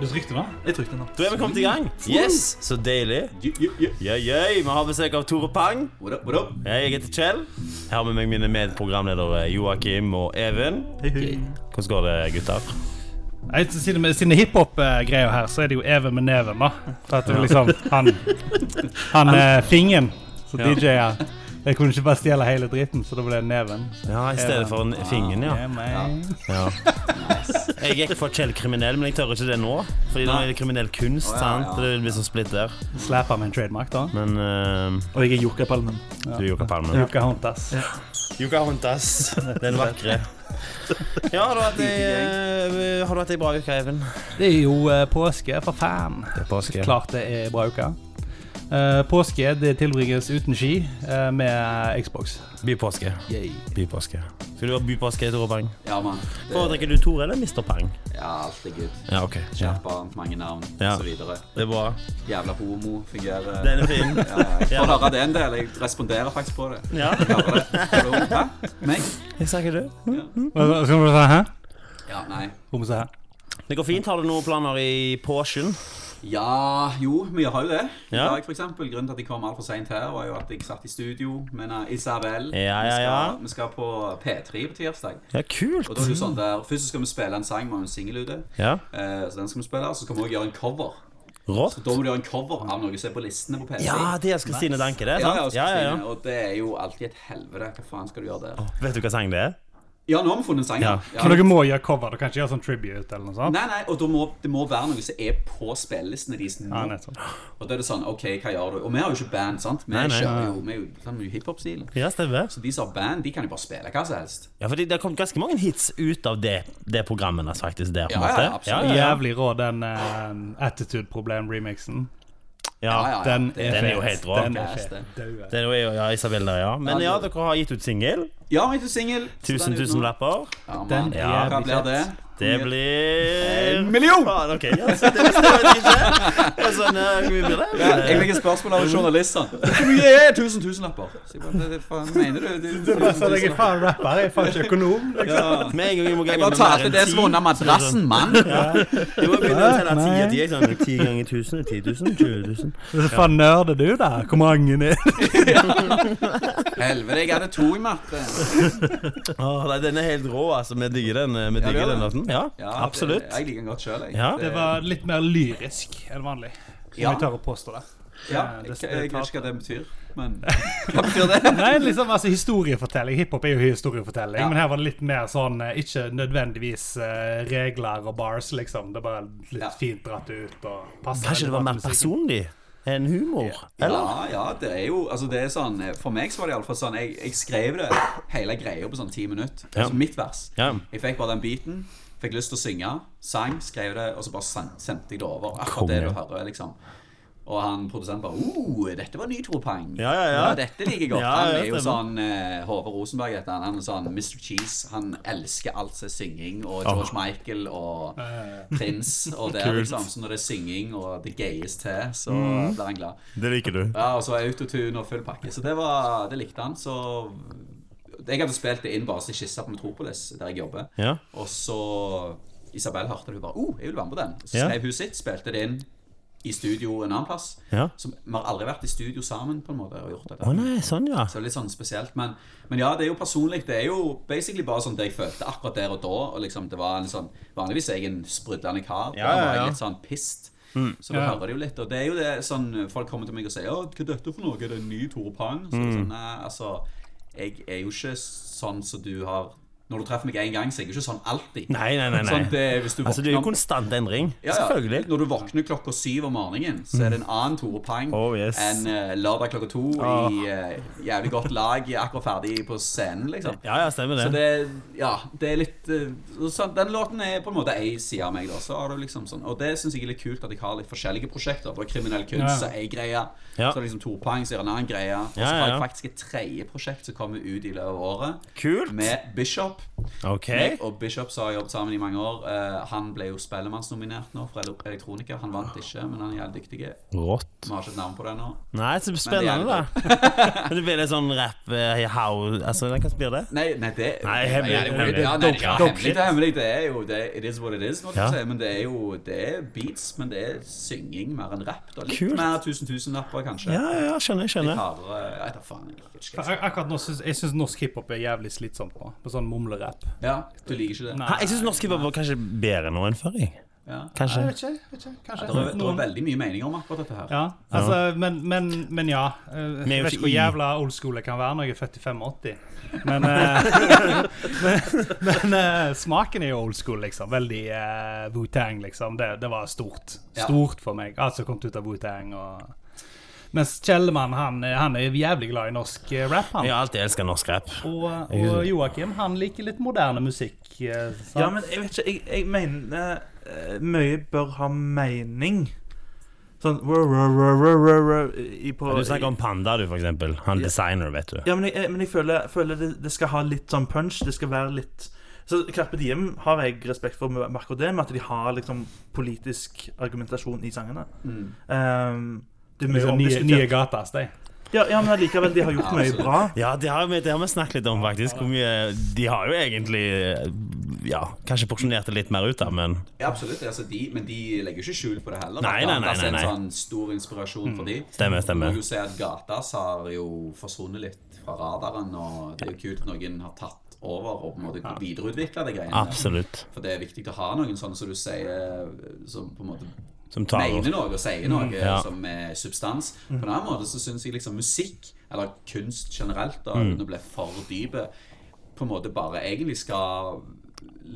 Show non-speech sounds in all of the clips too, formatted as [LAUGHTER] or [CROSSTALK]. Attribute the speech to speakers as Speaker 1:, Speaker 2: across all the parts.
Speaker 1: Du trykte meg?
Speaker 2: Jeg trykte den da.
Speaker 3: Da er vi kommet i gang. Yes, Så deilig. Jøy, jøy. Vi har besøk av Tore Pang.
Speaker 2: What up, what up?
Speaker 3: Jeg heter Kjell. Her har vi med mine medprogramledere Joakim og Even.
Speaker 2: Hei, hei.
Speaker 3: Hvordan går det, gutter?
Speaker 1: Nei, Siden, med- siden det er hiphop-greia her, så er det jo Even med neven, da. For at det er liksom Han, han er fingen som
Speaker 3: Ja.
Speaker 1: DJ-er. Jeg kunne ikke bare stjele hele dritten, så da ble det neven.
Speaker 3: Ja, I stedet for en fingen, ja.
Speaker 1: Det er meg.
Speaker 3: ja. Jeg gikk for Kjell kriminell, men jeg tør ikke det nå. Fordi nå er det kriminell kunst.
Speaker 2: Å, ja,
Speaker 3: sant?
Speaker 2: ja.
Speaker 3: Det blir sånn splitt der.
Speaker 1: Slapper med en trademark, da.
Speaker 3: Men eh,
Speaker 2: Og jeg er Jokka Palmen.
Speaker 3: du er Joka Palmen.
Speaker 1: Luka Huntas.
Speaker 3: Pocahontas. Den vakre. Ja, har du hatt ei, eh, har du hatt ei bra uke, Even?
Speaker 1: Det er jo eh, påske, for faen.
Speaker 3: Det er påske.
Speaker 1: Klart det er bra uke. Eh, påske det tilbringes uten ski, eh, med Xbox.
Speaker 3: Bypåske.
Speaker 1: Yay.
Speaker 3: Bypåske. Skal du ha bypåske, Tore Pang?
Speaker 2: Ja, mann. Det,
Speaker 3: Foretrekker du Tore eller Mr. Pang?
Speaker 2: ja, alt er good.
Speaker 3: Ja, ok.
Speaker 2: Kjært barn, mange navn,
Speaker 3: Ja.
Speaker 2: og så videre.
Speaker 3: Det er bra.
Speaker 2: Jævla homo fungerer.
Speaker 3: Den er fin.
Speaker 2: Ja, jeg får høre det en del. Jeg responderer faktisk på det.
Speaker 3: Ja.
Speaker 2: Jeg hører det. Er du homo? Hæ? Meg?
Speaker 3: [LAUGHS] Jeg sa ikke det.
Speaker 1: Hva skal vi si her?
Speaker 2: Ja, nei.
Speaker 1: Skal vi se her?
Speaker 3: Det går fint. Har du noen planer i påsken?
Speaker 2: Ja, jo, vi har jo det. I
Speaker 3: Ja.
Speaker 2: dag, for eksempel. Grunnen til at jeg kom altfor seint her, var jo at jeg satt i studio med en Isabel.
Speaker 3: Ja, ja,
Speaker 2: vi, skal,
Speaker 3: ja.
Speaker 2: vi skal på P3 på tirsdag.
Speaker 3: Ja, kult.
Speaker 2: Og da er det jo sånn der, Først så skal vi spille en sang med en singel ute.
Speaker 3: Ja.
Speaker 2: Eh, så den skal vi spille, og så skal vi også gjøre en cover.
Speaker 3: Rått.
Speaker 2: Da må du gjøre en cover av noe som er på listene på P3.
Speaker 3: Ja, det er Kristine Danke, det.
Speaker 2: Ja, ja,
Speaker 3: Sant?
Speaker 2: og
Speaker 3: Ja, ja,
Speaker 2: Kristine,
Speaker 3: ja.
Speaker 2: Og det er jo alltid et helvete. Hva faen skal du gjøre der?
Speaker 3: Vet du hva sang det er?
Speaker 2: Ja, nå har vi funnet en sang.
Speaker 3: Ja.
Speaker 1: Men dere må gjøre cover. Dere kan ikke gjøre sånn tribute eller noe sånt?
Speaker 2: Nei, nei, og da må, det må være noe som er på spillelistene deres nå.
Speaker 1: Ja, nettopp.
Speaker 2: og da er det sånn, ok, hva gjør du? Og vi har jo ikke band, sant? Vi
Speaker 3: Nei, nei.
Speaker 2: kjører jo, vi er jo sånn mye hiphop-stil.
Speaker 3: Ja, stemmer.
Speaker 2: Så de som har band, de kan jo bare spille hva som helst.
Speaker 3: Ja, fordi det har kommet ganske mange hits ut av det, det programmet altså, faktisk der, på en
Speaker 2: Ja, ja,
Speaker 3: måte.
Speaker 2: absolutt.
Speaker 3: Ja, ja,
Speaker 1: Jævlig rå, den eh, Attitude Problem-remixen.
Speaker 2: Ja,
Speaker 3: ja. ja.
Speaker 2: ja, ja.
Speaker 1: Den er,
Speaker 2: Det-
Speaker 3: Den er jo
Speaker 1: fet.
Speaker 3: helt rå.
Speaker 1: Den er
Speaker 2: Best,
Speaker 1: fet.
Speaker 2: det.
Speaker 1: Daue.
Speaker 3: Det er jo ja, Isabel der, ja. Men ja, dere har gitt ut singel.
Speaker 2: Ja, jeg er singel.
Speaker 3: Tusen, tusen lapper.
Speaker 2: Ja,
Speaker 1: Den
Speaker 2: man.
Speaker 1: er
Speaker 3: Ja,
Speaker 2: Hva
Speaker 1: jævlig
Speaker 2: blir det?
Speaker 1: fet.
Speaker 3: Det blir
Speaker 2: En million!
Speaker 3: Faen, ok. Ja, så det bestemmer jeg ikke. Det er sånn, eh, hvor mye blir det?
Speaker 2: Ja, jeg fikk et spørsmål av en journalist. sånn. Hvor mye er tusen tusenlapper? Så jeg bare, "Hva faen mener du? Det er tusen
Speaker 1: Så jeg er
Speaker 2: tusenlapper."
Speaker 1: faen rapper, jeg er [LAUGHS] faen ikke økonom. Liksom.
Speaker 2: Ja.
Speaker 3: Med en gang vi må gange
Speaker 2: Jeg bare
Speaker 3: med mer
Speaker 2: tar til
Speaker 3: enn
Speaker 2: det
Speaker 3: ti,
Speaker 2: som var under madrassen, mann.
Speaker 3: så- Vi må begynne å telle
Speaker 1: Nei.
Speaker 3: ti og ti. Sånn, ti ganger tusen er 10 000, 20 000.
Speaker 1: Så faen nerder du der? Hvor mange er det?
Speaker 2: Helvete, jeg hadde to i matte.
Speaker 3: Å, nei, den er helt rå, altså. Vi digger den. eh, Vi
Speaker 2: Ja,
Speaker 3: digger
Speaker 2: det er
Speaker 3: den
Speaker 2: det.
Speaker 3: låten. Ja,
Speaker 2: Ja,
Speaker 3: absolutt.
Speaker 2: Det, jeg liker den godt sjøl, jeg.
Speaker 3: Ja.
Speaker 1: Det var litt mer lyrisk enn vanlig. Om
Speaker 2: Ja.
Speaker 1: jeg tør å påstå det.
Speaker 2: Ja,
Speaker 1: Det-
Speaker 2: jeg,
Speaker 1: det- det
Speaker 2: jeg, vet
Speaker 1: tar-
Speaker 2: ikke hva det betyr, men [LAUGHS] Hva betyr det?
Speaker 1: Nei, liksom, altså historiefortelling. Hiphop er jo historiefortelling,
Speaker 2: Ja.
Speaker 1: men her var det litt mer sånn eh, Ikke nødvendigvis eh, regler og bars, liksom. Det er bare litt
Speaker 2: Ja.
Speaker 1: fint dratt ut og passer
Speaker 3: Kanskje det
Speaker 1: veldig bra
Speaker 3: var mer
Speaker 1: til musikken.
Speaker 3: personlig enn humor? Eller?
Speaker 2: Ja, ja, det er jo Altså, det er sånn eh, For meg så var det iallfall sånn jeg, jeg skrev det hele greia på sånn ti minutter.
Speaker 3: Ja.
Speaker 2: Altså mitt vers.
Speaker 3: Ja.
Speaker 2: Jeg fikk bare den beaten, fikk lyst til å synge, sang, skrev det, og så bare sen- sendte jeg det over. Akkurat det du
Speaker 3: Konge.
Speaker 2: hører, liksom. Og han produsenten bare Oh, dette var ny Tropang.
Speaker 3: Ja, ja, ja.
Speaker 2: dette liker jeg godt.
Speaker 3: Ja,
Speaker 2: han
Speaker 3: ja,
Speaker 2: er jo sånn
Speaker 3: stemmer.
Speaker 2: eh, Håvard Rosenberg heter han. Han er sånn Mr. Cheese. Han elsker alt som er synging, og George Michael og Prince og
Speaker 3: [LAUGHS]
Speaker 2: det,
Speaker 3: Kult. Mm.
Speaker 2: liksom. Så når det er synging og det gayes til, så blir han glad.
Speaker 3: Det liker du.
Speaker 2: Ja, og så autotune og full pakke. Så det, var, det likte han. Så jeg hadde spilt det inn bare i skissa på Metropolis, der jeg jobber.
Speaker 3: Ja.
Speaker 2: Og så Isabel hørte det, hun bare oh, jeg vil være med på den. Så
Speaker 3: Ja.
Speaker 2: skrev hun sitt, spilte det inn i studio en annen plass.
Speaker 3: Ja.
Speaker 2: Så vi har aldri vært i studio sammen på en måte og gjort det.
Speaker 3: Å nei, sånn, ja.
Speaker 2: Så det er litt sånn spesielt. Men, men ja, det er jo personlig. Det er jo basically bare sånn det jeg følte akkurat der og da. Og liksom, det var en sånn, Vanligvis er jeg en sprudlende kar. da
Speaker 3: Ja, ja,
Speaker 2: var
Speaker 3: ja. Mm.
Speaker 2: jeg litt sånn pissed. Så du
Speaker 1: Ja.
Speaker 2: hører det jo litt. Og det er jo det sånn folk kommer til meg og sier «Å, Hva er dette for noe? Er det en ny Tore Pang? Så det er sånn,
Speaker 3: Mm.
Speaker 2: Nei, altså Jeg er jo ikke sånn som du har Når du treffer meg én gang, så er jeg jo ikke sånn alltid.
Speaker 3: Nei, nei, nei, nei.
Speaker 2: Sånn, det, er hvis du
Speaker 3: Altså, det er jo
Speaker 2: våkner-
Speaker 3: konstant endring.
Speaker 2: ja, ja.
Speaker 3: Selvfølgelig.
Speaker 2: Når du våkner klokka syv om morgenen, så er det en annen Tore Pang
Speaker 3: Oh, yes.
Speaker 2: enn eh, lørdag klokka to
Speaker 3: Ah.
Speaker 2: i eh, jævlig godt lag, akkurat ferdig på scenen, liksom.
Speaker 3: Ja, ja, stemmer
Speaker 2: Så
Speaker 3: det.
Speaker 2: det, ja, det er litt eh, sånn, Den låten er på en måte ei side av meg, da. Så har du liksom sånn, og det syns jeg er litt kult, at jeg har litt forskjellige prosjekter. På kriminell kunst så er ei greie,
Speaker 3: Ja.
Speaker 2: så er det liksom Tore Pang som gjør en annen greie. Og så
Speaker 3: Ja, ja,
Speaker 2: har jeg
Speaker 3: ja.
Speaker 2: faktisk et tredje prosjekt som kommer ut i løpet av året,
Speaker 3: Kult.
Speaker 2: med Bishop, Bishop.
Speaker 3: OK.
Speaker 2: Jeg og Bishop så har jobbet sammen i mange år. Eh, han ble jo Spellemannsnominert nå for ele- Elektronika. Han vant ikke, men han er jævlig dyktig. Vi
Speaker 4: Rått.
Speaker 2: har ikke et navn på det nå.
Speaker 3: Nei, så spennende, da. [LAUGHS] Men det blir litt sånn rap eh, how Altså, hva blir det?
Speaker 2: Nei, nei, det
Speaker 3: Nei, hemmelig,
Speaker 2: Ja, det er jo-
Speaker 3: hemmelig.
Speaker 2: Ja, nei, det er
Speaker 3: Dog-
Speaker 2: ikke
Speaker 3: dog
Speaker 2: hemmelig,
Speaker 3: shit.
Speaker 2: det er hemmelig. Det er jo det, It is what it is, må du
Speaker 3: Ja.
Speaker 2: si. Men det er jo det er beats, men det er synging mer enn rap. Da. Litt
Speaker 3: Kult.
Speaker 2: mer 1000 000-lapper, kanskje.
Speaker 3: Ja, ja, skjønner. skjønner
Speaker 2: Hardere Jeg vet da faen. Jeg liker ikke.
Speaker 1: Ak- Akkurat nå syns jeg synes norsk hiphop er jævlig slitsomt nå. På sånn mumlerapp.
Speaker 2: Ja, du liker ikke det?
Speaker 1: Nei.
Speaker 3: Hæ, Jeg syns norsk hiphop var kanskje bedre nå enn før. jeg.
Speaker 2: Ja.
Speaker 3: Kanskje.
Speaker 1: vet ikke. vet ikke,
Speaker 2: Det
Speaker 1: Kanskje.
Speaker 2: er, det er
Speaker 1: Noen.
Speaker 2: veldig mye meninger om akkurat dette her.
Speaker 1: Ja, altså, men, men, men ja. Eh,
Speaker 3: er jo
Speaker 1: Jeg vet
Speaker 3: ikke
Speaker 1: ikke hvor
Speaker 3: i-
Speaker 1: jævla old school jeg kan være når jeg er født i 85. Men, eh, [LAUGHS] men, men eh, smaken er jo old school, liksom. Veldig eh, Wu-Tang, liksom. Det, det var stort.
Speaker 2: Ja.
Speaker 1: Stort for meg. Alt som kom ut av Wu-Tang og Mens Kjellemann, han, han er jævlig glad i norsk eh, rap, han.
Speaker 3: Jeg har alltid elska norsk rap.
Speaker 1: Og, og Joakim, han liker litt moderne musikk. eh, sant?
Speaker 4: Ja, men jeg vet ikke Jeg, jeg mener eh, Mye bør ha mening. Sånn rå, rå, rå, rå, rå, rå, i på,
Speaker 3: Du snakker om Panda, du, for eksempel. Han designer, vet du.
Speaker 4: Ja, men jeg, men jeg føler, føler det, det skal ha litt sånn punch. Det skal være litt Så Carpe Diem har jeg respekt for med akkurat det, med at de har liksom politisk argumentasjon i sangene. Ehm, det er mye
Speaker 1: Liksom, nye,
Speaker 4: omdiskutert.
Speaker 1: nye gatas, de.
Speaker 4: Ja, ja, men likevel, de har gjort
Speaker 2: Ja,
Speaker 4: mye
Speaker 2: absolutt.
Speaker 4: bra.
Speaker 3: Ja, det har, vi, det har vi snakket litt om, faktisk. Hvor mye De har jo egentlig Ja, kanskje porsjonert det litt mer ut, da, men
Speaker 2: Ja, absolutt. Altså, de, men de legger jo ikke skjul på det heller.
Speaker 3: Nei, nei, nei,
Speaker 2: Gatas er
Speaker 3: nei,
Speaker 2: en
Speaker 3: nei. Mm.
Speaker 2: sånn stor inspirasjon for de.
Speaker 3: Stemmer, stemmer.
Speaker 2: Du må jo si at Gatas har jo forsvunnet litt fra radaren, og det er jo kult at noen har tatt over og på en måte videreutvikla de greiene.
Speaker 3: absolutt.
Speaker 2: For det er viktig å ha noen sånne som du sier som på en måte
Speaker 3: Som tar
Speaker 2: mener noe og sier noe
Speaker 3: Mm. ja. Mm.
Speaker 2: som er substans. På en annen måte så syns jeg liksom musikk, eller kunst generelt, da,
Speaker 3: Mm.
Speaker 2: uten å bli for dype, på en måte bare egentlig skal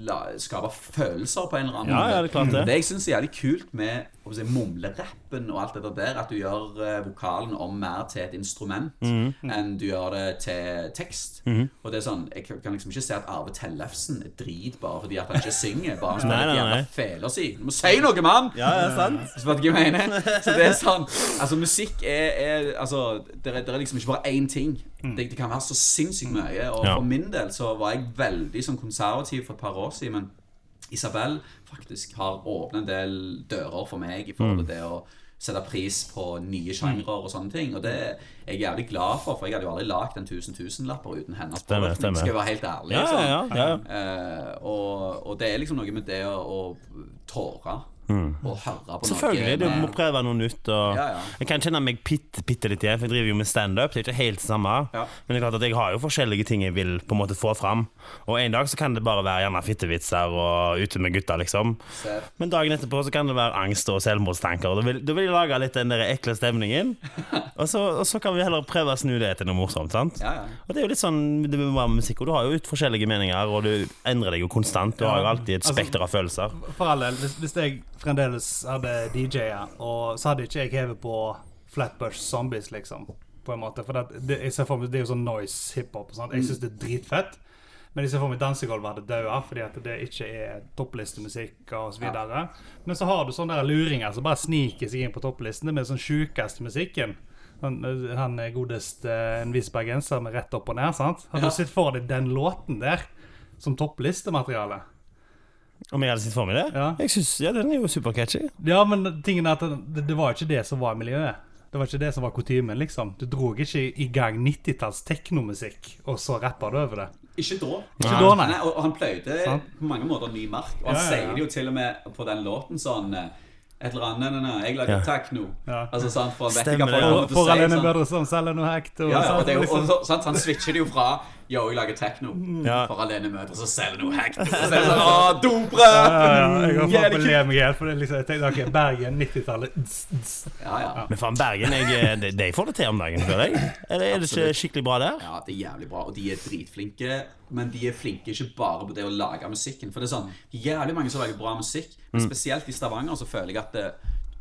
Speaker 2: la, skape følelser på en eller annen
Speaker 3: Ja, ja, det er klart det.
Speaker 2: Det jeg syns er jævlig kult med å si, mumlerappen og alt det der, at du gjør eh, vokalen om mer til et instrument
Speaker 3: Mm.
Speaker 2: enn du gjør det til tekst. Og det er sånn, Jeg kan liksom ikke se at Arve Tellefsen er drit bare fordi at han ikke synger.
Speaker 3: [LAUGHS]
Speaker 2: Bare han
Speaker 3: Nei,
Speaker 2: spiller
Speaker 3: nei,
Speaker 2: et jævla
Speaker 3: nei.
Speaker 2: fele si. Du må si noe, mann!
Speaker 3: Ja, ja, sant?
Speaker 2: Så vet Eh, du hva jeg mener? Så det er sånn Altså, musikk er, er Altså, det er, det er liksom ikke bare én ting. Det, det kan være så sinnssykt mye. Og
Speaker 3: Mm. Ja.
Speaker 2: for min del så var jeg veldig sånn konservativ for et par år siden, men Isabel faktisk har åpnet en del dører for meg i forhold
Speaker 3: Mm.
Speaker 2: til det å sette pris på nye sjangre og sånne ting. Og det er jeg jævlig glad for, for jeg hadde jo aldri lagd en 1000 000-lapper uten hennes
Speaker 3: Stemmer,
Speaker 2: påvirkning,
Speaker 3: stemmer.
Speaker 2: skal jeg være helt ærlig.
Speaker 3: Ja,
Speaker 2: sånn.
Speaker 3: ja, ja. ja.
Speaker 2: Eh, og, og det er liksom noe med det å, å tåre
Speaker 3: Mm.
Speaker 2: og høre på
Speaker 3: Selvfølgelig. Du
Speaker 2: noe. med-
Speaker 3: må prøve noe nytt. Og
Speaker 2: Ja, ja.
Speaker 3: Jeg kan kjenne meg bitte, bitte litt igjen, for jeg driver jo med standup. Det er ikke helt det samme.
Speaker 2: Ja.
Speaker 3: Men det er klart at jeg har jo forskjellige ting jeg vil på en måte få fram. Og en dag så kan det bare være gjerne fittevitser og ute med gutta, liksom.
Speaker 2: Se.
Speaker 3: Men dagen etterpå så kan det være angst og selvmordstanker. og Da vil, da vil jeg lage litt den der ekle stemningen.
Speaker 2: [LAUGHS]
Speaker 3: Og så, og så kan vi heller prøve å snu det til noe morsomt. sant?
Speaker 2: Ja, ja.
Speaker 3: Og det er jo litt sånn det må være med musikk, og du har jo ut forskjellige meninger, og du endrer deg jo konstant. Du har jo alltid et
Speaker 1: Altså-
Speaker 3: spekter av følelser.
Speaker 1: For all del, hvis, hvis jeg fremdeles hadde DJ-a, og så hadde ikke jeg hevet på Flatbush Zombies, liksom. På en måte. For det, det, jeg ser for meg, det er jo sånn noise hiphop. og sånt. Jeg syns det er dritfett. Men jeg ser for meg dansegulvet hadde daua fordi at det ikke er topplistemusikk og så videre. Men så har du sånne der luringer som bare sniker seg inn på topplistene med sånn sjukeste musikken. Han, han er godest eh, en viss bergenser med rett opp og ned, sant? Har
Speaker 2: Ja.
Speaker 1: du sett for deg den låten der som topplistemateriale?
Speaker 3: Om jeg hadde sett for meg det?
Speaker 1: Ja.
Speaker 3: Jeg synes, ja, den er jo supercatchy.
Speaker 1: Ja, men tingen er at det, det var ikke det som var miljøet. Det var ikke det som var kutymen, liksom. Du dro ikke i gang 90-talls teknomusikk, og så rappa du over det.
Speaker 2: Ikke da.
Speaker 1: Ikke da, nei.
Speaker 2: og, og han pløyde
Speaker 1: Sant.
Speaker 2: på mange måter ny mark. Og han
Speaker 1: Ja, ja, ja.
Speaker 2: sier det jo til og med på den låten sånn eh, et eller annet nei, nei, nei, 'Jeg lager
Speaker 3: Ja.
Speaker 2: tekno'.
Speaker 1: Ja.
Speaker 2: Altså sånn, for han vet ikke
Speaker 3: Stemmer
Speaker 2: hva folk
Speaker 3: det.
Speaker 1: Og
Speaker 2: kommer til å
Speaker 1: for
Speaker 2: si.
Speaker 1: alene
Speaker 2: sånn.
Speaker 1: bedre som selger noe hekt. Og,
Speaker 2: Ja, ja, og det er jo,
Speaker 1: liksom. Mm.
Speaker 2: og så, sant, han switcher det jo fra 'Yo, jeg lager tekno'
Speaker 3: Ja.
Speaker 2: for alenemødre, så selger noe hack.
Speaker 1: [LAUGHS]
Speaker 2: Så er det sånn 'Å, dobrød!'
Speaker 1: ja, ja, jeg har
Speaker 2: Jævlig
Speaker 1: fått på
Speaker 2: kult.
Speaker 1: le meg helt, for det er liksom, jeg tenkte ok, Bergen, 90-tallet. ds, ds.
Speaker 2: Ja, ja.
Speaker 3: Men faen, Bergen, jeg, de, de får det til om dagen, føler jeg. Er det, er det ikke
Speaker 2: Absolutt.
Speaker 3: skikkelig bra der?
Speaker 2: Ja, det er jævlig bra, og de er dritflinke. Men de er flinke ikke bare på det å lage musikken. For det er sånn, det er jævlig mange som lager bra musikk, men
Speaker 3: Mm.
Speaker 2: spesielt i Stavanger så føler jeg at det,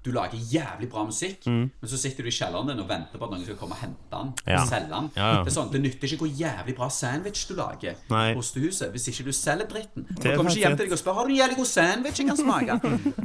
Speaker 2: du lager jævlig bra musikk, men så sitter du i kjelleren din og venter på at noen skal komme og hente den
Speaker 3: Mm. Ja.
Speaker 2: og selge den.
Speaker 3: Ja, ja.
Speaker 2: Det er sånn, det nytter ikke hvor jævlig bra sandwich du lager
Speaker 3: Nei.
Speaker 2: på ostehuset hvis ikke du selger dritten.
Speaker 3: er
Speaker 2: Da kommer
Speaker 3: faktisk
Speaker 2: ikke hjem til deg og spør har du en jævlig god sandwich jeg kan
Speaker 3: [LAUGHS]
Speaker 2: smake.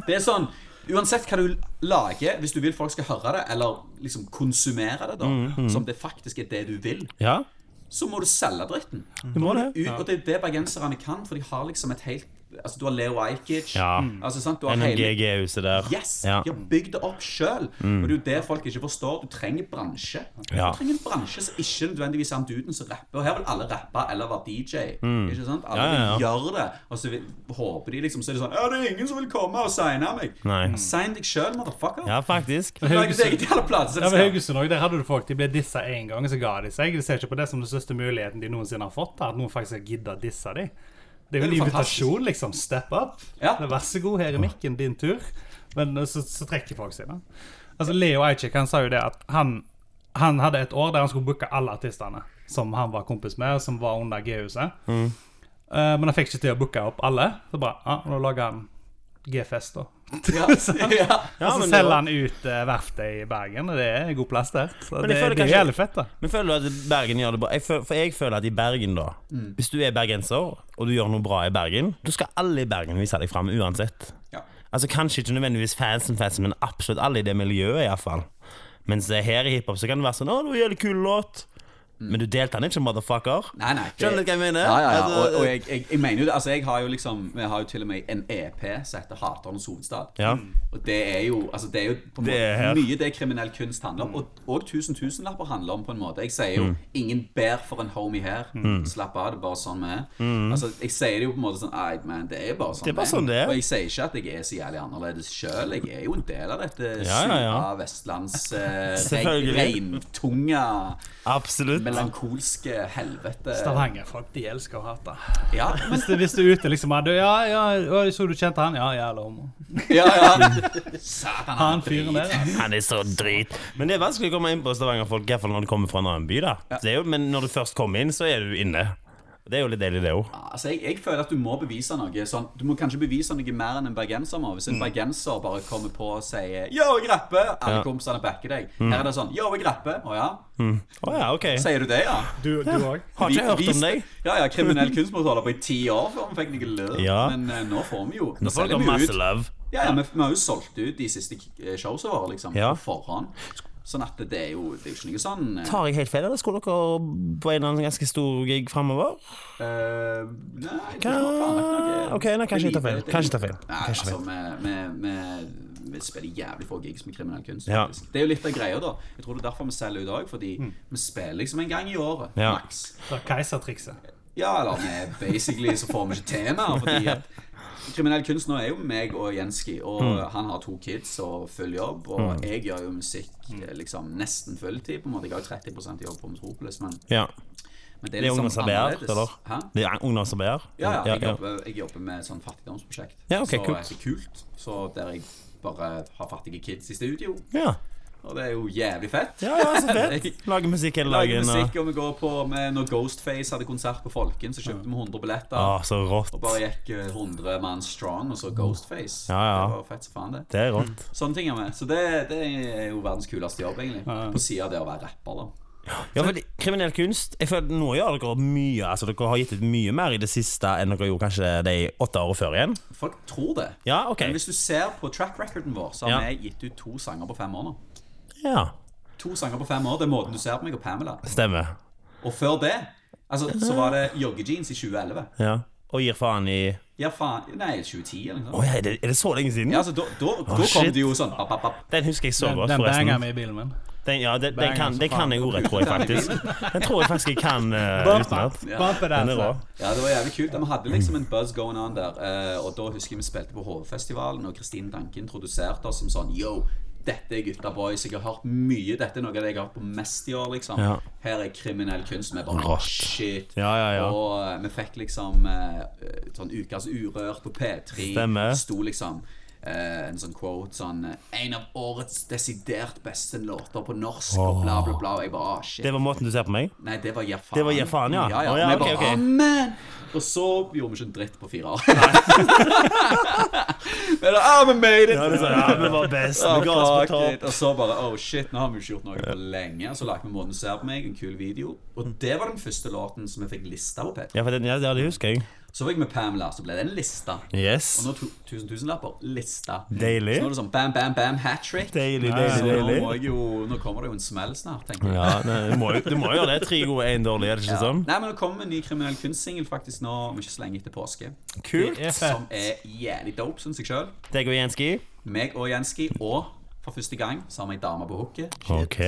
Speaker 2: Det er sånn, Uansett hva du lager, hvis du vil
Speaker 3: Mm,
Speaker 2: folk skal høre det, eller liksom konsumere det, da, som det faktisk er det du vil,
Speaker 3: Ja.
Speaker 2: så må du selge dritten.
Speaker 3: Du må det.
Speaker 2: Ut, Og det er det bergenserne kan, for de har liksom et helt Altså, du har Leo Ajkic.
Speaker 3: Ja.
Speaker 2: Altså, sant? Du har
Speaker 3: Gjennom
Speaker 2: hele
Speaker 3: GG-huset der.
Speaker 2: Yes!
Speaker 3: Ja. Mm.
Speaker 2: De har bygd det opp sjøl. Og det er jo det folk ikke forstår. Du trenger bransje.
Speaker 3: Ja.
Speaker 2: Du trenger en bransje som ikke nødvendigvis er han duden som rapper. Og her vil alle rappe eller være DJ. Ikke sant? Alle
Speaker 3: Mm. Ja, ja, ja.
Speaker 2: vil gjøre det. Og så vil, håper de liksom Så er det sånn Ja, det er ingen som vil komme og signe meg.
Speaker 3: Nei.
Speaker 2: Sign deg sjøl, motherfucker.
Speaker 3: ja, faktisk.
Speaker 2: Lag ditt eget jævla
Speaker 1: Ja, men
Speaker 2: plateselskap.
Speaker 1: Haugesund også, Der hadde du folk de ble dissa én gang, så ga de seg. De ser ikke på det som den største muligheten de noensinne har fått. da, At noen faktisk har giddet å disse dem. Det er jo
Speaker 2: Det
Speaker 1: en
Speaker 2: er jo
Speaker 1: invitasjon, liksom. Step up.
Speaker 2: Ja.
Speaker 1: Men Vær så god, her er mikken, din tur. Men eh, så, så trekker folk seg, da. Altså, Leo Ajkic han sa jo det at han, han hadde et år der han skulle booke alle artistene som han var kompis med, som var under G-huset. Eh, men han fikk ikke til å booke opp alle. Så bare ja, nå lager han G-fest, da.
Speaker 2: Ja, [LAUGHS] ja.
Speaker 3: [LAUGHS] Ja,
Speaker 1: og så
Speaker 3: men det
Speaker 1: Altså, selger
Speaker 3: var-
Speaker 1: han ut eh, verftet i Bergen, og det er god plass der. Så
Speaker 3: Men jeg
Speaker 1: det,
Speaker 3: føler
Speaker 1: det er
Speaker 3: kanskje-
Speaker 1: jævlig fett, da.
Speaker 3: Men føler du at Bergen gjør det bra? Jeg føler, for jeg føler at i Bergen, da
Speaker 2: Mm.
Speaker 3: Hvis du er bergenser, og du gjør noe bra i Bergen, da skal alle i Bergen vise deg fram uansett.
Speaker 2: ja.
Speaker 3: Altså Kanskje ikke nødvendigvis fansen, fansen men absolutt alle i det miljøet. I hvert fall Mens det her i hiphop så kan det være sånn 'Å, det var en jævlig kul låt', men du delte den ikke, motherfucker.
Speaker 2: Mm. Nei, nei. det-
Speaker 3: Skjønner du hva jeg mener?
Speaker 2: Ja, ja, ja.
Speaker 3: Altså,
Speaker 2: Og, og jeg, jeg, jeg mener jo det. Altså, jeg har jo liksom Vi har jo til og med en EP som heter 'Haternes hovedstad'.
Speaker 3: Ja.
Speaker 2: Og det er jo Altså, det er jo på en
Speaker 3: Det er
Speaker 2: måte
Speaker 3: her.
Speaker 2: mye det kriminell kunst handler om. Og, og tusen tusenlapper handler om, på en måte. Jeg sier
Speaker 3: Mm.
Speaker 2: jo 'ingen ber for en homie her'. Slapp av, det er bare sånn vi er. Altså, jeg sier det jo på en måte sånn Nei, man, det er bare sånn
Speaker 3: Mm. Det er bare
Speaker 2: vi
Speaker 3: sånn det er.
Speaker 2: Og jeg sier ikke at jeg er så jævlig annerledes sjøl. Jeg er jo en del av dette
Speaker 3: Ja, ja, ja.
Speaker 2: sura vestlands eh,
Speaker 3: Selvfølgelig.
Speaker 2: regntunga,
Speaker 3: Absolutt.
Speaker 2: melankolske helvete.
Speaker 1: Stavanger-folk, de elsker å hate.
Speaker 2: Ja,
Speaker 3: [LAUGHS]
Speaker 2: men
Speaker 1: Hvis du, hvis du er ute, liksom er du, Ja, ja, å, jeg så du kjente han? Ja, jævla homo.
Speaker 2: Ja,
Speaker 3: [LAUGHS]
Speaker 2: ja. Satan,
Speaker 1: Han fyren der, altså.
Speaker 3: Han er så drit. Men det er vanskelig å komme inn på Stavanger-folk, i hvert fall når du kommer fra en annen by. da det er jo, Men når du først kommer inn, så er du inne. Det er jo litt deilig, det òg.
Speaker 2: Altså, jeg, jeg føler at du må bevise noe. Sånn, du må kanskje bevise noe mer enn en bergenser må. Hvis en bergenser bare kommer på og sier 'yo, jeg rapper', alle kompisene backer deg. Her er det sånn 'yo, jeg rapper'. Å ja?
Speaker 3: Å ja, ok.
Speaker 2: Sier du det, ja?
Speaker 1: Du òg?
Speaker 3: Har
Speaker 2: Vi-
Speaker 3: ikke hørt
Speaker 2: vis-
Speaker 3: om deg.
Speaker 2: Ja, ja, kriminell kunst måtte holde på i ti år før vi fikk noe lønn.
Speaker 3: Ja.
Speaker 2: Men eh, nå får vi jo. Nå
Speaker 3: Folk
Speaker 2: selger
Speaker 3: har
Speaker 2: vi
Speaker 3: masse
Speaker 2: ut.
Speaker 3: love.
Speaker 2: Ja, ja, vi, vi har jo solgt ut de siste eh, showsa våre, liksom.
Speaker 3: Ja.
Speaker 2: På forhånd. Sånn at det er jo, det er jo ikke noe sånn eh,
Speaker 3: Tar jeg helt feil, eller skulle dere på en eller annen ganske stor gig framover?
Speaker 2: Eh, nei,
Speaker 3: Hva- Ok, nei, kanskje jeg tar feil. Kanskje jeg tar feil.
Speaker 2: Nei,
Speaker 3: Kanskje jeg
Speaker 2: altså, vi, vi, vi, vi spiller jævlig få gigs med kriminell kunst.
Speaker 3: Ja.
Speaker 2: faktisk. Det er jo litt av greia, da. Jeg tror det er derfor vi selger ut òg, fordi vi spiller liksom en gang i året.
Speaker 3: Ja.
Speaker 2: Maks.
Speaker 1: Det er keisertrikset.
Speaker 2: Ja, eller vi basically så får vi ikke temaer, fordi at kriminell kunst nå er jo meg og Jenski, og
Speaker 3: Mm.
Speaker 2: han har to kids og full jobb, og jeg gjør jo musikk eh, liksom nesten fulltid, på en måte. Jeg har jo 30 jobb på Metropolis, men,
Speaker 3: Ja.
Speaker 2: men det
Speaker 3: Det
Speaker 2: er
Speaker 3: er
Speaker 2: liksom
Speaker 3: ungdomsarbeider,
Speaker 2: annerledes.
Speaker 3: eller?
Speaker 2: Hæ?
Speaker 3: Det er ungdomsarbeider?
Speaker 2: Ja, ja. Jeg,
Speaker 3: ja.
Speaker 2: jobber, jeg jobber med et sånn fattigdomsprosjekt.
Speaker 3: Ja, ok,
Speaker 2: så
Speaker 3: kult.
Speaker 2: er det kult. Så der jeg bare har fattige kids i studio.
Speaker 3: Ja.
Speaker 2: Og det er jo jævlig fett.
Speaker 3: Ja, ja, så
Speaker 2: [LAUGHS]
Speaker 3: fett. Lager eh, musikk hele
Speaker 2: Lager
Speaker 3: dagen. og-
Speaker 2: musikk, og vi går på med, Når Ghostface hadde konsert på Folken, så kjøpte vi 100 billetter.
Speaker 3: Å, Ah, så rått.
Speaker 2: Og bare gikk eh, 100 mann strong, og så Ghostface.
Speaker 3: Ja, ja.
Speaker 2: Det var fett som faen, det.
Speaker 3: Det er rått.
Speaker 2: Sånne ting er med. Så det, det er jo verdens kuleste jobb, egentlig. På sida av det å være rapper, da.
Speaker 3: Ja, for Kriminell kunst Jeg føler at Nå gjør dere mye. Altså Dere har gitt ut mye mer i det siste enn dere gjorde kanskje de åtte årene før igjen.
Speaker 2: Folk tror det.
Speaker 3: Ja, ok.
Speaker 2: Men hvis du ser på track recorden vår, så har
Speaker 3: Ja.
Speaker 2: vi gitt ut to sanger på fem år nå.
Speaker 3: Ja,
Speaker 2: To sanger på fem år, Det er måten du ser på meg og Pamela.
Speaker 3: stemmer.
Speaker 2: Og før det altså, så var det joggejeans i 2011.
Speaker 3: Ja. Og gir faen i
Speaker 2: Ja, faen Nei, 2010 eller noe
Speaker 3: Å
Speaker 2: sånt.
Speaker 3: ja, er det, er det så lenge siden?
Speaker 2: Ja, altså, da, da, da kom
Speaker 3: shit.
Speaker 2: det jo sånn app, app, app.
Speaker 3: Den husker jeg så
Speaker 1: Den,
Speaker 3: godt,
Speaker 1: den banger
Speaker 3: forresten.
Speaker 1: vi i bilen min.
Speaker 3: Den, ja, den, den,
Speaker 1: banger
Speaker 3: kan,
Speaker 1: som
Speaker 3: den kan
Speaker 1: faen.
Speaker 3: jeg ordet, tror jeg faktisk. Den tror jeg faktisk jeg kan eh, utenat.
Speaker 1: Bumper
Speaker 3: Den er rå.
Speaker 1: der.
Speaker 2: Ja, det var jævlig kult. Vi hadde liksom
Speaker 3: Mm.
Speaker 2: en buzz going on der. eh, Og da husker jeg vi spilte på HV-festivalen, og Kristine Danke introduserte oss som sånn Yo, dette er gutta boys. Jeg har hørt mye. Dette er noe av det jeg har hørt på mest i år, liksom.
Speaker 3: Ja.
Speaker 2: Her er kriminell kunst. Vi bare
Speaker 3: Rått.
Speaker 2: shit.
Speaker 3: Ja, ja, ja.
Speaker 2: Og eh, vi fikk liksom eh, sånn Ukas Urørt på P3.
Speaker 3: Stemmer.
Speaker 2: sto liksom eh, en sånn quote sånn En av årets desidert beste låter på norsk, og bla, bla, bla. Og jeg bare ah, shit.
Speaker 3: Det var måten du ser på meg?
Speaker 2: Nei, det var Jerfan.
Speaker 3: Det var Gir faen, ja.
Speaker 2: ja,
Speaker 3: Å, ja,
Speaker 2: Vi
Speaker 3: ok,
Speaker 2: bare,
Speaker 3: ok.
Speaker 2: «Å, men! Og så gjorde vi ikke en dritt på fire år. [LAUGHS] Men da, ah, vi made it!
Speaker 3: Ja, det sa jeg. Ja, vi var best.
Speaker 2: Ah,
Speaker 3: Vi ga oss på
Speaker 2: fuck it.
Speaker 3: topp.
Speaker 2: Og så bare oh shit, nå har vi ikke gjort noe på lenge. Så lagde vi 'Månen ser på meg', en kul video. Og det var den første låten som vi fikk lista på P3.
Speaker 3: Ja, for den, ja, ja, det husker jeg.
Speaker 2: Så var jeg med Pamela, så ble det en lista. Og
Speaker 3: Yes.
Speaker 2: nå to, tusen tusenlapper. Lista.
Speaker 3: Deilig.
Speaker 2: Så nå er det sånn bam, bam, bam, hat trick.
Speaker 3: Deilig,
Speaker 2: Så
Speaker 3: deilig,
Speaker 2: nå, må
Speaker 3: deilig.
Speaker 2: jeg jo, nå kommer det jo en smell snart, tenker jeg.
Speaker 3: Ja, nei, du, må, jo- du må jo gjøre det. Tre gode, én dårlig, er det ikke sånn?
Speaker 2: Nei, men Det kommer en ny kriminell kunstsingel faktisk nå om ikke så lenge etter påske.
Speaker 1: Det er
Speaker 3: Kult.
Speaker 1: fett.
Speaker 2: Som er jævlig dope, syns jeg sjøl.
Speaker 3: Deg og Jenski.
Speaker 2: Meg og Jenski, og for første gang så har vi ei dame på hooket.
Speaker 3: OK,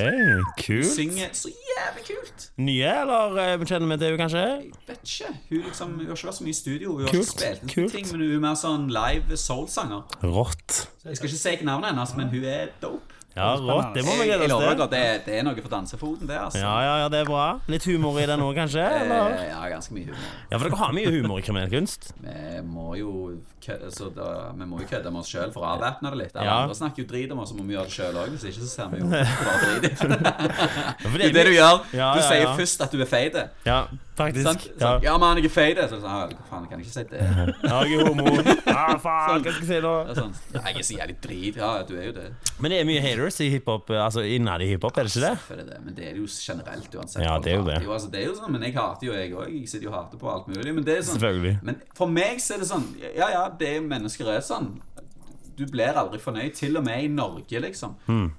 Speaker 3: kult.
Speaker 2: Synger så jævlig kult.
Speaker 3: Nye, eller eh, kjenner vi til henne, kanskje?
Speaker 2: Vet ikke. Hun, liksom, hun har ikke vært så mye i studio. Hun har
Speaker 3: Kult,
Speaker 2: ikke spilt inn
Speaker 3: kult.
Speaker 2: ting, men hun er mer sånn live soul-sanger.
Speaker 3: Rått.
Speaker 2: Jeg skal ikke si hva navnet hennes, men hun er dope.
Speaker 3: Ja, rått. Det må vi
Speaker 2: Jeg, jeg
Speaker 3: glede
Speaker 2: lover
Speaker 3: oss
Speaker 2: dere,
Speaker 3: til.
Speaker 2: det, det er noe for dansefoten, det, altså.
Speaker 3: Ja, ja, ja, det er bra. Litt humor i den òg, kanskje? Eller?
Speaker 2: [LAUGHS] Eh, ja, ganske mye humor.
Speaker 3: Ja, for dere har mye humor i kriminalkunst.
Speaker 2: Vi må jo kødde, altså, da, vi må jo kødde med oss sjøl for å avvæpne det litt. Alle
Speaker 3: Ja.
Speaker 2: andre snakker jo drit om oss, så må vi gjøre det sjøl òg. Hvis ikke så ser vi jo bare drit.
Speaker 3: [LAUGHS] Ja, for
Speaker 2: Det er det du gjør.
Speaker 3: Ja,
Speaker 2: Du
Speaker 3: ja,
Speaker 2: sier
Speaker 3: ja.
Speaker 2: først at du er feit.
Speaker 3: Ja, faktisk.
Speaker 2: Sant?
Speaker 3: Ja.
Speaker 2: Sånn, ja, men jeg er feit. Så er det sånn, «Ah, hva faen, jeg kan ikke
Speaker 3: [LAUGHS]
Speaker 2: si det.
Speaker 3: Ja, jeg
Speaker 2: [LAUGHS]
Speaker 3: er homo. Ah, faen, hva skal jeg si nå?
Speaker 2: Det er sånn, jeg er så jævlig drit. Ja, du er jo det.
Speaker 3: Men det er mye haters i hiphop, altså innad i hiphop, er det ikke det?
Speaker 2: Selvfølgelig det, men det er det jo generelt uansett.
Speaker 3: Ja, det er jo det.
Speaker 2: Jo, altså, det er jo sånn, men jeg hater jo, jeg òg. Jeg sitter jo og hater på alt mulig. Men det er sånn
Speaker 3: Selvfølgelig.
Speaker 2: Men for meg så er det sånn Ja, ja, det er mennesker er sånn. Du blir aldri fornøyd, til og med i Norge, liksom.
Speaker 3: Hmm.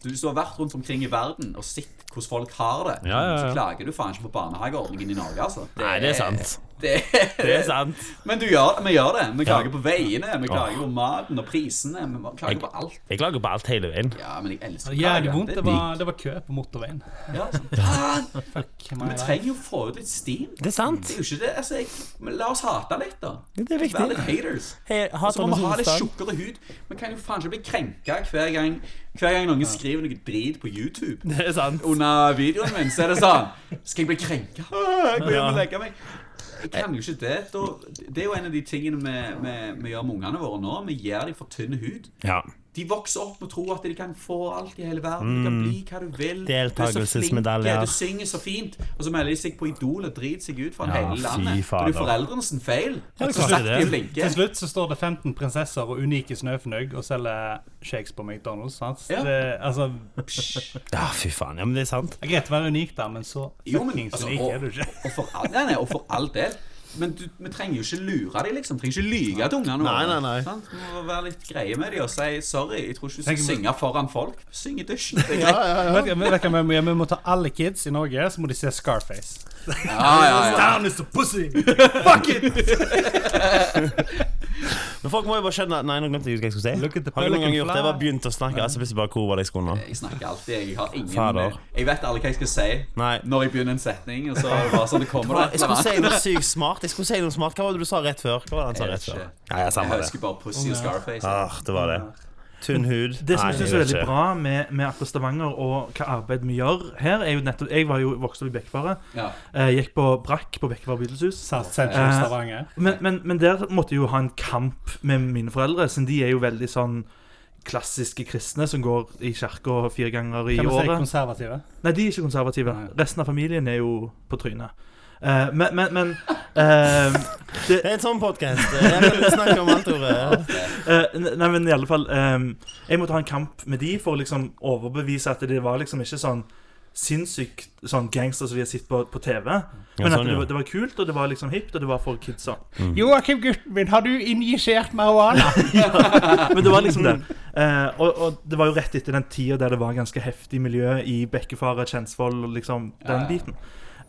Speaker 2: Du, hvis du har vært rundt omkring i verden og sett hvordan folk har det,
Speaker 3: Ja, ja, ja.
Speaker 2: så klager du faen ikke på barnehageordningen i Norge, altså.
Speaker 3: Nei, det er
Speaker 2: [LAUGHS]
Speaker 3: sant.
Speaker 2: Det,
Speaker 3: Det er sant.
Speaker 2: Men du gjør, vi gjør det. Vi klager
Speaker 3: Ja.
Speaker 2: på veiene, vi klager på maten og prisene. Vi klager på alt.
Speaker 3: Jeg klager på alt hele veien.
Speaker 2: Ja, men jeg elsker å klage.
Speaker 1: Jævlig vondt.
Speaker 2: er
Speaker 1: Det var, det var kø på motorveien.
Speaker 2: digg. ja, sånn. Faen!
Speaker 1: Fuck my
Speaker 2: Vi
Speaker 1: life.
Speaker 2: trenger jo å få ut litt steam.
Speaker 3: Det er sant.
Speaker 2: Det er jo ikke det. Altså, jeg, men la oss hate litt, da.
Speaker 3: Det er viktig.
Speaker 2: Vær litt haters.
Speaker 3: He- hat
Speaker 2: Og så må
Speaker 3: og
Speaker 2: vi ha litt
Speaker 3: motstand.
Speaker 2: tjukkere hud. Vi kan jo faen ikke bli krenka hver gang, hver gang noen skriver noe drit på YouTube.
Speaker 3: Det er sant.
Speaker 2: Under videoen min så er det sånn Skal jeg bli krenka? Ah, Jeg går hjem og
Speaker 3: Ja.
Speaker 2: legger meg. Jeg kan jo ikke det. Da, det er jo en av de tingene vi, vi, vi gjør med ungene våre nå. Vi gir dem for tynn hud.
Speaker 3: Ja.
Speaker 2: De vokser opp og tror at de kan få alt i hele verden. De kan
Speaker 3: Mm.
Speaker 2: bli hva du vil. Du er så
Speaker 3: Deltakelsesmedaljer.
Speaker 2: flink, Du synger så fint. Og så melder de seg på Idol og driter seg ut foran
Speaker 3: Ja,
Speaker 2: hele
Speaker 3: fy
Speaker 2: landet. Og det er
Speaker 3: fader.
Speaker 2: jo foreldrene sin feil.
Speaker 3: Ja, det er
Speaker 2: Så
Speaker 3: klart
Speaker 2: sagt
Speaker 3: det.
Speaker 2: de er flinke.
Speaker 1: Til slutt så står det 15 prinsesser og unike snøfnugg og selger shakes på McDonald's. Sant?
Speaker 2: Ja.
Speaker 1: Det, altså,
Speaker 3: Ja, fy faen. Ja, men det er sant.
Speaker 1: det er greit å være unik, da, men så
Speaker 2: Jo, men,
Speaker 1: fuckings
Speaker 2: altså,
Speaker 1: unik
Speaker 2: og,
Speaker 1: er du ikke.
Speaker 2: og, for all, nei, nei, og for all del. Men du, vi trenger jo ikke lure dem, liksom. Vi trenger ikke lyge til ungene
Speaker 3: Nei, nei, nei.
Speaker 2: Sant? Vi må være litt greie med dem og si sorry. Jeg tror ikke du
Speaker 1: Tenk
Speaker 2: skal
Speaker 1: om-
Speaker 2: synge foran folk. Syng i dusjen. Det er greit.
Speaker 1: Vet du- vet du hva vi må gjøre? Vi må ta alle kids i Norge, så må de se Scarface.
Speaker 2: Ja, ja, ja.
Speaker 1: Down is a pussy!
Speaker 3: Men folk må jo bare skjønne Nei, nå glemte jeg hva jeg skulle si.
Speaker 1: Look at the
Speaker 3: Har du noen gang
Speaker 1: pelican
Speaker 3: gjort det? Jeg bare
Speaker 1: fly.
Speaker 3: begynte å snakke, altså plutselig bare Hvor var det jeg skulle nå?
Speaker 2: Jeg snakker alltid. Jeg har ingen
Speaker 3: Fader.
Speaker 2: Jeg vet aldri hva jeg skal si
Speaker 3: Nei.
Speaker 2: når jeg begynner en setning. Og så er det bare sånn det kommer
Speaker 3: Jeg skulle si noe sykt smart. Jeg skulle si noe smart Hva var det du sa rett før? Hva var det han sa rett før? Ja, ja,
Speaker 2: Jeg
Speaker 3: samme det.
Speaker 2: husker bare Pussy og Scarface.
Speaker 3: Ah, det var det. Tynn hud.
Speaker 4: Det som
Speaker 3: Nei,
Speaker 4: jeg synes er
Speaker 3: vet
Speaker 4: veldig
Speaker 3: ikke.
Speaker 4: bra med, med akkurat Stavanger og hva arbeid vi gjør her, er jo nettopp Jeg var jo vokst opp i Bekkefare.
Speaker 2: Ja.
Speaker 4: eh, Gikk på brakk på Bekkefare bedelshus.
Speaker 1: South Central
Speaker 4: Eh.
Speaker 1: Stavanger.
Speaker 4: Men, men, men der måtte jeg jo ha en kamp med mine foreldre, siden de er jo veldig sånn klassiske kristne som går i kirka fire ganger i
Speaker 1: Kan vi si
Speaker 4: året.
Speaker 1: konservative?
Speaker 4: Nei, de er ikke konservative.
Speaker 1: Nei.
Speaker 4: Resten av familien er jo på trynet. Eh, men men, men eh, det,
Speaker 3: Det er en sånn podkast. Jeg vil snakke om alt,
Speaker 4: [LAUGHS]
Speaker 3: Tore.
Speaker 4: Eh, ne- nei, men i alle fall ehm, Jeg måtte ha en kamp med de for å liksom overbevise at det var liksom ikke sånn sinnssykt sånn gangster som vi har sett på, på TV. Men at
Speaker 3: sånn,
Speaker 4: det,
Speaker 3: ja.
Speaker 4: var- det var kult, og det var liksom hipt, og det var for kidsa.
Speaker 1: Joakim, gutten min, har du injisert marihuana? [LAUGHS]
Speaker 4: Men det var liksom det. Eh, og, og det var jo rett etter den tida der det var ganske heftig miljø i Bekkefare, Kjensvoll og liksom den
Speaker 2: Ja, ja.
Speaker 4: biten.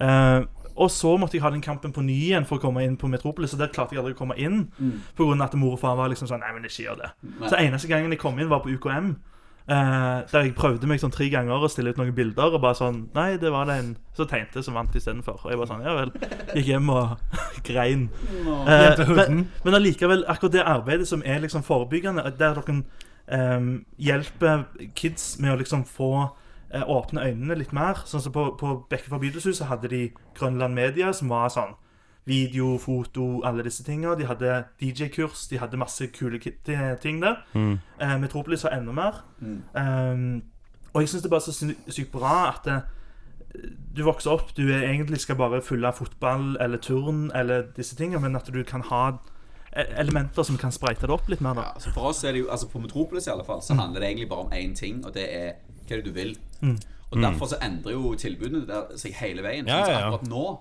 Speaker 4: Eh, og så måtte jeg ha den kampen på ny igjen for å komme inn på Metropolis, og der klarte jeg aldri å komme inn. På grunn av at mor og far var liksom sånn Nei, men ikke gjør det.
Speaker 2: Nei.
Speaker 4: Så eneste gangen jeg kom inn, var på UKM. eh, der jeg prøvde meg sånn tre ganger å stille ut noen bilder. Og bare sånn Nei, det var den Så tegnte jeg som vant istedenfor. Og jeg bare sånn Ja vel. Gikk hjem og [LAUGHS] grein. Eh, men, men allikevel, akkurat det arbeidet som er liksom forebyggende, at der dere em, hjelper kids med å liksom få eh, åpne øynene litt mer. Sånn som på, på Bekkefar Bydelshus så hadde de Grønland Media, som var sånn video, foto, alle disse tinga. De hadde DJ-kurs, de hadde masse kule ki- ti- ting der. Eh, Metropolis har enda mer. Em, og jeg syns det er bare så sy sykt bra at eh, du vokser opp, du er egentlig skal bare fylle fotball eller turn eller disse tingene, men at du kan ha e- elementer som kan spreite det opp litt mer,
Speaker 2: Ja,
Speaker 4: da.
Speaker 2: altså for oss er det jo, altså på Metropolis i alle fall,
Speaker 3: Mm.
Speaker 2: så handler det egentlig bare om én ting, og det er hva er det du vil. Og derfor så endrer jo tilbudene der seg hele veien.
Speaker 3: Mm. Ja,
Speaker 2: sånn som
Speaker 3: ja, ja.
Speaker 1: Mm.
Speaker 2: Akkurat nå.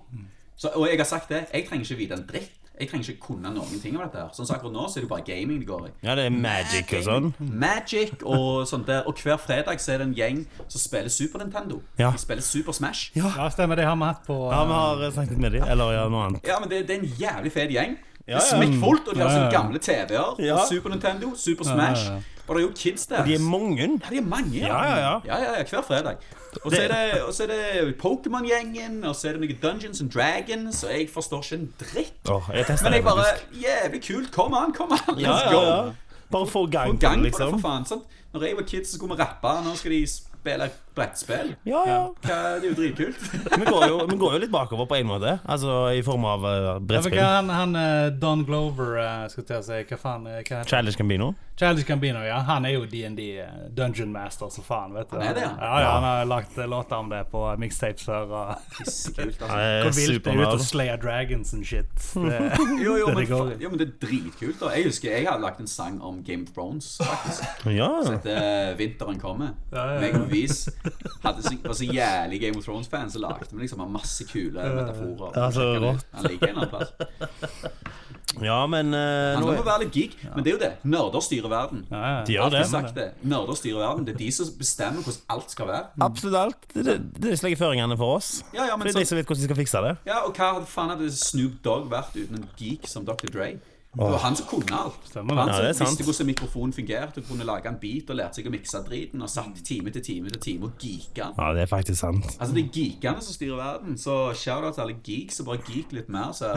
Speaker 2: Så, og jeg har sagt det, jeg trenger ikke vite en dritt. Jeg trenger ikke kunne noen ting om dette. her Sånn som Akkurat nå så er det jo bare gaming det går i.
Speaker 3: Ja, det er magic og sånn.
Speaker 1: Mm.
Speaker 2: Magic og sånt der. Og hver fredag så er det en gjeng som spiller Super Nintendo.
Speaker 3: Ja.
Speaker 2: De spiller Super Smash.
Speaker 1: Ja, stemmer. Det har vi hatt på
Speaker 3: Ja, vi har eh, snakket med dem, eller ja, noe annet.
Speaker 2: Ja, men det, det er en jævlig fet gjeng. Det
Speaker 3: Ja,
Speaker 2: er
Speaker 3: ja.
Speaker 2: smekkfullt, og de har
Speaker 1: Ja, ja.
Speaker 2: sånne gamle TV-er.
Speaker 3: Ja.
Speaker 2: og Super Nintendo, Super Smash.
Speaker 1: ja.
Speaker 2: Og det er jo kids der.
Speaker 3: De er mange.
Speaker 2: Ja, de er mange.
Speaker 3: Ja, ja, ja.
Speaker 2: ja, ja, ja hver fredag. Og så er
Speaker 3: Det-
Speaker 2: det, og så er det Pokémon-gjengen, og så er det noe Dungeons and Dragons, og jeg forstår ikke en dritt.
Speaker 3: Åh, jeg tester
Speaker 2: Men
Speaker 3: det
Speaker 2: jeg bare
Speaker 3: faktisk.
Speaker 2: Jævlig kult. Kom an, kom an.
Speaker 3: Ja,
Speaker 2: Let's
Speaker 3: ja,
Speaker 2: go.
Speaker 3: ja. Bare få
Speaker 2: Få
Speaker 3: gang på
Speaker 2: gang
Speaker 3: det,
Speaker 2: på det, for
Speaker 3: liksom.
Speaker 2: faen. Sant? Når jeg var kid, så skulle vi rappe. Nå skal de spille brettspill.
Speaker 3: Ja, ja.
Speaker 2: Hva, det er jo dritkult.
Speaker 3: Vi går, jo, vi går jo litt bakover på en måte, altså i form av eh,
Speaker 1: Ja, for hva
Speaker 3: brettspill.
Speaker 1: han, han eh, Don Glover eh, skal til å si Hva faen eh, hva heter han?
Speaker 3: Childish Gambino.
Speaker 1: Childish Gambino, ja. Han er jo D&D eh, Dungeon Master som faen, vet du.
Speaker 2: Han er det, ja.
Speaker 1: ja. ja, Han har lagt eh, låter om det på mixtapes før. Og
Speaker 2: Pissekult, altså.
Speaker 3: Eh,
Speaker 1: hvor vilt det er ute
Speaker 3: Supernerd.
Speaker 1: [LAUGHS] og slayer dragons and shit. Det, [LAUGHS]
Speaker 2: Jo, jo,
Speaker 1: det
Speaker 2: men,
Speaker 1: det går
Speaker 2: fa-
Speaker 1: i.
Speaker 2: jo, men det er dritkult. da Jeg husker jeg hadde lagt en sang om Game of Thrones. faktisk
Speaker 3: Ja.
Speaker 2: Sette eh, Vinteren kommer.
Speaker 1: Ja, ja, ja.
Speaker 2: Meg og Vis hadde så, var så jævlig Game of Thrones-fan, så lagde vi liksom masse kule metaforer.
Speaker 3: Ja, så
Speaker 2: Sjekk han ut.
Speaker 3: rått.
Speaker 2: Han ligger en eller annen
Speaker 3: [LAUGHS]
Speaker 2: plass.
Speaker 3: ja, men eh,
Speaker 2: Han
Speaker 3: nå
Speaker 2: må
Speaker 3: er,
Speaker 2: være litt geek, men det er jo det. Nerder styrer verden.
Speaker 1: ja, ja.
Speaker 3: de gjør
Speaker 2: Alltid
Speaker 3: det.
Speaker 2: sagt det. Nerder styrer verden. Det er de som bestemmer hvordan alt skal være.
Speaker 3: Absolutt alt. Det, det, det legger føringene for oss.
Speaker 2: Ja, ja, men
Speaker 3: Det er de
Speaker 2: så-
Speaker 3: som vet hvordan de skal fikse det.
Speaker 2: Ja, og hva hadde faen hadde Snoop Dogg vært uten en geek som Dr. Dre? Det var han som kunne alt.
Speaker 1: Stemmer det.
Speaker 2: han
Speaker 3: Ja,
Speaker 2: som
Speaker 3: det er sant.
Speaker 2: visste hvordan mikrofonen fungerte, kunne lage en beat og lærte seg å mikse driten, og satt time til time til time og geeka.
Speaker 3: Ja, det er faktisk sant.
Speaker 2: Altså, det er geekene som styrer verden, så shout out til alle geeks og bare geek litt mer, så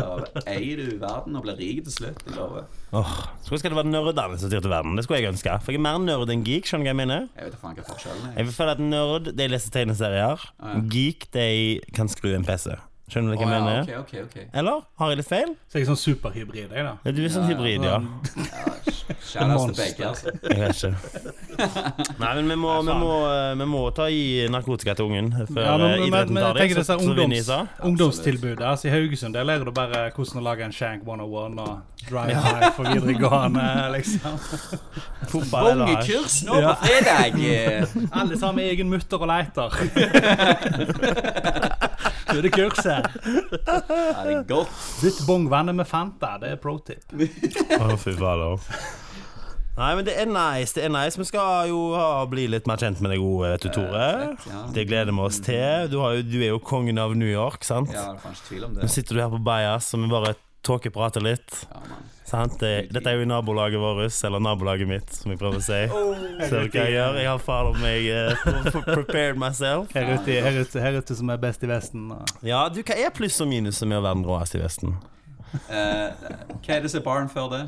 Speaker 2: eier du verden og blir rik til slutt. Jeg lover.
Speaker 3: Åh, Skulle ønske det var nerdene som styrte verden. Det skulle jeg ønske. For jeg er mer nerd enn geek. skjønner du hva Jeg mener
Speaker 2: Jeg vet da faen hva forskjellen er.
Speaker 3: Jeg vil føle at nerd de leser tegneserier. Geek de kan skru en PC. Skjønner du hva jeg
Speaker 2: Å,
Speaker 3: mener?
Speaker 2: ja, ok, ok, ok.
Speaker 3: Eller har jeg litt feil?
Speaker 1: Så jeg er sånn superhybrid, jeg, da.
Speaker 3: Ja, Du er sånn hybrid, ja.
Speaker 2: Shout out til
Speaker 1: Monster.
Speaker 2: begge, altså.
Speaker 3: Jeg vet ikke. Nei, men vi må, vi må, eh, vi må ta i narkotika til ungen før
Speaker 1: Ja, men,
Speaker 3: eh,
Speaker 1: men, men,
Speaker 3: idretten tar
Speaker 1: jeg
Speaker 3: det.
Speaker 1: tenker disse
Speaker 3: så- så vinner de,
Speaker 1: ungdoms,
Speaker 3: sa.
Speaker 1: ungdomstilbudet. Altså, I Haugesund der lærer du bare hvordan å lage en shank 101 og drive high for videregående.
Speaker 3: [LAUGHS]
Speaker 1: liksom.
Speaker 3: Fotball eller
Speaker 2: Mange
Speaker 3: hasj.
Speaker 2: kurs nå på
Speaker 3: [LAUGHS]
Speaker 2: fredag!
Speaker 1: Alle sammen med egen mutter og [LAUGHS] leiter. Så er det kurset.
Speaker 2: Ja, det er godt.
Speaker 1: Bytt bongvannet med Fanta. Det er pro tip.
Speaker 3: Å, fy fader. Nei, men det er nice. det er nice Vi skal jo ha, bli litt mer kjent med deg òg, vet du, Tore.
Speaker 2: ja.
Speaker 3: Det gleder vi oss til. Du, har jo, du er jo kongen av New York, sant?
Speaker 2: Ja, det er faen ikke tvil om
Speaker 3: Nå
Speaker 2: det.
Speaker 3: sitter du her på Bajas og vi bare tåkeprater litt.
Speaker 2: Ja, man.
Speaker 3: Sant? Det, dette er jo nabolaget vårt, eller nabolaget mitt, som jeg prøver å si. Ser du hva jeg gjør? Jeg har fader meg eh, prepared myself.
Speaker 1: Her ute, her, ute, her ute som er best i Vesten. og-
Speaker 3: Ja, du, hva er pluss og minus med å være den råeste i Vesten?
Speaker 2: Eh, hva er det som er baren før det?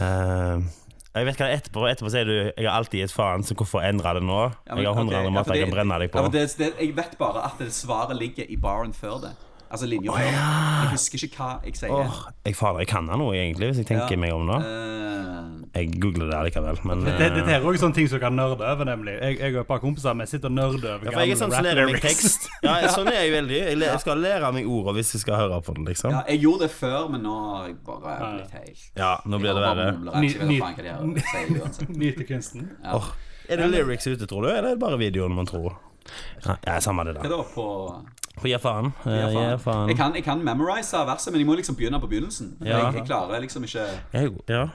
Speaker 3: Eh, jeg vet hva det er etterpå. Etterpå sier du jeg har alltid gitt faen, så hvorfor endre det nå?
Speaker 2: Ja, men-
Speaker 3: Jeg har hundre
Speaker 2: ok,
Speaker 3: andre
Speaker 2: ja, for
Speaker 3: måter jeg
Speaker 2: det-
Speaker 3: kan brenne deg
Speaker 2: Ja,
Speaker 3: på.
Speaker 2: men det, det, jeg vet bare at det svaret ligger i baren før det. Altså linja før. Jeg husker ikke hva jeg sier.
Speaker 3: Åh, jeg fader, jeg kan da noe, egentlig, hvis jeg tenker
Speaker 2: Ja.
Speaker 3: meg om nå.
Speaker 2: Eh,
Speaker 3: Jeg googler det likevel, men eh,
Speaker 1: Det, dette her er også sånne ting som kan nerde over, nemlig. Jeg, jeg og et par kompiser vi sitter og nerder over
Speaker 3: Ja, for jeg er sånn
Speaker 1: rap
Speaker 3: som lærer meg
Speaker 1: lyrics.
Speaker 3: tekst. Ja, sånn er
Speaker 2: [LAUGHS]
Speaker 3: jeg veldig. Jeg, le- jeg skal lære meg ordene hvis jeg skal høre på det, liksom.
Speaker 2: ja, jeg gjorde det før, men nå har jeg bare blitt helt
Speaker 3: Ja, nå blir det verre.
Speaker 2: Jeg vet
Speaker 1: Ny-
Speaker 2: faen hva de her sier
Speaker 3: [LAUGHS]
Speaker 2: uansett.
Speaker 1: Nyter kunsten.
Speaker 3: Åh, er det lyrics ute, tror du, eller er det bare videoen man tror? Ja, ja samme det,
Speaker 2: Hva
Speaker 3: da.
Speaker 2: da? På
Speaker 3: Få gi faen. Eh,
Speaker 2: Ja,
Speaker 3: Gi
Speaker 2: faen. Jeg
Speaker 3: faen.
Speaker 2: kan, jeg kan memorise verset, men jeg må liksom begynne på begynnelsen.
Speaker 3: Ja.
Speaker 2: Jeg, jeg klarer liksom ikke eh,
Speaker 3: Jeg er god. Ja.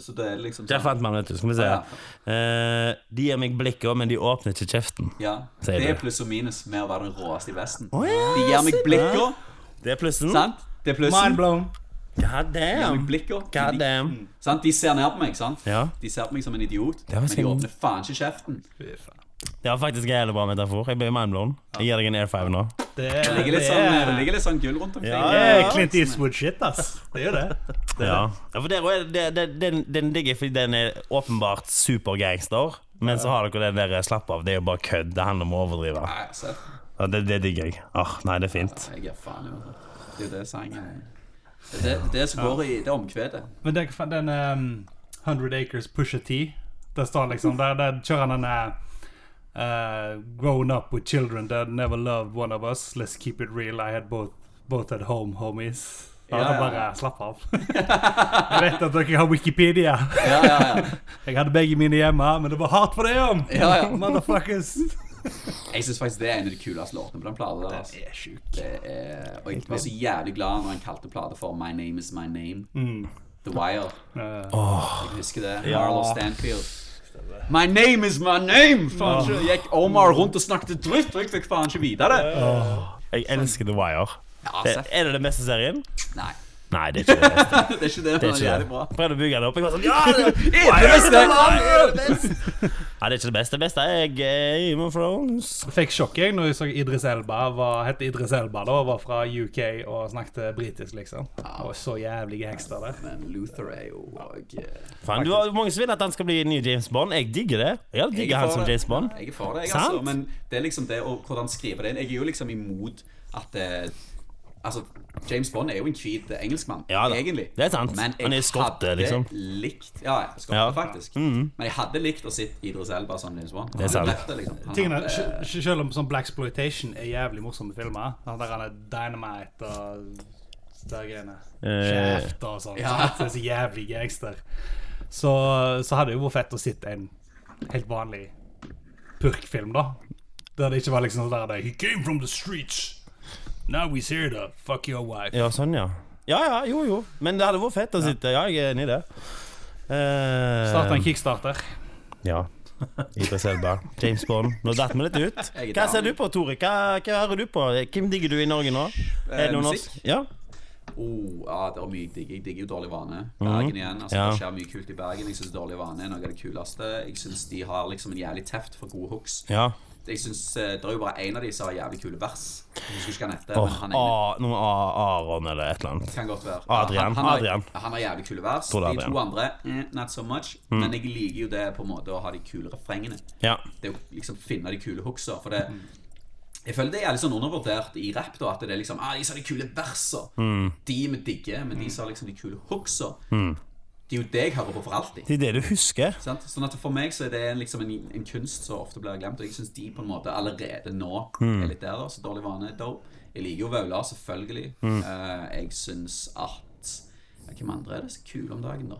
Speaker 2: Så det er liksom
Speaker 3: Der
Speaker 2: sånn.
Speaker 3: fant man, vet du. Skal vi se.
Speaker 2: Ja.
Speaker 3: Eh, de gir meg blikket, men de åpner ikke kjeften.
Speaker 2: Ja.
Speaker 3: Sier
Speaker 2: Det er
Speaker 3: du.
Speaker 2: pluss og minus med å være den råeste i Vesten.
Speaker 3: ja,
Speaker 2: De gir meg blikka,
Speaker 3: Det er plussen.
Speaker 2: sant? Det er plussen.
Speaker 1: Mind blown.
Speaker 3: God
Speaker 2: De gir meg
Speaker 3: damn.
Speaker 2: blikka.
Speaker 3: God
Speaker 2: De,
Speaker 3: damn.
Speaker 2: sant? de ser ned på meg, sant?
Speaker 3: Ja.
Speaker 2: De ser på meg som en idiot,
Speaker 3: var
Speaker 2: men de
Speaker 3: synd.
Speaker 2: åpner faen ikke kjeften.
Speaker 3: Det var faktisk en jævlig bra metafor. Jeg ble mindblown. Jeg gir deg en air five nå.
Speaker 1: Det er,
Speaker 2: Det ligger litt sånn, det ligger litt sånn gull rundt omkring.
Speaker 3: Ja,
Speaker 1: det
Speaker 3: ja,
Speaker 1: er Clint Eastwood-shit, ass. Det er jo det.
Speaker 3: Ja, ja for der er det, det, den, den digger fordi den er åpenbart supergangster. Men så har dere den der slapp av, det er jo bare kødd. Det handler om å overdrive.
Speaker 2: Nei, altså,
Speaker 3: Ja, det, det digger jeg. Ah, nei, det er fint.
Speaker 2: jeg gir faen i det. Det er jo det sangen Det er det som går i det omkvedet.
Speaker 1: [LAUGHS] Men den, den ehm, 100 Acres Pusha T, der står liksom Der, der kjører han den eh, Grown up with children that never loved one of us. Let's keep it real. I had both, both at home, homies. Da hadde
Speaker 2: Ja, ja,
Speaker 1: han
Speaker 2: ja.
Speaker 1: bare slapp av. jeg vet at dere har Wikipedia.
Speaker 2: Ja, ja, ja.
Speaker 1: [LAUGHS] Jeg hadde begge mine hjemme, men det var hardt for det om.
Speaker 2: Ja, ja.
Speaker 1: [LAUGHS]
Speaker 2: [LAUGHS]
Speaker 1: Motherfuckers.
Speaker 2: Jeg syns faktisk det er en av de kuleste låtene på den plata. der, altså.
Speaker 1: Den er sjuk.
Speaker 2: Det er, og jeg var så jævlig glad når han kalte plata for My Name Is My Name. The Wire.
Speaker 1: Eh,
Speaker 2: Jeg husker det. Marlo Stanfield. My name is my name! Faen ikke, Gikk Omar rundt og snakket dritt, og jeg fikk faen ikke vite det.
Speaker 3: Jeg elsker The Wire.
Speaker 2: Ja,
Speaker 3: Det,
Speaker 2: Seff.
Speaker 3: er det den beste serien?
Speaker 2: Nei, [LAUGHS]
Speaker 3: Nei, det er ikke det. beste.
Speaker 2: det er ikke det, men det
Speaker 3: Det er
Speaker 2: er
Speaker 3: ikke
Speaker 2: jævlig
Speaker 3: det.
Speaker 2: bra.
Speaker 3: Prøvde å bygge det opp. Jeg var sånn, ja, det er
Speaker 2: [LAUGHS] Det er det beste!
Speaker 3: Nei, det er ikke det beste. Det beste er Game of Thrones.
Speaker 1: Fikk sjokk jeg når jeg så Idris Elba var, het Idris Elba da, og var fra UK og snakket britisk, liksom. Og så jævlig gangster der.
Speaker 2: Men Luther er jo og, eh,
Speaker 3: Faen, du har jo mange som vil at han skal bli ny James Bond. Jeg digger det. Jeg hadde
Speaker 2: jeg
Speaker 3: digget
Speaker 2: er
Speaker 3: han
Speaker 2: for
Speaker 3: som
Speaker 2: det.
Speaker 3: James Bond.
Speaker 2: Ja, Jeg er for det, jeg,
Speaker 3: Sant?
Speaker 2: altså. Men det er liksom det å hvordan skrive det inn. Jeg er jo liksom imot at eh, Altså, James Bond er jo en hvit engelskmann,
Speaker 3: Ja da.
Speaker 2: egentlig.
Speaker 3: Det er sant.
Speaker 2: Men jeg
Speaker 3: Han er skotte,
Speaker 2: hadde
Speaker 3: liksom.
Speaker 2: likt Ja, ja, skotte,
Speaker 3: Ja. Mm.
Speaker 2: faktisk. Men jeg hadde likt å sitte Idris Elba som James Bond.
Speaker 3: Det er sant.
Speaker 2: liksom. Han
Speaker 1: Tingene,
Speaker 2: hadde-
Speaker 1: sj- sj- selv om sånn Black Exploitation er jævlig morsomme filmer Han der han er Dynamite og de greiene.
Speaker 3: Eh.
Speaker 1: Shaft og sånn.
Speaker 2: Ja.
Speaker 1: Så det er så jævlig gangster. Så, så hadde det jo vært fett å sitte en helt vanlig purkfilm, da. Der det ikke var liksom sånn der det, He came from the streets. Now he's here to fuck your wife.
Speaker 3: Ja, sånn, ja. Ja, ja, jo, jo. Men det hadde vært fett å sitte. Ja, jeg er enig i det. Eh,
Speaker 1: Start en kickstarter.
Speaker 3: Ja. Idris Elba. James Bond. Nå datt vi litt ut.
Speaker 2: [LAUGHS] Jeg er
Speaker 3: Hva ser
Speaker 2: down.
Speaker 3: du på, Tore? Hva, hva hører du på? Hvem digger du i Norge nå?
Speaker 2: Eh,
Speaker 3: det noen
Speaker 2: musikk.
Speaker 3: norsk- Ja.
Speaker 2: Oh, ja, det er mye jeg digger. Jeg digger jo Dårlig vane. Bergen igjen. altså
Speaker 3: Mm. Ja.
Speaker 2: Det skjer mye kult i Bergen. Jeg syns Dårlig vane er noe av det kuleste. Jeg syns de har liksom en jævlig teft for gode hooks.
Speaker 3: ja.
Speaker 2: Jeg synes, eh, Det er jo bare én av de som har jævlig kule vers. Jeg husker ikke hva han heter,
Speaker 3: Åh,
Speaker 2: men han er
Speaker 3: A- noe A- Aron eller et eller annet.
Speaker 2: kan godt være.
Speaker 3: Adrian,
Speaker 2: han, han, har,
Speaker 3: Adrian.
Speaker 2: han har jævlig kule vers.
Speaker 3: Tror det er
Speaker 2: De to
Speaker 3: Adrian. Mm.
Speaker 2: andre, eh, not so much. Men jeg liker jo det på en måte å ha de kule refrengene.
Speaker 3: Ja.
Speaker 2: Det å liksom finne de kule hooksa. For det
Speaker 3: Mm.
Speaker 2: Jeg føler det er litt sånn undervurdert i rap, da. At det er liksom ah, De som har de kule versa.
Speaker 3: Mm.
Speaker 2: De vi digger, men de som har liksom de kule hooksa. Det er jo det jeg hører på for alltid.
Speaker 3: Det er det du husker.
Speaker 2: Sant? Sånn at For meg så er det en- liksom en, en kunst som ofte blir glemt, og jeg syns de på en måte allerede nå
Speaker 3: Mm.
Speaker 2: er litt der. da, Så dårlig vane er dope. Jeg liker jo Vaular, selvfølgelig.
Speaker 3: Mm.
Speaker 2: Eh, jeg syns at ja, Hvem andre er det så kule om dagen, da?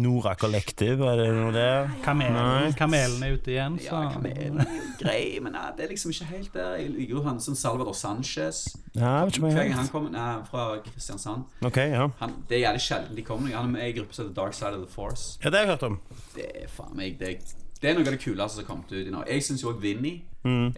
Speaker 3: Nora Collective, er det noe der?
Speaker 1: Kamelen, kamelen er ute igjen, så
Speaker 2: Ja, Kamelen er jo grei, men nei, det er liksom ikke helt der. Jeg liker jo han som Salvador Sanchez.
Speaker 3: Ja, jeg vet ikke
Speaker 2: Hver
Speaker 3: hva
Speaker 2: gang
Speaker 3: jeg
Speaker 2: han kommer Nei, fra Kristiansand.
Speaker 3: Ok, ja.
Speaker 2: Han, det er jævlig sjelden de kommer. Han er med i en gruppe som heter Dark Side of the Force.
Speaker 3: Ja, det har jeg hørt om.
Speaker 2: Det er faen meg det, det er noe av det kuleste som har kommet ut i Norge. Jeg syns jo òg Vinni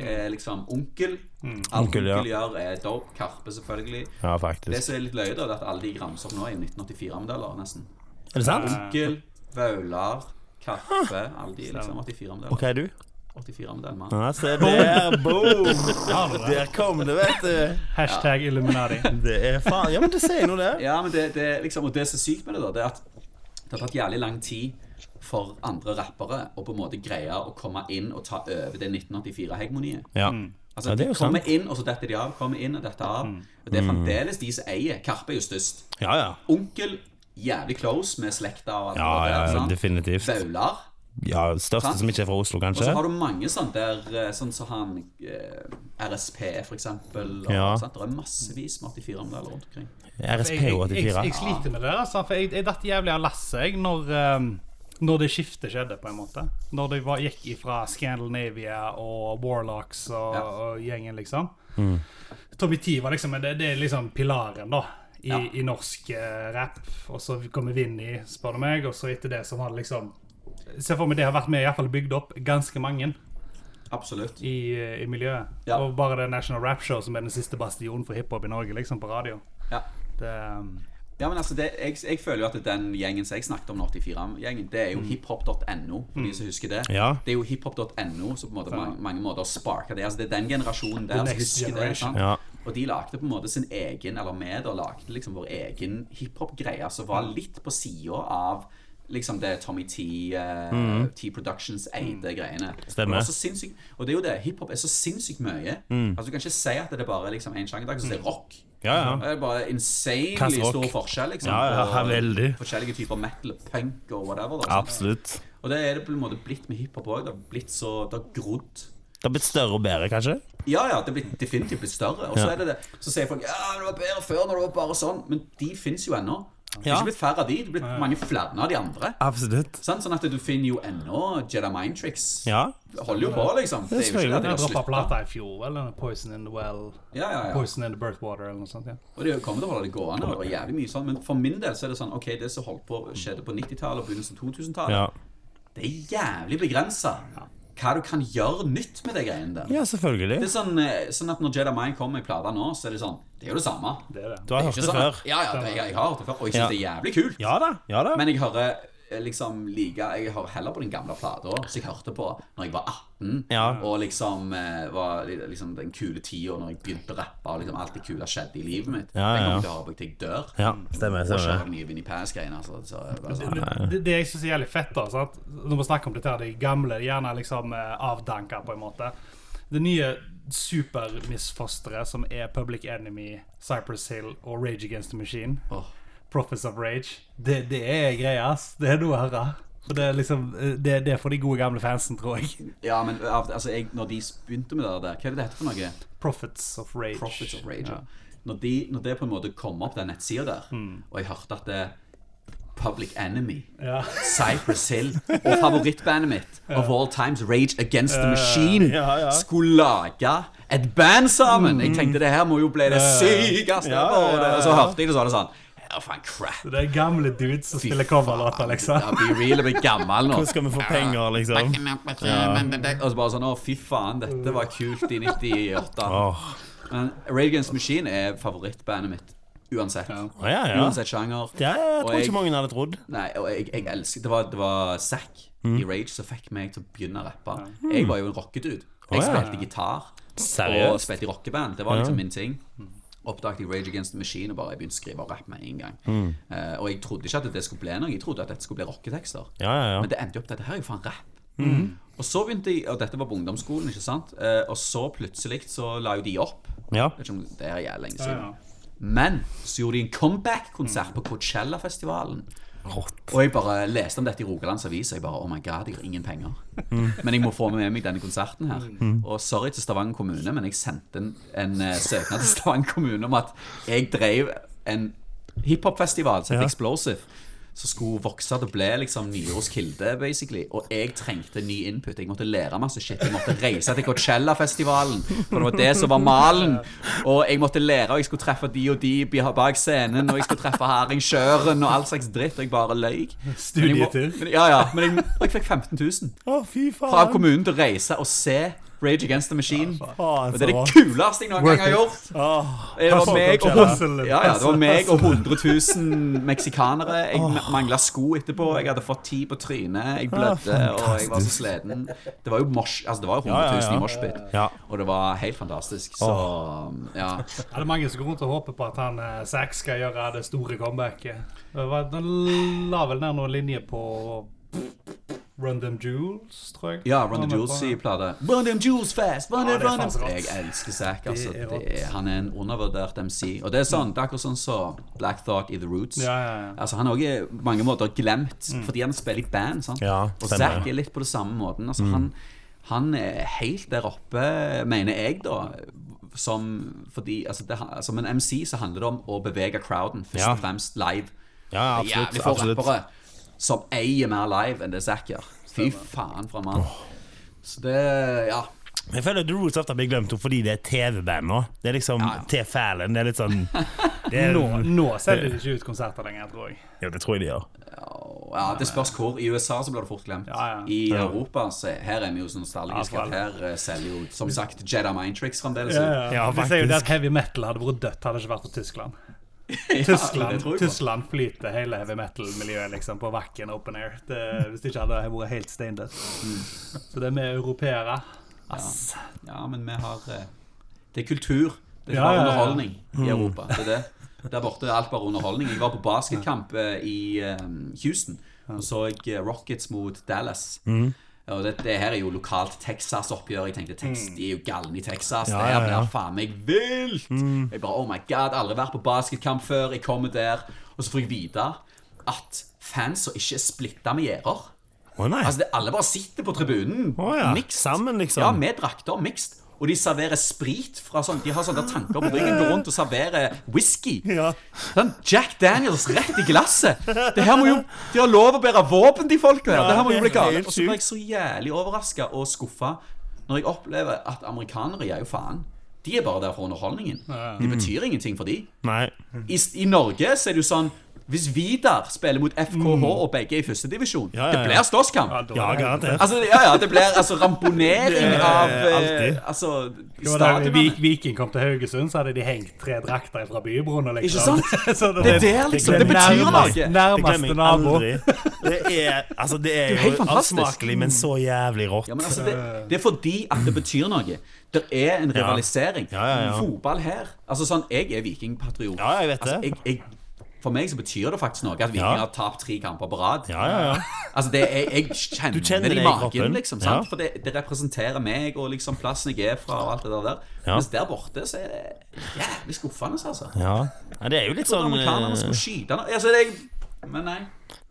Speaker 2: er liksom onkel. Alt
Speaker 3: Mm. Onkel,
Speaker 2: onkel,
Speaker 3: ja.
Speaker 2: gjør, er dope. Karpe, selvfølgelig.
Speaker 3: Ja,
Speaker 2: Det
Speaker 3: faktisk.
Speaker 2: som er litt løye, da, det er at alle de jeg ramser opp nå, er 1984-modeller, nesten.
Speaker 3: Er det sant?
Speaker 2: Onkel, Vaular, Karpe. Alle de er liksom 84-modeller.
Speaker 3: Ok, du.
Speaker 2: 84-modell, mann.
Speaker 3: Ja, se der, boom!
Speaker 1: har du det.
Speaker 3: Der kom det, vet du.
Speaker 1: Hashtag Illuminati.
Speaker 3: Det er faen Ja, men det sier noe, det.
Speaker 2: Ja, men det, det, er liksom, og det som er sykt med det, da, det er at det har tatt jævlig lang tid for andre rappere å på en måte greie å komme inn og ta over det 1984-hegemoniet.
Speaker 3: Ja.
Speaker 2: Altså,
Speaker 3: Ja, det er jo Mm.
Speaker 2: de kommer inn, og så detter de av. Kommer inn og detter av. Og Det er fremdeles de som eier. Karpe er jo størst.
Speaker 3: Ja, ja.
Speaker 2: Onkel jævlig close med slekta og alt
Speaker 3: Ja,
Speaker 2: det
Speaker 3: ja,
Speaker 2: der. sant?
Speaker 3: definitivt.
Speaker 2: Baular.
Speaker 3: Ja, Største
Speaker 2: Sant?
Speaker 3: som ikke er fra Oslo,
Speaker 2: Og så
Speaker 3: kanskje?
Speaker 2: har du mange sånn der eh, Sånn som han eh, RSP, for eksempel. Og,
Speaker 3: Ja.
Speaker 2: sant? Det er massevis med 84-modeller rundt omkring.
Speaker 1: [LAUGHS] Jeg, jeg, jeg, jeg
Speaker 3: RSPO84.
Speaker 1: sliter med det, der, altså, for jeg, jeg datt jævlig av lasset jeg, når, ehm, når det skiftet skjedde, på en måte. Når det var, gikk ifra Scandinavia og Warlocks og,
Speaker 2: Ja. Mm.
Speaker 1: og gjengen, liksom. Tommy T var liksom det, det er liksom pilaren, da. I,
Speaker 2: Ja.
Speaker 1: I norsk eh, rap. Og så kommer Vinni, spør du meg. Og så etter det så har det liksom Se for meg det har vært med, i hvert fall bygd opp ganske mange
Speaker 2: Absolutt.
Speaker 1: i, eh, i miljøet.
Speaker 2: Ja.
Speaker 1: Og bare det National Rap Show som er den siste bastionen for hiphop i Norge, liksom, på radio.
Speaker 2: Ja.
Speaker 1: Det, ehm,
Speaker 2: Ja, men altså, det, jeg, jeg føler jo at den gjengen som jeg snakket om, 84-gjengen, det er jo hiphop.no, for de som husker det.
Speaker 3: Mm. Ja.
Speaker 2: Det er jo hiphop.no som på en måte mange, mange måter sparka det. Altså, det er den generasjonen der som
Speaker 1: next
Speaker 2: husker det.
Speaker 1: generation.
Speaker 2: Sant?
Speaker 3: Ja.
Speaker 2: Og de lagde på en måte sin egen, eller med, og lagde liksom vår egen hiphop-greie som var
Speaker 3: Mm.
Speaker 2: litt på sida av liksom det Tommy T, eh, T Productions eide greiene.
Speaker 3: Mm. Stemmer. Mm.
Speaker 2: Det var så sinnssykt- og det er jo det, hiphop er så sinnssykt mye. Altså, du kan ikke si at det er bare liksom én sjanger, så det er rock.
Speaker 3: Ja, ja.
Speaker 2: Det er bare
Speaker 3: Kass
Speaker 2: insanely
Speaker 3: rock.
Speaker 2: stor forskjell liksom,
Speaker 3: Ja, ja, ja,
Speaker 2: på
Speaker 3: veldig.
Speaker 2: forskjellige typer metal, punk og whatever. Da, sant?
Speaker 3: Absolutt.
Speaker 2: Og det er det på en måte blitt med hiphop òg. Det har blitt så, det har grodd.
Speaker 3: Det har blitt større og bedre, kanskje?
Speaker 2: Ja, ja, det har blitt definitivt blitt større. Og så
Speaker 3: Ja.
Speaker 2: er det det. Så sier folk ja, men det var bedre før når det var bare sånn. Men de fins jo ennå. Det er ikke blitt færre av de, det er blitt mange flere av de andre.
Speaker 3: Absolutt.
Speaker 2: Sant? Sånn at du finner jo ennå Jedi Mind Tricks.
Speaker 3: Ja.
Speaker 2: Holder jo på, liksom. Det er jo ikke det at de
Speaker 1: Jeg
Speaker 2: har
Speaker 1: droppa
Speaker 2: sluttet.
Speaker 1: plata i fjor, eller noe Poison in the Well.
Speaker 2: Ja, ja, ja.
Speaker 1: Poison in the Birth Water, eller noe sånt. ja.
Speaker 2: Og det kommer til å holde det gående. Og det var jævlig mye sånn Men for min del så er det sånn OK, det som holdt på skjedde på 90-tallet og begynnelsen av 2000-tallet,
Speaker 3: Ja.
Speaker 2: det er jævlig begrensa hva du kan gjøre nytt med de greiene der.
Speaker 3: ja,
Speaker 2: Det
Speaker 3: selvfølgelig.
Speaker 2: er sånn, eh, sånn at Når Jedi Mind kommer i plata nå, så er det sånn Det er jo det samme.
Speaker 1: Det er det.
Speaker 3: Du har
Speaker 2: Ikke
Speaker 3: hørt det
Speaker 2: sånn at-
Speaker 3: før.
Speaker 2: Ja, ja, det, jeg, jeg har hørt det før, og jeg syns
Speaker 3: Ja.
Speaker 2: det er jævlig kult.
Speaker 3: Ja da. Ja da.
Speaker 2: Men jeg hører eh, liksom like Jeg hører heller på den gamle plata som jeg hørte på når jeg var 18,
Speaker 3: Ja.
Speaker 2: og liksom eh, var li- liksom den kule tida når jeg begynte å rappe, og liksom alt det kule skjedde i livet mitt.
Speaker 3: Ja,
Speaker 2: Jeg
Speaker 3: ja, ja.
Speaker 2: kommer til å høre på til jeg dør.
Speaker 3: Ja, stemmer,
Speaker 2: Og
Speaker 3: stemmer.
Speaker 2: kjøre den nye Vinnie Pass-greiene. Altså, så, altså,
Speaker 1: Det, det, det jeg syns er jævlig fett, da, sant? når vi snakker om dette, her, de gamle de gjerne liksom eh, avdanka, på en måte. Det nye supermisfosteret som er Public Enemy, Cypress Hill og Rage Against the Machine,
Speaker 2: Åh.
Speaker 1: Prophets of Rage, det, det er greia, ass. Det er noe å høre. For det er liksom eh, Det, det er for de gode gamle fansen, tror jeg.
Speaker 2: ja, men av- altså, jeg, når de begynte med det der, hva er det det heter for noe?
Speaker 1: Prophets of Rage.
Speaker 2: Profits of Rage. ja. Når, de, når det på en måte kom opp, den nettsida der,
Speaker 3: Mm.
Speaker 2: og jeg hørte at det Public Enemy,
Speaker 1: Ja.
Speaker 2: Cypress Hill og favorittbandet mitt of all times, Rage Against the Machine,
Speaker 3: ja, ja.
Speaker 2: skulle lage et band sammen. Jeg tenkte det her må jo bli det sykeste.
Speaker 3: Ja, ja,
Speaker 2: på det.
Speaker 3: ja,
Speaker 2: Og så hørte jeg det, så var det sånn Ja, faen, crap.
Speaker 1: Det er gamle dudes som spiller coverlåter, liksom.
Speaker 2: Ja, Be real, jeg blir gammel nå.
Speaker 3: Hvordan skal vi få penger, liksom?
Speaker 2: Og så bare sånn Å, fy faen, dette var kult i 98.
Speaker 3: Åh,
Speaker 2: Men Rage Against the Machine er favorittbandet mitt uansett.
Speaker 3: Å, ja, ja.
Speaker 2: Uansett sjanger.
Speaker 3: Ja, jeg
Speaker 2: Og
Speaker 3: tror
Speaker 2: jeg-
Speaker 3: ikke mange hadde trodd.
Speaker 2: Nei, og jeg, jeg elsker Det var, det var Zack
Speaker 3: Mm.
Speaker 2: i Rage som fikk meg til å begynne å rappe. Jeg var jo en rockedude. Jeg
Speaker 3: Å, ja.
Speaker 2: spilte gitar og
Speaker 3: Seriøst?
Speaker 2: spilte i rockeband. Det var liksom min ting. Oppdaget jeg Rage Against the Machine og bare jeg begynte å skrive og rappe med en gang.
Speaker 3: Mm.
Speaker 2: Eh, og jeg trodde ikke at det skulle bli noe. Jeg trodde at dette skulle bli rocketekster.
Speaker 3: Ja, ja, ja.
Speaker 2: Men det endte jo opp dette her er jo faen rapp.
Speaker 3: Mm.
Speaker 2: Og så begynte jeg, og dette var på ungdomsskolen, ikke sant? Eh, og så plutselig så la jo de opp.
Speaker 3: Ja.
Speaker 2: Jeg vet ikke om det er jævlig lenge
Speaker 1: Ja, Mm. ja.
Speaker 2: siden. Men så gjorde de en comeback-konsert på Coachella-festivalen.
Speaker 3: Rått.
Speaker 2: Og jeg bare leste om dette i Rogalands Avis, og jeg bare Oh my god, jeg har ingen penger.
Speaker 3: Mm.
Speaker 2: [LAUGHS] Men jeg må få med meg denne konserten her.
Speaker 1: Mm.
Speaker 2: Og sorry til Stavanger kommune, men jeg sendte en, en eh, søknad til Stavanger kommune om at jeg drev en hiphop-festival som het
Speaker 3: Ja.
Speaker 2: Explosive. Som skulle vokse til å bli liksom Nyros kilde, basically. Og jeg trengte ny input. Jeg måtte lære masse shit. Jeg måtte reise til Coachella-festivalen, for det var det som var malen. Og jeg måtte lære, og jeg skulle treffe de og de bak scenen, og jeg skulle treffe Haring Sjøren og all slags dritt, og jeg bare løy. Men jeg må-
Speaker 1: Studietur.
Speaker 2: men- Ja, ja. Men jeg, og jeg fikk 15 000
Speaker 3: Å, fy
Speaker 2: fra
Speaker 3: faen.
Speaker 2: kommunen til å reise og se Rage Against the Machine.
Speaker 3: Faen, Ah.
Speaker 2: Og det
Speaker 3: så
Speaker 2: er
Speaker 3: bra.
Speaker 2: det kuleste jeg noen gang har gjort.
Speaker 3: Åh,
Speaker 2: Det var
Speaker 1: Hustle,
Speaker 2: meg og,
Speaker 1: [LAUGHS] Coachella.
Speaker 2: ja, ja, det var meg og 100 000 meksikanere. Jeg mangla sko etterpå. Jeg hadde fått ti på trynet. Jeg blødde,
Speaker 3: Ah,
Speaker 2: og jeg var så
Speaker 3: fantastisk.
Speaker 2: sliten. Det var jo mosh, altså det var jo
Speaker 3: Ja,
Speaker 2: 100 000
Speaker 3: ja, ja.
Speaker 2: i moshpit.
Speaker 3: Ja.
Speaker 2: Og det var helt fantastisk. Så ja.
Speaker 1: Er det mange som går rundt og håper på at han eh, Zack skal gjøre det store comebacket? Det var- Han la vel ned noen linjer på Run Them Jewels, tror jeg.
Speaker 2: ja, Run
Speaker 1: Han
Speaker 2: the
Speaker 1: er
Speaker 2: Jewels
Speaker 1: på-
Speaker 2: i plata. Run them jewels fast! Run
Speaker 1: Ja,
Speaker 2: them,
Speaker 1: det er
Speaker 2: run
Speaker 1: faen så
Speaker 2: them.
Speaker 1: rått.
Speaker 2: Jeg elsker Zack. Altså,
Speaker 1: Det er
Speaker 2: det er,
Speaker 1: rått.
Speaker 2: han er en undervurdert MC. Og det er sånn, det er akkurat sånn som Black Thought i The Roots.
Speaker 1: Ja, ja, Mm. ja.
Speaker 2: Altså, han er også på mange måter glemt, fordi han spiller i band. Sant?
Speaker 3: Ja,
Speaker 2: og
Speaker 3: stemmer. Mm.
Speaker 2: Zack er litt på det samme måten. Altså, han, han er helt der oppe, mener jeg, da. Som, fordi, altså, det, som en MC så handler det om å bevege crowden, først
Speaker 3: Ja.
Speaker 2: og fremst live.
Speaker 3: Ja,
Speaker 2: Det er
Speaker 3: absolutt.
Speaker 2: Jævlig få
Speaker 3: absolutt.
Speaker 2: rappere som eier mer live enn det Zack gjør. Fy faen, for en mann. Så det Ja.
Speaker 3: Jeg føler The Roots ofte blir glemt fordi det er TV-band nå. Det er liksom
Speaker 2: Ja.
Speaker 3: T-Fælen. Det er
Speaker 2: [LAUGHS]
Speaker 3: litt sånn det er,
Speaker 1: Nå, Eh, nå selger de ikke ut konserter lenger, tror jeg.
Speaker 3: Ja, det tror jeg de gjør.
Speaker 2: Ja, Det spørs hvor. I USA så blir det fort glemt.
Speaker 1: Ja, ja.
Speaker 2: I Europa så her er vi jo sånn nostalgiske.
Speaker 1: Ja,
Speaker 2: at her eh, selger jo som sagt Jedi Mind Tricks fremdeles.
Speaker 1: Ja,
Speaker 2: [LAUGHS] ut.
Speaker 3: Ja,
Speaker 1: de sier jo det
Speaker 3: faktisk.
Speaker 1: at heavy metal hadde vært dødt hadde det ikke vært for Tyskland.
Speaker 2: det
Speaker 1: Tyskland,
Speaker 2: tror jeg på.
Speaker 1: Tyskland flyter hele heavy metal-miljøet liksom på vakken open air. Det, hvis det ikke hadde vært helt steindødt. Så det er vi europeere. Ass.
Speaker 2: Mm. Ja, men vi har eh, Det er kultur. Det er ikke
Speaker 1: Ja,
Speaker 2: bare
Speaker 1: ja, ja.
Speaker 2: underholdning i Europa. Det er det. Der borte er alt bare underholdning. Jeg var på basketkamp eh, i eh, Houston. Og så jeg eh, Rockets mot Dallas. Og det, det her er jo lokalt Texas-oppgjør. Jeg tenkte Tex, de er jo galne i Texas.
Speaker 3: Ja,
Speaker 2: det her
Speaker 3: ja, ja.
Speaker 2: blir faen meg vilt! Jeg bare Oh my god, aldri vært på basketkamp før. Jeg kommer der. Og så får jeg vite at fans som ikke er splitta med gjerder
Speaker 3: Å nei.
Speaker 2: Altså, det, alle bare sitter på tribunen.
Speaker 3: Å ja.
Speaker 2: Mixed.
Speaker 3: Sammen, liksom.
Speaker 2: Ja, med drakter, mixed. Og de serverer sprit fra sånn De har sånne tanker på ryggen, går rundt og serverer whisky.
Speaker 3: Ja.
Speaker 2: Sånn Jack Daniels rett i glasset! Det her må jo De har lov å bære våpen, de folka her! Det her må jo bli galt.
Speaker 3: helt
Speaker 2: Og så ble jeg så jævlig overraska og skuffa når jeg opplever at amerikanere gir jo faen. De er bare der for underholdningen. De betyr ingenting for de.
Speaker 3: Nei.
Speaker 2: I, I Norge så er det jo sånn Hvis Vidar spiller mot FKH og begge er i førstedivisjon,
Speaker 3: Mm. Ja, ja, ja.
Speaker 2: det blir slåsskamp.
Speaker 1: Ja, da-
Speaker 3: Ja, garantert.
Speaker 2: Altså, ja, ja, det blir altså ramponering
Speaker 3: Det er
Speaker 2: av eh,
Speaker 3: alltid.
Speaker 2: Altså,
Speaker 1: Det var da
Speaker 2: stadionet.
Speaker 1: Vi- Viking kom til Haugesund, så hadde de hengt tre drakter fra bybroene. Liksom.
Speaker 2: Ikke sant?
Speaker 1: [LAUGHS] Så
Speaker 2: Det er der, liksom. Det betyr noe.
Speaker 1: nærmest-
Speaker 3: Det glemmer
Speaker 1: Nærmeste
Speaker 3: jeg
Speaker 1: nabo.
Speaker 3: aldri. Det er, altså, det er,
Speaker 2: er helt
Speaker 3: jo
Speaker 2: fantastisk.
Speaker 3: avsmakelig, men så jævlig rått.
Speaker 2: Ja, men altså, det, det er fordi at det betyr noe. Det er en rivalisering.
Speaker 3: Ja, ja, ja.
Speaker 2: Fotball her Altså sånn, Jeg er vikingpatriot.
Speaker 3: Ja, jeg vet
Speaker 2: Altså,
Speaker 3: det.
Speaker 2: jeg, jeg, for meg så betyr det faktisk noe at Viking
Speaker 3: Ja.
Speaker 2: har tapt tre kamper på rad.
Speaker 3: Ja, ja, ja.
Speaker 2: Altså, det er, jeg kjenner,
Speaker 3: kjenner
Speaker 2: det
Speaker 3: det
Speaker 2: i
Speaker 3: i
Speaker 2: magen,
Speaker 3: kroppen.
Speaker 2: liksom. Sant?
Speaker 3: Ja.
Speaker 2: For det, det representerer meg og liksom plassen jeg er fra, og alt det der. der.
Speaker 3: Ja.
Speaker 2: Mens der borte så er det jævlig skuffende, altså.
Speaker 3: ja. Nei, det er jo litt sånn
Speaker 2: Amerikanerne
Speaker 3: eh,
Speaker 2: skulle skyte noe. Altså, det, men nei.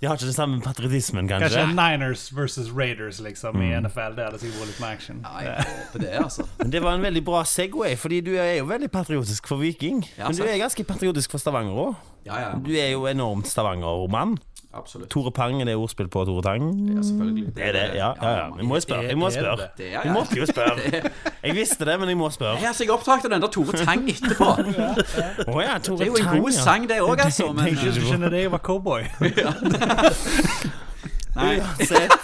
Speaker 3: De har ikke den samme patriotismen, kanskje.
Speaker 1: Kanskje Niners versus Raiders liksom, i
Speaker 3: Mm.
Speaker 1: NFL. Det hadde sikkert vært litt mer action.
Speaker 2: Nei, på det, altså.
Speaker 3: Men det var en veldig bra Segway, fordi du er jo veldig patriotisk for Viking.
Speaker 2: Ja,
Speaker 3: Men du
Speaker 2: sant.
Speaker 3: er ganske patriotisk for Stavanger òg.
Speaker 2: Ja,
Speaker 3: Du
Speaker 2: ja.
Speaker 3: er jo enormt Stavanger-mann.
Speaker 2: Absolutt.
Speaker 3: Tore Pang er det ordspill på Tore Tang.
Speaker 2: Ja, selvfølgelig.
Speaker 3: Det er det, ja. ja, ja. Jeg må jo spørre. Jeg må jo spørre.
Speaker 2: Det er-
Speaker 3: Jeg måtte jo spørre. Jeg visste det, men jeg må spørre.
Speaker 2: Nei, altså, jeg opptakte den der Tore Tang etterpå.
Speaker 3: Å ja,
Speaker 2: Det
Speaker 3: Tore
Speaker 2: er jo en
Speaker 3: Tang.
Speaker 2: god
Speaker 3: ja.
Speaker 2: sang, det òg, altså. Men
Speaker 1: Jeg skjønner det, jeg var cowboy.
Speaker 2: nei.
Speaker 3: Uansett.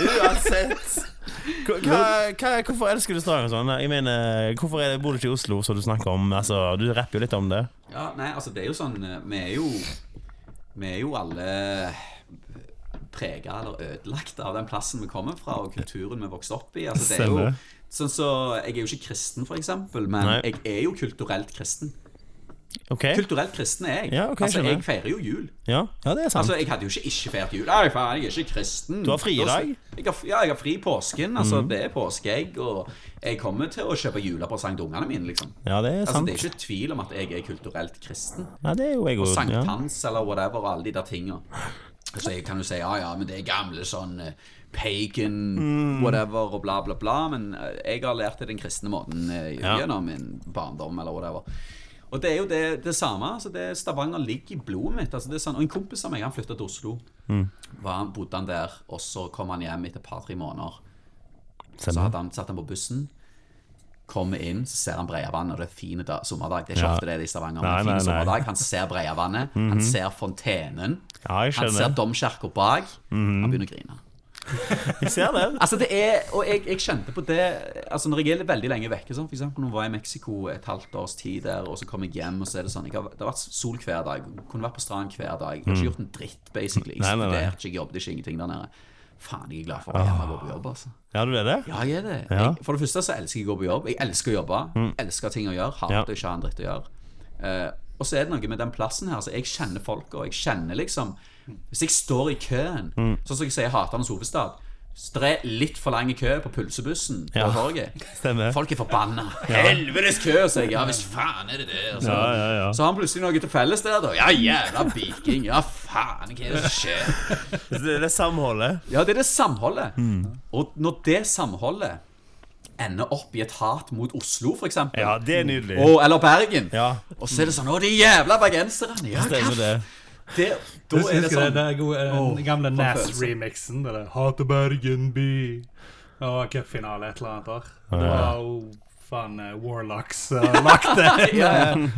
Speaker 3: Uansett. Hva, hva- hva, hvorfor elsker du Stavanger sånn? Jeg mener, hvorfor er det, bor du ikke i Oslo, som du snakker om? Altså, du rapper jo litt om det.
Speaker 2: Ja, nei, altså, det er jo sånn eh, Vi er jo Vi er jo alle prega eller ødelagt av den plassen vi kommer fra, og kulturen vi vokste opp i. Altså, det er jo
Speaker 3: Stemmer.
Speaker 2: Sånn så, Jeg er jo ikke kristen, for eksempel, men
Speaker 3: Nei.
Speaker 2: jeg er jo kulturelt kristen.
Speaker 3: OK?
Speaker 2: Kulturelt kristen er jeg.
Speaker 3: Eh? Ja, ok,
Speaker 2: altså,
Speaker 3: skjønner.
Speaker 2: Jeg feirer jo jul.
Speaker 3: Ja, ja det er sant.
Speaker 2: Altså, Jeg hadde jo ikke ikke feiret jul. Nei, faen, jeg er ikke kristen.
Speaker 3: Du har fri i dag? Mhm.
Speaker 2: Jeg har, ja, jeg har fri i påsken. Altså, Det er påskeegg, og jeg kommer til å kjøpe julepresang til ungene mine. liksom.
Speaker 3: Ja, det er
Speaker 2: Altså,
Speaker 3: sant.
Speaker 2: Det er ikke tvil om at jeg er kulturelt kristen.
Speaker 3: Nei, det er jo jeg òg. Ja.
Speaker 2: Sankthans eller whatever, og alle de der tinga. Så jeg kan jo si ja, ja, men det er gamle sånn eh, pagan
Speaker 3: Mm.
Speaker 2: whatever og bla, bla, bla. Men eh, jeg har lært det den kristne måten eh,
Speaker 3: Ja.
Speaker 2: gjennom min barndom eller whatever. Og det er jo det, det samme. Altså det Stavanger ligger i blodet mitt. Altså det er sånn, og En kompis av meg han flytta til Oslo.
Speaker 3: Mm.
Speaker 2: Var han, bodde han der, og så kom han hjem etter et par-tre måneder. Så
Speaker 3: Stemmer.
Speaker 2: hadde han, satt han på bussen, kommer inn, så ser han Breiavannet, og det er fin da, sommerdag. Det er ikke
Speaker 3: Ja.
Speaker 2: ofte det er det i Stavanger,
Speaker 3: Nei,
Speaker 2: men det er
Speaker 3: nei,
Speaker 2: fin
Speaker 3: nei.
Speaker 2: sommerdag. Han ser Breiavannet, han ser fontenen,
Speaker 3: Ja, jeg
Speaker 2: han ser
Speaker 3: skjønner. Mhm.
Speaker 2: domkirka bak. Han begynner å grine.
Speaker 3: Jeg ser det.
Speaker 2: Altså det er, og jeg, jeg kjente på det altså Når jeg er veldig lenge vekke, sånn, for eksempel når jeg var i Mexico et halvt års tid der, og så kom jeg hjem, og så er det sånn jeg har, Det har vært sol hver dag. Kunne vært på strand hver dag. Jeg har ikke gjort en dritt, basically. Jeg
Speaker 3: Mhm. Nei, nei, nei.
Speaker 2: studerte ikke, jeg jobbet ikke, ingenting der nede. Faen, jeg er glad for å hjemme og gå på jobb, altså.
Speaker 3: Ja, du er det?
Speaker 2: Ja, jeg er det.
Speaker 3: Ja. Mm.
Speaker 2: Jeg, for det første så elsker jeg å gå på jobb. Jeg elsker å jobbe. Elsker ting å gjøre. Hater
Speaker 3: Ja.
Speaker 2: ikke å ha en dritt å gjøre. Eh, og så er det noe med den plassen her. Så jeg kjenner folk, og jeg kjenner liksom Hvis jeg står i køen,
Speaker 3: Mm.
Speaker 2: sånn som jeg sier Haternes hovedstad så det er litt for lang kø på pølsebussen på
Speaker 3: Ja.
Speaker 2: torget.
Speaker 3: [LAUGHS] Stemmer.
Speaker 2: Folk er forbanna. Helvetes kø, sier jeg. Ja, hvis faen er det det? Og Så,
Speaker 3: Ja, ja, ja.
Speaker 2: så har han plutselig noe til felles der, da. Ja, jævla viking. Ja, faen, hva er det som skjer?
Speaker 3: Det er det samholdet.
Speaker 2: Ja, det er det samholdet.
Speaker 3: Mm.
Speaker 2: Og når det samholdet ender opp i et hat mot Oslo, for eksempel,
Speaker 3: Ja, det er nydelig.
Speaker 2: og, eller Bergen,
Speaker 3: Ja.
Speaker 2: og så er det sånn Å, de jævla bergenserne! Ja,
Speaker 3: Stemmer
Speaker 2: hva
Speaker 3: det.
Speaker 2: f- det, Da er det
Speaker 1: Husker du
Speaker 2: [LAUGHS] sånn
Speaker 1: den gode- den gamle
Speaker 2: følelse.
Speaker 1: Nas-remixen? Det der 'Hater Bergen by'. Og cupfinale et eller annet år. Det var jo faen eh, Warlocks uh,
Speaker 3: [LAUGHS]
Speaker 1: lagde en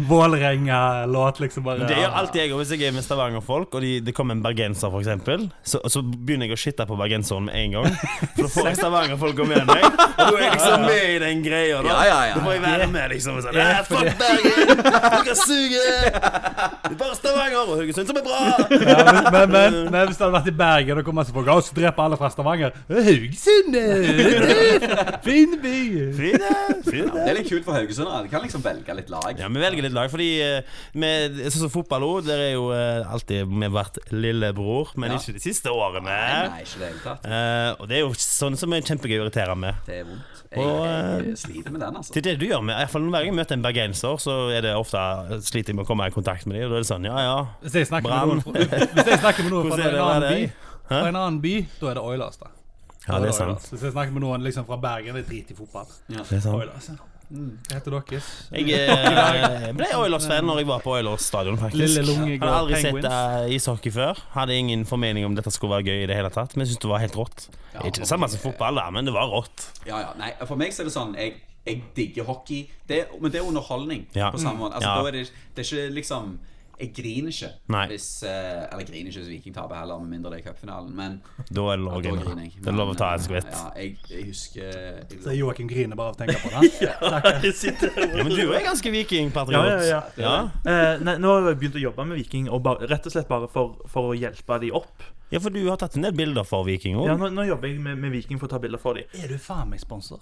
Speaker 1: Vålerenga-låt, liksom bare
Speaker 3: Det gjør alltid jeg òg hvis jeg er med Stavanger-folk, og de, det kommer en bergenser, for eksempel Så, så begynner jeg å shitte på bergenseren med en gang. For da
Speaker 2: [LAUGHS]
Speaker 3: får jeg Stavanger-folka med meg. Og da er jeg liksom med i den greia, da.
Speaker 2: Ja, ja, ja.
Speaker 3: Da må jeg være med, liksom. og Sånn,
Speaker 1: Ja,
Speaker 3: «Nei,
Speaker 1: for
Speaker 3: fuck Bergen! Dere suger! Det er bare Stavanger og Haugesund som er bra!
Speaker 1: ja, men, men, men, men hvis det hadde vært i Bergen, da kommer masse folk og så dreper alle fra Stavanger. «Å, Haugesund! eh, Fin by!
Speaker 3: Frida, Frida.
Speaker 2: Det er litt kult for haugesundere. De kan liksom velge litt lag.
Speaker 3: Ja, Vi velger litt lag, fordi eh, med, sånn som fotball òg, der er jo eh, alltid vi har vært lillebror, men
Speaker 2: Ja.
Speaker 3: ikke de siste årene.
Speaker 2: Nei, nei, ikke i det hele tatt.
Speaker 3: Eh, og det er jo sånn som er kjempegøy å irritere med.
Speaker 2: Det er vondt.
Speaker 3: Og,
Speaker 2: Jeg,
Speaker 3: eh,
Speaker 2: jeg sliter med den, altså.
Speaker 3: Det er det du gjør med, i hvert fall Hver gang jeg møter en bergenser, så er det ofte sliter jeg med å komme i kontakt med dem. Og da er det sånn, ja ja.
Speaker 1: Hvis jeg snakker med noen,
Speaker 3: Brann.
Speaker 1: fra- hvis jeg snakker med noen fra
Speaker 3: Hvordan
Speaker 1: en
Speaker 3: er
Speaker 1: annen by,
Speaker 3: det med deg?
Speaker 1: fra en annen by da er det Oilers, da.
Speaker 3: Ja,
Speaker 1: Da
Speaker 3: det er
Speaker 1: Oilers.
Speaker 3: sant.
Speaker 1: Hvis jeg snakker med noen liksom fra Bergen, det er drit i fotball.
Speaker 3: Det er sant.
Speaker 1: Oilers. ja. Hva altså. heter deres?
Speaker 3: Jeg eh, ble Oilers-fan når jeg var på Oilers stadion, faktisk.
Speaker 5: Lille Lunge
Speaker 3: Hadde
Speaker 5: går
Speaker 3: aldri sett
Speaker 5: Penguins.
Speaker 3: eh, ishockey før. Hadde ingen formening om dette skulle være gøy i det hele tatt, men jeg syntes det var helt rått.
Speaker 2: Ja,
Speaker 3: Ikke det samme som fotball, da, men det var rått.
Speaker 2: Ja, ja, nei, For meg så er det sånn Jeg, jeg digger hockey, det, men det er underholdning.
Speaker 3: Ja.
Speaker 2: På samme måte altså,
Speaker 3: Ja.
Speaker 2: da er det, det er ikke liksom Jeg griner ikke
Speaker 3: Nei.
Speaker 2: hvis eh, Eller jeg griner ikke hvis Viking taper heller, med mindre det er cupfinalen. Men
Speaker 3: Da er det lov å
Speaker 2: da
Speaker 3: grine.
Speaker 2: griner jeg. eh,
Speaker 3: Det er lov å ta en skvett.
Speaker 2: Ja, jeg, jeg husker jeg,
Speaker 1: Så Joakim griner bare av å tenke på det. hæ?
Speaker 4: [LAUGHS] Jeg sitter her
Speaker 3: Ja,
Speaker 4: og-
Speaker 3: men du er ganske vikingpatriot.
Speaker 4: Ja, ja, ja.
Speaker 3: Ja.
Speaker 4: Eh, nei, nå har jeg begynt å jobbe med Viking, og bare, rett og slett bare for, for å hjelpe de opp.
Speaker 3: Ja, for du har tatt en del bilder for Viking
Speaker 4: Ja,
Speaker 3: òg.
Speaker 4: nå, nå jobber jeg med, med Viking for å ta bilder for de
Speaker 1: [LAUGHS] Er du faen meg sponsor?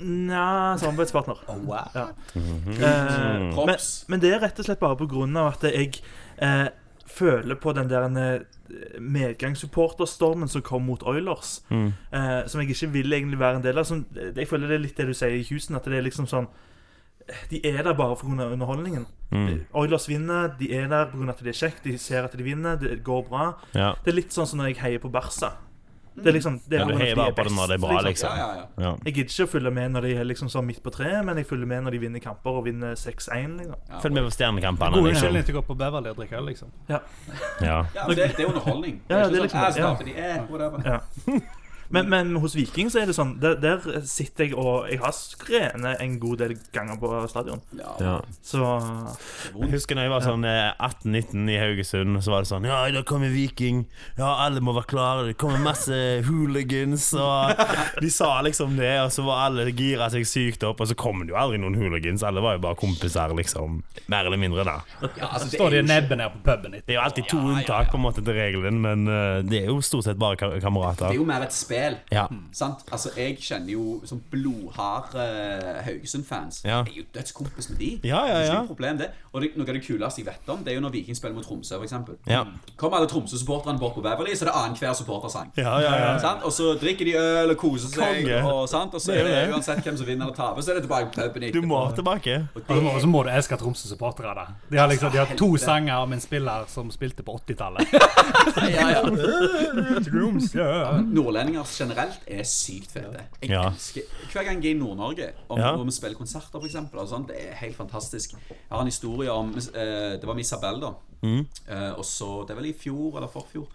Speaker 4: Nja, samarbeidspartner.
Speaker 1: Wow.
Speaker 4: Ja.
Speaker 3: Mm.
Speaker 4: Eh, men,
Speaker 2: Props.
Speaker 4: men det er rett og slett bare på grunn av at jeg eh, føler på den der eh, medgangssupporterstormen som kom mot Oilers.
Speaker 3: Mm.
Speaker 4: Eh, som jeg ikke vil egentlig være en del av. Som, eh, jeg føler det er litt det du sier i Houston, at det er liksom sånn De er der bare pga. underholdningen.
Speaker 3: Mm.
Speaker 4: Oilers vinner, de er der pga. at det er kjekt, de ser at de vinner, det går bra.
Speaker 3: Ja.
Speaker 4: Det er litt sånn som når jeg heier på Barca. Det er liksom det
Speaker 3: Ja,
Speaker 4: er
Speaker 3: du
Speaker 4: på grunn av at
Speaker 3: heier
Speaker 4: de
Speaker 3: bare på det når det er bra, liksom.
Speaker 2: Ja, ja, ja.
Speaker 3: Ja.
Speaker 4: jeg gidder ikke å følge med når de er liksom sånn midt på treet, men jeg følger med når de vinner kamper og vinner 6-1. Liksom.
Speaker 2: ja.
Speaker 3: Følg med på Stjernekampene.
Speaker 1: God
Speaker 3: liksom.
Speaker 1: unnskyldning til å gå på Beverly og drikke øl, liksom.
Speaker 4: Ja.
Speaker 3: Ja.
Speaker 2: Ja, men det, det er underholdning.
Speaker 4: Ja, ja, det er
Speaker 2: ikke sånn, "Ah,
Speaker 4: liksom-
Speaker 2: så taper de, eh, whatever."
Speaker 4: Ja. Men, men hos Viking så er det sånn Der, der sitter jeg og Jeg har skrenet en god del ganger på stadion.
Speaker 2: Ja,
Speaker 3: Ja.
Speaker 4: Så
Speaker 3: Jeg husker når jeg var sånn eh, 18-19 i Haugesund, så var det sånn Ja, da kommer Viking. Ja, alle må være klare. Det kommer masse hooligans. Og [LAUGHS] de sa liksom det, og så var alle gira seg sykt opp, og så kom det jo aldri noen hooligans. Alle var jo bare kompiser, liksom. Mer eller mindre, da.
Speaker 2: Ja, altså, det
Speaker 1: Står
Speaker 2: er
Speaker 1: de
Speaker 2: jo ikke-
Speaker 1: nebben her på puben
Speaker 3: Det
Speaker 1: etter?
Speaker 3: er jo alltid to
Speaker 2: Ja, ja,
Speaker 3: unntak på en måte til regelen, men eh, det er jo stort sett bare ka-
Speaker 2: Det er
Speaker 3: kamerater.
Speaker 2: jo mer et spill.
Speaker 3: Ja.
Speaker 2: Sant? Altså, jeg kjenner jo sånn blodharde eh, Haugesund-fans.
Speaker 3: Ja.
Speaker 2: Jeg er jo dødskompis med de.
Speaker 3: Ja, ja,
Speaker 2: Det er ikke
Speaker 3: ja.
Speaker 2: noe problem, det. Og det, noe av det kuleste jeg vet om, det er jo når Viking spiller mot Tromsø, for eksempel.
Speaker 3: Ja.
Speaker 2: Kommer alle Tromsø-supporterne bort på Beverly, så er det annenhver supportersang.
Speaker 3: Ja, ja, ja.
Speaker 2: Sant? Og så drikker de øl og koser seg,
Speaker 3: Konge.
Speaker 2: og, sant? og så
Speaker 3: Det
Speaker 2: er
Speaker 3: er jo
Speaker 2: det
Speaker 3: det.
Speaker 2: uansett hvem som vinner eller taper, så er det tilbake på puben
Speaker 3: Du må
Speaker 2: etterpå.
Speaker 3: tilbake.
Speaker 1: Og så må- og så må du elske Tromsø-supportere. da. De har liksom, de har to sanger om en spiller som spilte på [LAUGHS] 80-tallet.
Speaker 2: Ja,
Speaker 3: sånn-
Speaker 1: Eh,
Speaker 2: ja.
Speaker 1: Ja,
Speaker 2: Mm. Nordlendinger generelt er sykt fete. Jeg
Speaker 3: Ja.
Speaker 2: elsker Hver gang jeg er i Nord-Norge, om
Speaker 3: Ja.
Speaker 2: når vi spiller konserter f.eks., det er helt fantastisk. Jeg har en historie om eh, Det var med Isabel, da.
Speaker 3: Mm.
Speaker 2: Eh, og så Det er vel i fjor eller forfjor.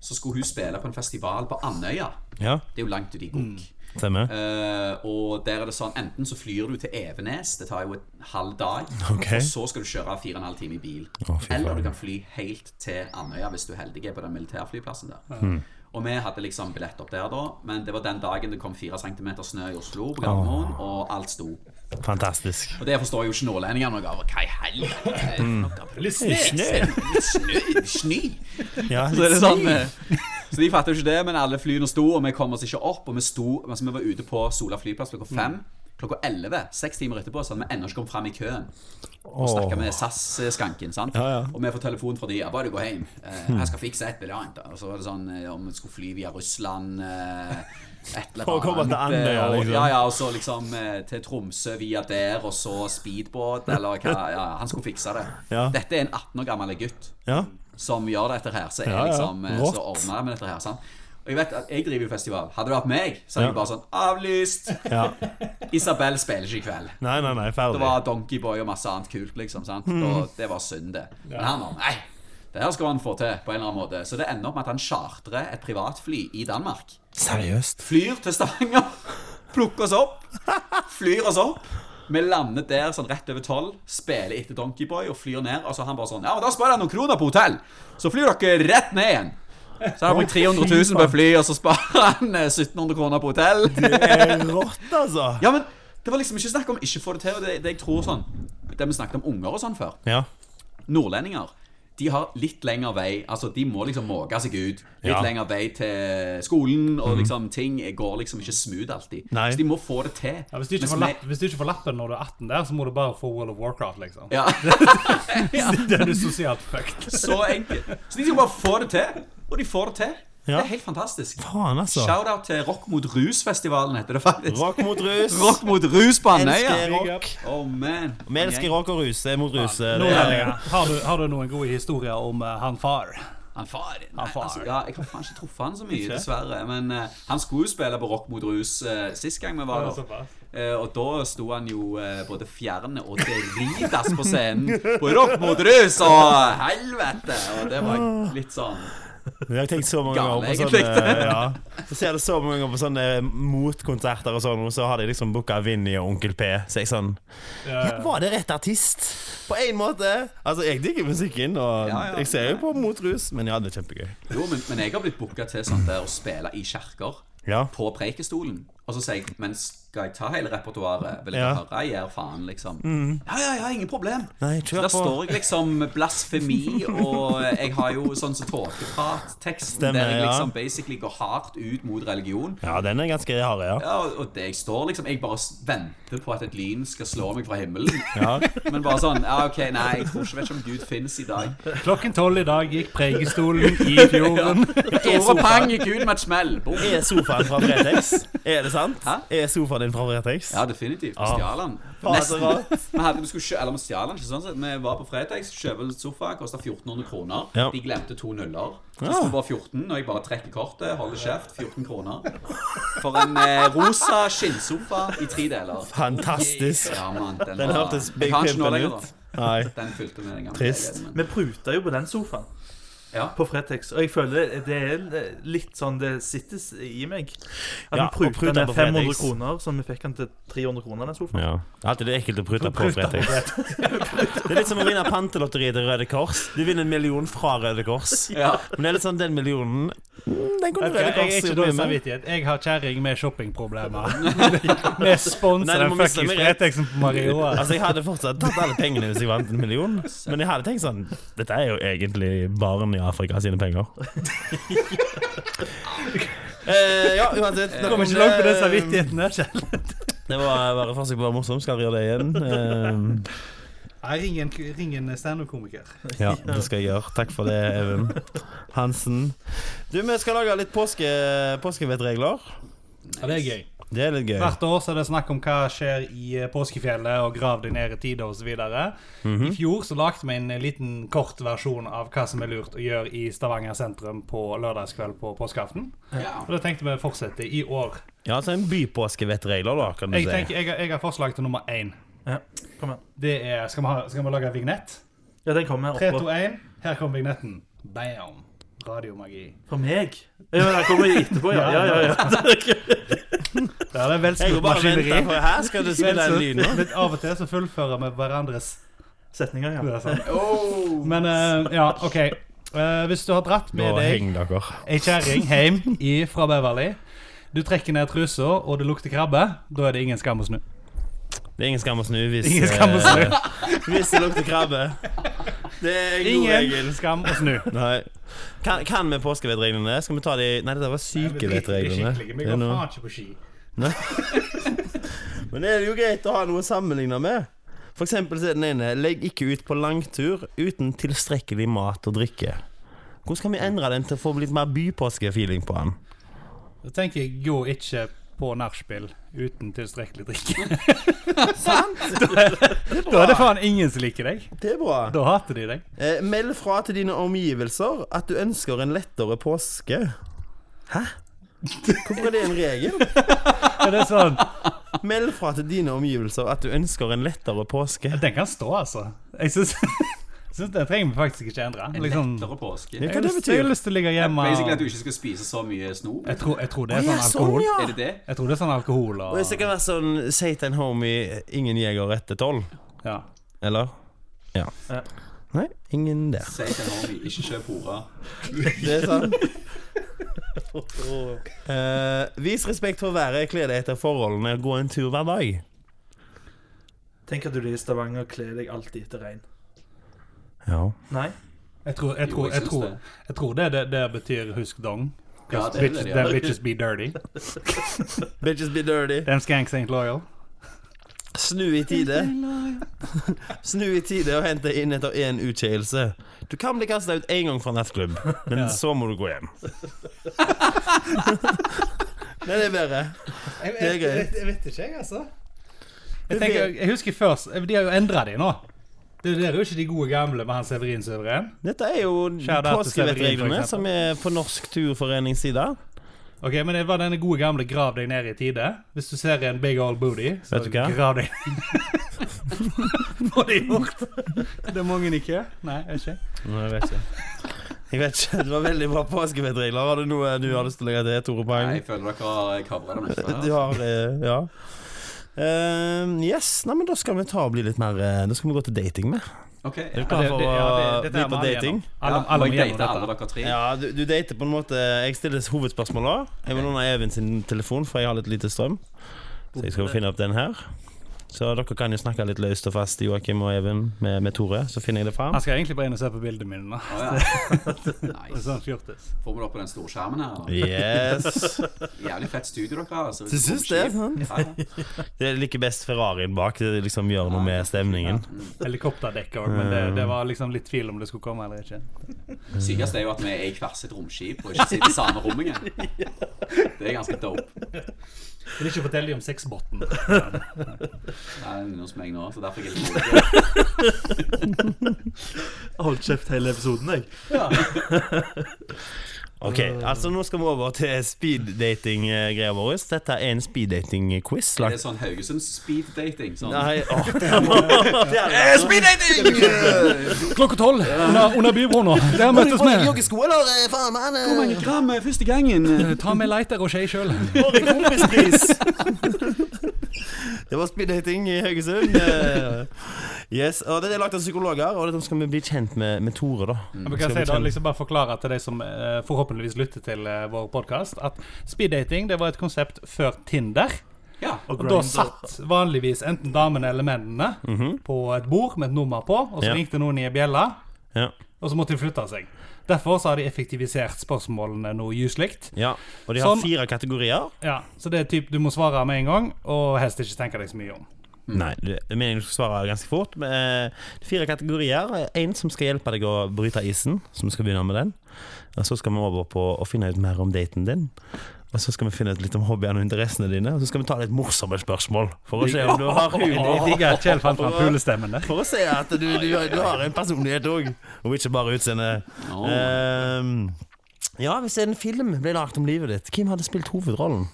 Speaker 2: Så skulle hun spille på en festival på Andøya.
Speaker 3: Ja,
Speaker 2: Det er jo langt ute i Gok.
Speaker 3: stemmer.
Speaker 2: Eh, og der er det sånn Enten så flyr du til Evenes, det tar jo en halv dag,
Speaker 3: Ok.
Speaker 2: og så skal du kjøre fire og en halv time i bil.
Speaker 3: Å, fy
Speaker 2: Eller
Speaker 3: faen.
Speaker 2: du kan fly helt til Andøya, hvis du er heldig, på den militærflyplassen der. Og vi hadde liksom billett opp der, da, men det var den dagen det kom fire centimeter snø i Oslo, på Gardermoen, og alt sto.
Speaker 3: Fantastisk.
Speaker 2: Og det forstår jo ikke nordlendinger noe av. Hva i helvete? er det
Speaker 3: Mm.
Speaker 2: noe av- Litt snø, snø.
Speaker 3: Ja,
Speaker 2: Så er det sånn eh, [LAUGHS] Så de fatter jo ikke det, men alle flyene sto, og vi kom oss ikke opp. Og vi sto, altså vi var ute på Sola flyplass klokka
Speaker 3: Mm.
Speaker 2: fem. Klokka elleve, seks timer etterpå, så hadde vi ennå ikke kommet fram i køen. Og snakka med SAS-skanken. sant?
Speaker 3: Ja, Hmm. ja.
Speaker 2: Og vi får telefon fra de ja, 'Bare du går hjem. Eh, jeg skal fikse et eller annet.' da.» Og så var det sånn eh, om vi skulle fly via Russland eh, et eller annet.
Speaker 3: For å komme til Andøya,
Speaker 2: eh, og-
Speaker 3: liksom.
Speaker 2: Ja, ja, og så liksom eh, til Tromsø via der, og så speedbåt, eller hva. Ja, han skulle fikse det.
Speaker 3: Ja.
Speaker 2: Dette er en 18 år gammel gutt
Speaker 3: Ja.
Speaker 2: som gjør dette her, så er
Speaker 3: Ja, ja.
Speaker 2: liksom eh,
Speaker 3: Rått.
Speaker 2: Så ordner jeg med dette her. Sant? Og jeg vet at jeg driver jo festival. Hadde det vært meg, så hadde jeg
Speaker 3: Ja.
Speaker 2: bare sånn Avlyst!
Speaker 3: ja.
Speaker 2: Isabel spiller ikke i kveld.
Speaker 3: Nei, nei, nei,
Speaker 2: Det
Speaker 3: ferdig.
Speaker 2: var Donkeyboy og masse annet kult, liksom. sant?
Speaker 3: Mm.
Speaker 2: Og det var synd, det. Men han var Nei! Det her skal han få til på en eller annen måte. Så det ender opp med at han chartrer et privatfly i Danmark.
Speaker 3: Seriøst?
Speaker 2: Flyr til Stavanger, [LAUGHS] plukker oss opp, flyr oss opp. Vi lander der sånn rett over tolv, spiller etter Donkeyboy og flyr ned. Og så han bare sånn Ja, men da sparer jeg noen kroner på hotell, så flyr dere rett ned igjen. Så har han brukt 300 000 på et fly, og så sparer han eh, 1700 kroner på hotell.
Speaker 3: Rått, altså.
Speaker 2: Ja, men det var liksom ikke snakk om ikke få det til. Og det, det jeg tror sånn Det vi snakket om unger og sånn før.
Speaker 3: Ja.
Speaker 2: Nordlendinger de har litt lengre vei Altså, de må liksom måke seg ut. Litt
Speaker 3: Ja.
Speaker 2: lengre vei til skolen,
Speaker 1: Mhm.
Speaker 2: og liksom ting går liksom ikke smooth alltid.
Speaker 3: Nei.
Speaker 2: Så de må få det til.
Speaker 1: Ja, hvis, du ikke
Speaker 2: Mens
Speaker 1: får
Speaker 2: vi-
Speaker 1: lapp, hvis du ikke får lappen når du er 18 der, så må du bare få World of Warcraft, liksom. [LAUGHS]
Speaker 2: Ja, [LAUGHS]
Speaker 1: Da er du sosialt fucked.
Speaker 2: så enkelt. Så de skal bare få det til, og de får det til.
Speaker 3: Ja.
Speaker 2: Det er helt fantastisk.
Speaker 3: Faen, altså.
Speaker 2: Shout-out til Rock mot rus-festivalen, heter det faktisk.
Speaker 3: Rock mot rus.
Speaker 2: Rock mot rus på
Speaker 3: Elsker
Speaker 2: Andøya.
Speaker 3: rock.
Speaker 2: Oh, man.
Speaker 3: Vi elsker rock og rus. Det er mot rus. eh,
Speaker 1: Nå,
Speaker 3: Det er,
Speaker 1: har, du, har du noen gode historier om eh, han far?
Speaker 2: Han far din. Nei,
Speaker 1: Han far.
Speaker 2: Altså, ja, jeg har faen ikke truffet han så mye, dessverre. Men eh, han skulle jo spille på Rock mot rus uh, sist gang vi var
Speaker 1: Ja, altså,
Speaker 2: der.
Speaker 1: såpass.
Speaker 2: Eh, og da sto han jo eh, både fjern og dridas på scenen på Rock mot rus, og helvete! Og det var litt sånn
Speaker 3: Jeg har tenkt så mange
Speaker 2: Gammel,
Speaker 3: ganger på
Speaker 2: egentlig.
Speaker 3: sånne eh, ja. Så ser jeg det så mange ganger på sånne eh, motkonserter og sånn, og så har de liksom booka Vinni og Onkel P. Så jeg sånn
Speaker 1: Ja,
Speaker 3: Ja, var det rett artist? På en måte. Altså, jeg digger musikken, og
Speaker 2: Ja, ja.
Speaker 3: jeg ser jo på Mot rus, men ja, det er kjempegøy.
Speaker 2: Jo, men, men jeg har blitt booka til sånn der å spille i kjerker.
Speaker 3: Ja.
Speaker 2: På Preikestolen. Og så sier jeg men skal jeg ta hele repertoaret? Vil jeg
Speaker 3: Ja. Mm.
Speaker 2: høre? Jeg gir faen, liksom. Ja, ja, ja, ingen problem.
Speaker 3: Nei,
Speaker 2: Så
Speaker 3: kjør
Speaker 2: der
Speaker 3: på.
Speaker 2: står jeg liksom med blasfemi, og jeg har jo sånn som tåkeprat-teksten,
Speaker 3: Stemmer,
Speaker 2: der jeg
Speaker 3: ja.
Speaker 2: liksom basically går hardt ut mot religion.
Speaker 3: Ja, den er ganske hard, ja.
Speaker 2: Ja, og- og det jeg står liksom Jeg bare s- venter på at et lyn skal slå meg fra himmelen.
Speaker 3: [LAUGHS] Ja.
Speaker 2: Men bare sånn Ja, OK, nei, jeg tror ikke vet ikke om Gud finnes i dag.
Speaker 1: Klokken tolv i dag gikk Preikestolen [LAUGHS] i fjorden.
Speaker 2: Tore pang gikk ut med et smell. Boom.
Speaker 3: Er sofaen fra
Speaker 2: [LAUGHS]
Speaker 3: Fretex? Er det sant?
Speaker 2: Hæ?
Speaker 3: Er sofaen din fra Fretex?
Speaker 2: Ja, definitivt. Vi
Speaker 3: Ah.
Speaker 2: stjal den.
Speaker 3: Faen, så rart.
Speaker 2: Vi, hadde, vi, skulle kjø eller, vi stjal den ikke sånn sett. Vi var på Fretex, kjøper en sofa, kosta 1400 kroner.
Speaker 3: Ja.
Speaker 2: De glemte to nuller. Så det sto bare 14, og jeg bare trekker kortet, holder kjeft. 14 kroner. For en eh, rosa skinnsofa i tre deler.
Speaker 3: Fantastisk.
Speaker 2: Ja, man, den,
Speaker 3: Den
Speaker 2: var-
Speaker 3: hørtes
Speaker 2: Jeg
Speaker 3: Big
Speaker 2: har den ikke nå
Speaker 3: Pimpen
Speaker 2: lenger,
Speaker 3: ut.
Speaker 2: da.
Speaker 3: Nei.
Speaker 2: Den fylte med en gang.
Speaker 3: Trist.
Speaker 2: Men,
Speaker 4: Vi pruta jo på den sofaen
Speaker 2: ja.
Speaker 4: på Fretex, og jeg føler det er litt sånn det sittes i meg. At
Speaker 3: Ja, og
Speaker 4: vi
Speaker 3: pruta
Speaker 4: pruta ned
Speaker 3: på
Speaker 4: 500
Speaker 3: Fretex.
Speaker 4: kroner, så vi fikk den til 300 kroner, den sofaen.
Speaker 3: Ja. Det er Alltid det ekkelt å prute på Fretex. [LAUGHS] Det er litt som å vinne pantelotteriet til Røde Kors. Du vinner en million fra Røde Kors.
Speaker 2: ja.
Speaker 3: Men det er litt sånn, den millionen mm, Den kunne
Speaker 1: Vet du hva,
Speaker 3: Røde
Speaker 1: Jeg er
Speaker 3: Kors
Speaker 1: ikke
Speaker 3: gjort
Speaker 1: dårlig
Speaker 3: mye med.
Speaker 1: samvittighet. Jeg har kjerring med shoppingproblemer.
Speaker 3: [LAUGHS]
Speaker 1: [LAUGHS] Med spons
Speaker 3: Nei,
Speaker 1: av
Speaker 3: du
Speaker 1: den
Speaker 3: må miste
Speaker 1: fuckings
Speaker 3: meg rett.
Speaker 1: Pretexen på Marioa.
Speaker 3: [LAUGHS] Altså, jeg hadde fortsatt tatt alle pengene hvis jeg vant en million. Men jeg hadde tenkt sånn Dette er jo egentlig barn i Afrika sine [LAUGHS] penger. Eh, ja, uansett. eh,
Speaker 1: Du kommer ikke langt med den samvittigheten der, Kjell.
Speaker 3: Det var bare forsøk på å være morsom. Skal jeg gjøre det igjen? Eh,
Speaker 1: [LAUGHS] Nei, Ring en, ring en standup-komiker.
Speaker 3: ja,
Speaker 1: [LAUGHS]
Speaker 3: det skal jeg gjøre. Takk for det, Even Hansen. Du, vi skal lage litt påske, påskevettregler.
Speaker 1: Ja, det er gøy.
Speaker 3: Det er litt gøy.
Speaker 1: Hvert år så er det snakk om hva skjer i eh, påskefjellet, og grav deg ned i tida osv.
Speaker 3: Mhm.
Speaker 1: I fjor så lagde vi en eh, liten kort versjon av hva som er lurt å gjøre i Stavanger sentrum på lørdagskveld på påskeaften. [LAUGHS]
Speaker 2: Ja.
Speaker 1: Og det tenkte vi å fortsette i år.
Speaker 3: Ja, altså en bypåskevettregler, da, kan du
Speaker 1: Jeg,
Speaker 3: si.
Speaker 1: tenker, jeg, har- jeg har forslag til nummer én.
Speaker 4: Ja, kom her.
Speaker 1: Det er Skal vi, ha, skal vi lage vignett?
Speaker 4: Ja, den kommer
Speaker 1: 3,
Speaker 4: her
Speaker 1: 2,
Speaker 4: oppå.
Speaker 1: 1. Her kommer vignetten. Bam! Radiomagi.
Speaker 4: For meg? Ja, den kommer etterpå, ja. ja, ja, ja.
Speaker 1: Ja, det er
Speaker 3: Jeg
Speaker 1: velskrudd
Speaker 3: går bare og
Speaker 1: maskineri.
Speaker 3: venter, for her skal du spille en lyd nå.
Speaker 1: Men av og til så fullfører vi hverandres
Speaker 4: Setninger,
Speaker 1: det
Speaker 4: ja.
Speaker 1: er sant.
Speaker 2: Oh.
Speaker 1: Men eh, ja, OK. Eh, hvis du har dratt
Speaker 3: Nå
Speaker 1: med deg
Speaker 3: henger dere.
Speaker 1: ei kjerring hjem i, fra Beverly, du trekker ned trusa, og det lukter krabbe, da er det ingen skam å snu.
Speaker 3: Det er ingen skam å snu hvis
Speaker 1: Ingen skam å snu.
Speaker 3: eh, [LAUGHS] Hvis det lukter krabbe. Det er en god regel.
Speaker 1: Ingen skam å snu.
Speaker 3: Nei. Kan, kan vi påskevettreglene? Skal vi ta de Nei, dette var sykevettreglene. Det er noe-
Speaker 1: ikke på ski.
Speaker 3: Men det er jo greit å ha noe å sammenligne med. For eksempel så er den ene Legg ikke ut på langtur uten tilstrekkelig mat og drikke. Hvordan kan vi endre den til å få litt mer bypåskefeeling på den?
Speaker 1: Da tenker jeg gå ikke på nachspiel uten tilstrekkelig drikke.
Speaker 3: Sant?
Speaker 1: [LAUGHS] Da er det faen ingen som liker deg.
Speaker 3: Det er bra.
Speaker 1: Da hater de deg.
Speaker 3: Eh, meld fra til dine omgivelser at du ønsker en lettere påske. Hæ? Hvorfor er det en regel?
Speaker 1: Er det sånn?
Speaker 3: Meld fra til dine omgivelser at du ønsker en lettere påske.
Speaker 1: Den kan stå, altså. Jeg [LAUGHS] syns syns den trenger vi faktisk ikke endre.
Speaker 2: En
Speaker 1: Liksom,
Speaker 2: lettere påske.
Speaker 3: Ja,
Speaker 1: jeg
Speaker 3: hva
Speaker 1: har
Speaker 3: det
Speaker 1: lyst- jeg har
Speaker 3: betyr?
Speaker 1: lyst til å ligge
Speaker 2: Ja,
Speaker 1: hjemme
Speaker 2: Basically at
Speaker 1: og
Speaker 2: du ikke skal spise så mye snop.
Speaker 1: jeg tror, jeg tror det
Speaker 3: Å
Speaker 1: er
Speaker 3: ja,
Speaker 1: sånn
Speaker 3: sånn,
Speaker 1: alkohol.
Speaker 3: ja.
Speaker 2: Er det det?
Speaker 1: Jeg tror det er sånn alkohol
Speaker 3: Og hvis det
Speaker 1: og
Speaker 3: kan være sånn Say to en homie Ingen jeger etter tolv.
Speaker 1: ja.
Speaker 3: Eller? Ja.
Speaker 4: Ja.
Speaker 3: Nei, ingen der.
Speaker 2: Si til en homie, ikke kjøp hore.
Speaker 3: Det er
Speaker 1: [LAUGHS]
Speaker 3: sant. Eh, vis respekt for været, kle deg etter forholdene, gå en tur hver dag.
Speaker 4: Tenk at du er i Stavanger og kler deg alltid etter regn.
Speaker 3: Ja.
Speaker 4: Nei?
Speaker 1: Jeg tror, jeg
Speaker 2: Jo,
Speaker 1: tror,
Speaker 2: jeg
Speaker 1: jeg
Speaker 2: syns
Speaker 1: tror,
Speaker 2: det.
Speaker 1: jeg tror det, det, det betyr husk dong.
Speaker 2: Ja, det er
Speaker 1: Bitches,
Speaker 2: det, ja.
Speaker 1: them bitches be dirty.
Speaker 3: Bitches be dirty.
Speaker 1: Them skanks ain't loyal.
Speaker 3: Snu i tide. [LAUGHS] Snu i tide og hente inn etter én utskeielse. Du kan bli kasta ut én gang fra nattklubb, men så må du gå hjem. Men det er bedre.
Speaker 1: Jeg,
Speaker 3: Det er greit.
Speaker 1: vet ikke, jeg, altså. Jeg, tenker, jeg husker først De har jo endra de nå. Det der er jo ikke de gode gamle med han Severin Suveren.
Speaker 3: Dette er jo
Speaker 1: Shout out til Severin, for
Speaker 3: påskrevet-reglene
Speaker 1: eksempel.
Speaker 3: som er på Norsk Turforenings side.
Speaker 1: Ok, men det var denne gode gamle 'grav deg ned i tide'. Hvis du ser en big old booty, så
Speaker 3: Vet du hva?
Speaker 1: grav deg [LAUGHS] Får de gjort. Det er mange i kø. Nei, jeg vet ikke.
Speaker 3: Nei, jeg vet ikke. Jeg vet ikke, Det var veldig bra påskefettregler. Har du noe du har lyst til å legge til, Tore Pang?
Speaker 2: Nei, altså. jeg føler dere kavrer det meste.
Speaker 3: Du
Speaker 2: her,
Speaker 3: har eh, Ja. Eh, yes, nei, men da skal vi ta og bli litt mer eh, Da skal vi gå til dating med.
Speaker 2: altså. Ok,
Speaker 3: Er du
Speaker 2: ja.
Speaker 3: klar
Speaker 1: Det-
Speaker 3: for
Speaker 1: det-
Speaker 3: å
Speaker 1: ja, det- dette
Speaker 3: bli
Speaker 1: er
Speaker 3: på
Speaker 1: alle
Speaker 3: dating?
Speaker 1: gjennom. Alle,
Speaker 2: ja,
Speaker 1: alle
Speaker 2: må
Speaker 1: må
Speaker 2: jeg
Speaker 1: gjennom
Speaker 2: date alle
Speaker 1: dette.
Speaker 2: dere tre?
Speaker 3: Ja, du, du dater på en måte Jeg stiller hovedspørsmål da. Jeg må låne Even sin telefon, for jeg har litt lite strøm. Så jeg skal finne opp den her. Så dere kan jo snakke litt løst og fast, Joakim og Even, med, med Tore. Så finner jeg det fram.
Speaker 1: Han skal egentlig bare inn og se på bildene mine. nå. [LAUGHS]
Speaker 2: Å, ja.
Speaker 1: Det er
Speaker 2: Nice.
Speaker 1: sånn fjortis.
Speaker 2: Får vi det opp på den store skjermen her?
Speaker 3: Yes.
Speaker 2: Jævlig fett studio dere har. altså.
Speaker 3: [LAUGHS] Du syns det?
Speaker 2: Ja, ja.
Speaker 3: Det liker best Ferrarien bak. Det liksom gjør noe med stemningen.
Speaker 1: Mm. Helikopterdekker òg, men det, det var liksom litt tvil om det skulle komme eller ikke.
Speaker 2: Sykeste er jo at vi er i hvert sitt romskip og ikke sitter i samme rom
Speaker 3: [LAUGHS]
Speaker 2: engang. Det er ganske dope.
Speaker 1: Vil ikke fortelle dem om sexbotten.
Speaker 2: Det er noe som jeg nå, så derfor er jeg
Speaker 3: [LAUGHS]
Speaker 2: litt rolig.
Speaker 4: Hold kjeft hele episoden, jeg.
Speaker 3: Ok,
Speaker 1: Øh.
Speaker 3: altså Nå skal vi over til speeddating-greia vår. Dette er en speeddating-quiz.
Speaker 2: Det er sånn Haugesunds speeddating. Sånn.
Speaker 3: [LAUGHS] Nei, åh, det er noe- det er
Speaker 2: Eh, Speeddating!
Speaker 1: Klokka tolv under, under bybrona. Der møtes vi.
Speaker 3: Joggesko, eller eh, faen, man eh,
Speaker 2: gram første gangen?
Speaker 1: Ta med lighter og skje sjøl.
Speaker 3: Bare kompispris! [LAUGHS] Det var speeddating i Haugesund. Eh, Yes, og Det er lagt av psykologer, og dette skal vi bli kjent med, med Tore, da.
Speaker 1: Ja, Men kan jeg si da, liksom bare forklare til de som eh, forhåpentligvis lytter til eh, vår podkast, at speeddating det var et konsept før Tinder.
Speaker 2: Ja.
Speaker 4: Og
Speaker 1: Da
Speaker 4: Grindr.
Speaker 1: satt vanligvis enten damene eller mennene på et bord med et nummer på, og så
Speaker 3: Ja.
Speaker 1: ringte noen i ei bjelle,
Speaker 3: Ja.
Speaker 1: og så måtte de flytte seg. Derfor så har de effektivisert spørsmålene noe gyselig.
Speaker 3: ja, Og de har
Speaker 1: Sånn.
Speaker 3: fire kategorier.
Speaker 1: Ja, så det er typ du må svare med en gang, og helst ikke tenke deg så mye om.
Speaker 3: Nei, det det mener jeg du skal svare ganske fort. Men, eh, det er fire kategorier. Én som skal hjelpe deg å bryte isen, som skal begynne med den. Og så skal vi over på å finne ut mer om daten din. Og så skal vi finne ut litt om hobbyene og interessene dine. Og så skal vi ta litt morsomme spørsmål for å se om du har humor.
Speaker 1: Jeg digger at Kjell fant [LAUGHS] fram fuglestemmen der.
Speaker 3: For å se at du, du, du har en personlighet òg, og ikke bare utseende.
Speaker 2: Åh.
Speaker 3: Ehm, ja, hvis en film ble lagd om livet ditt, hvem hadde spilt hovedrollen?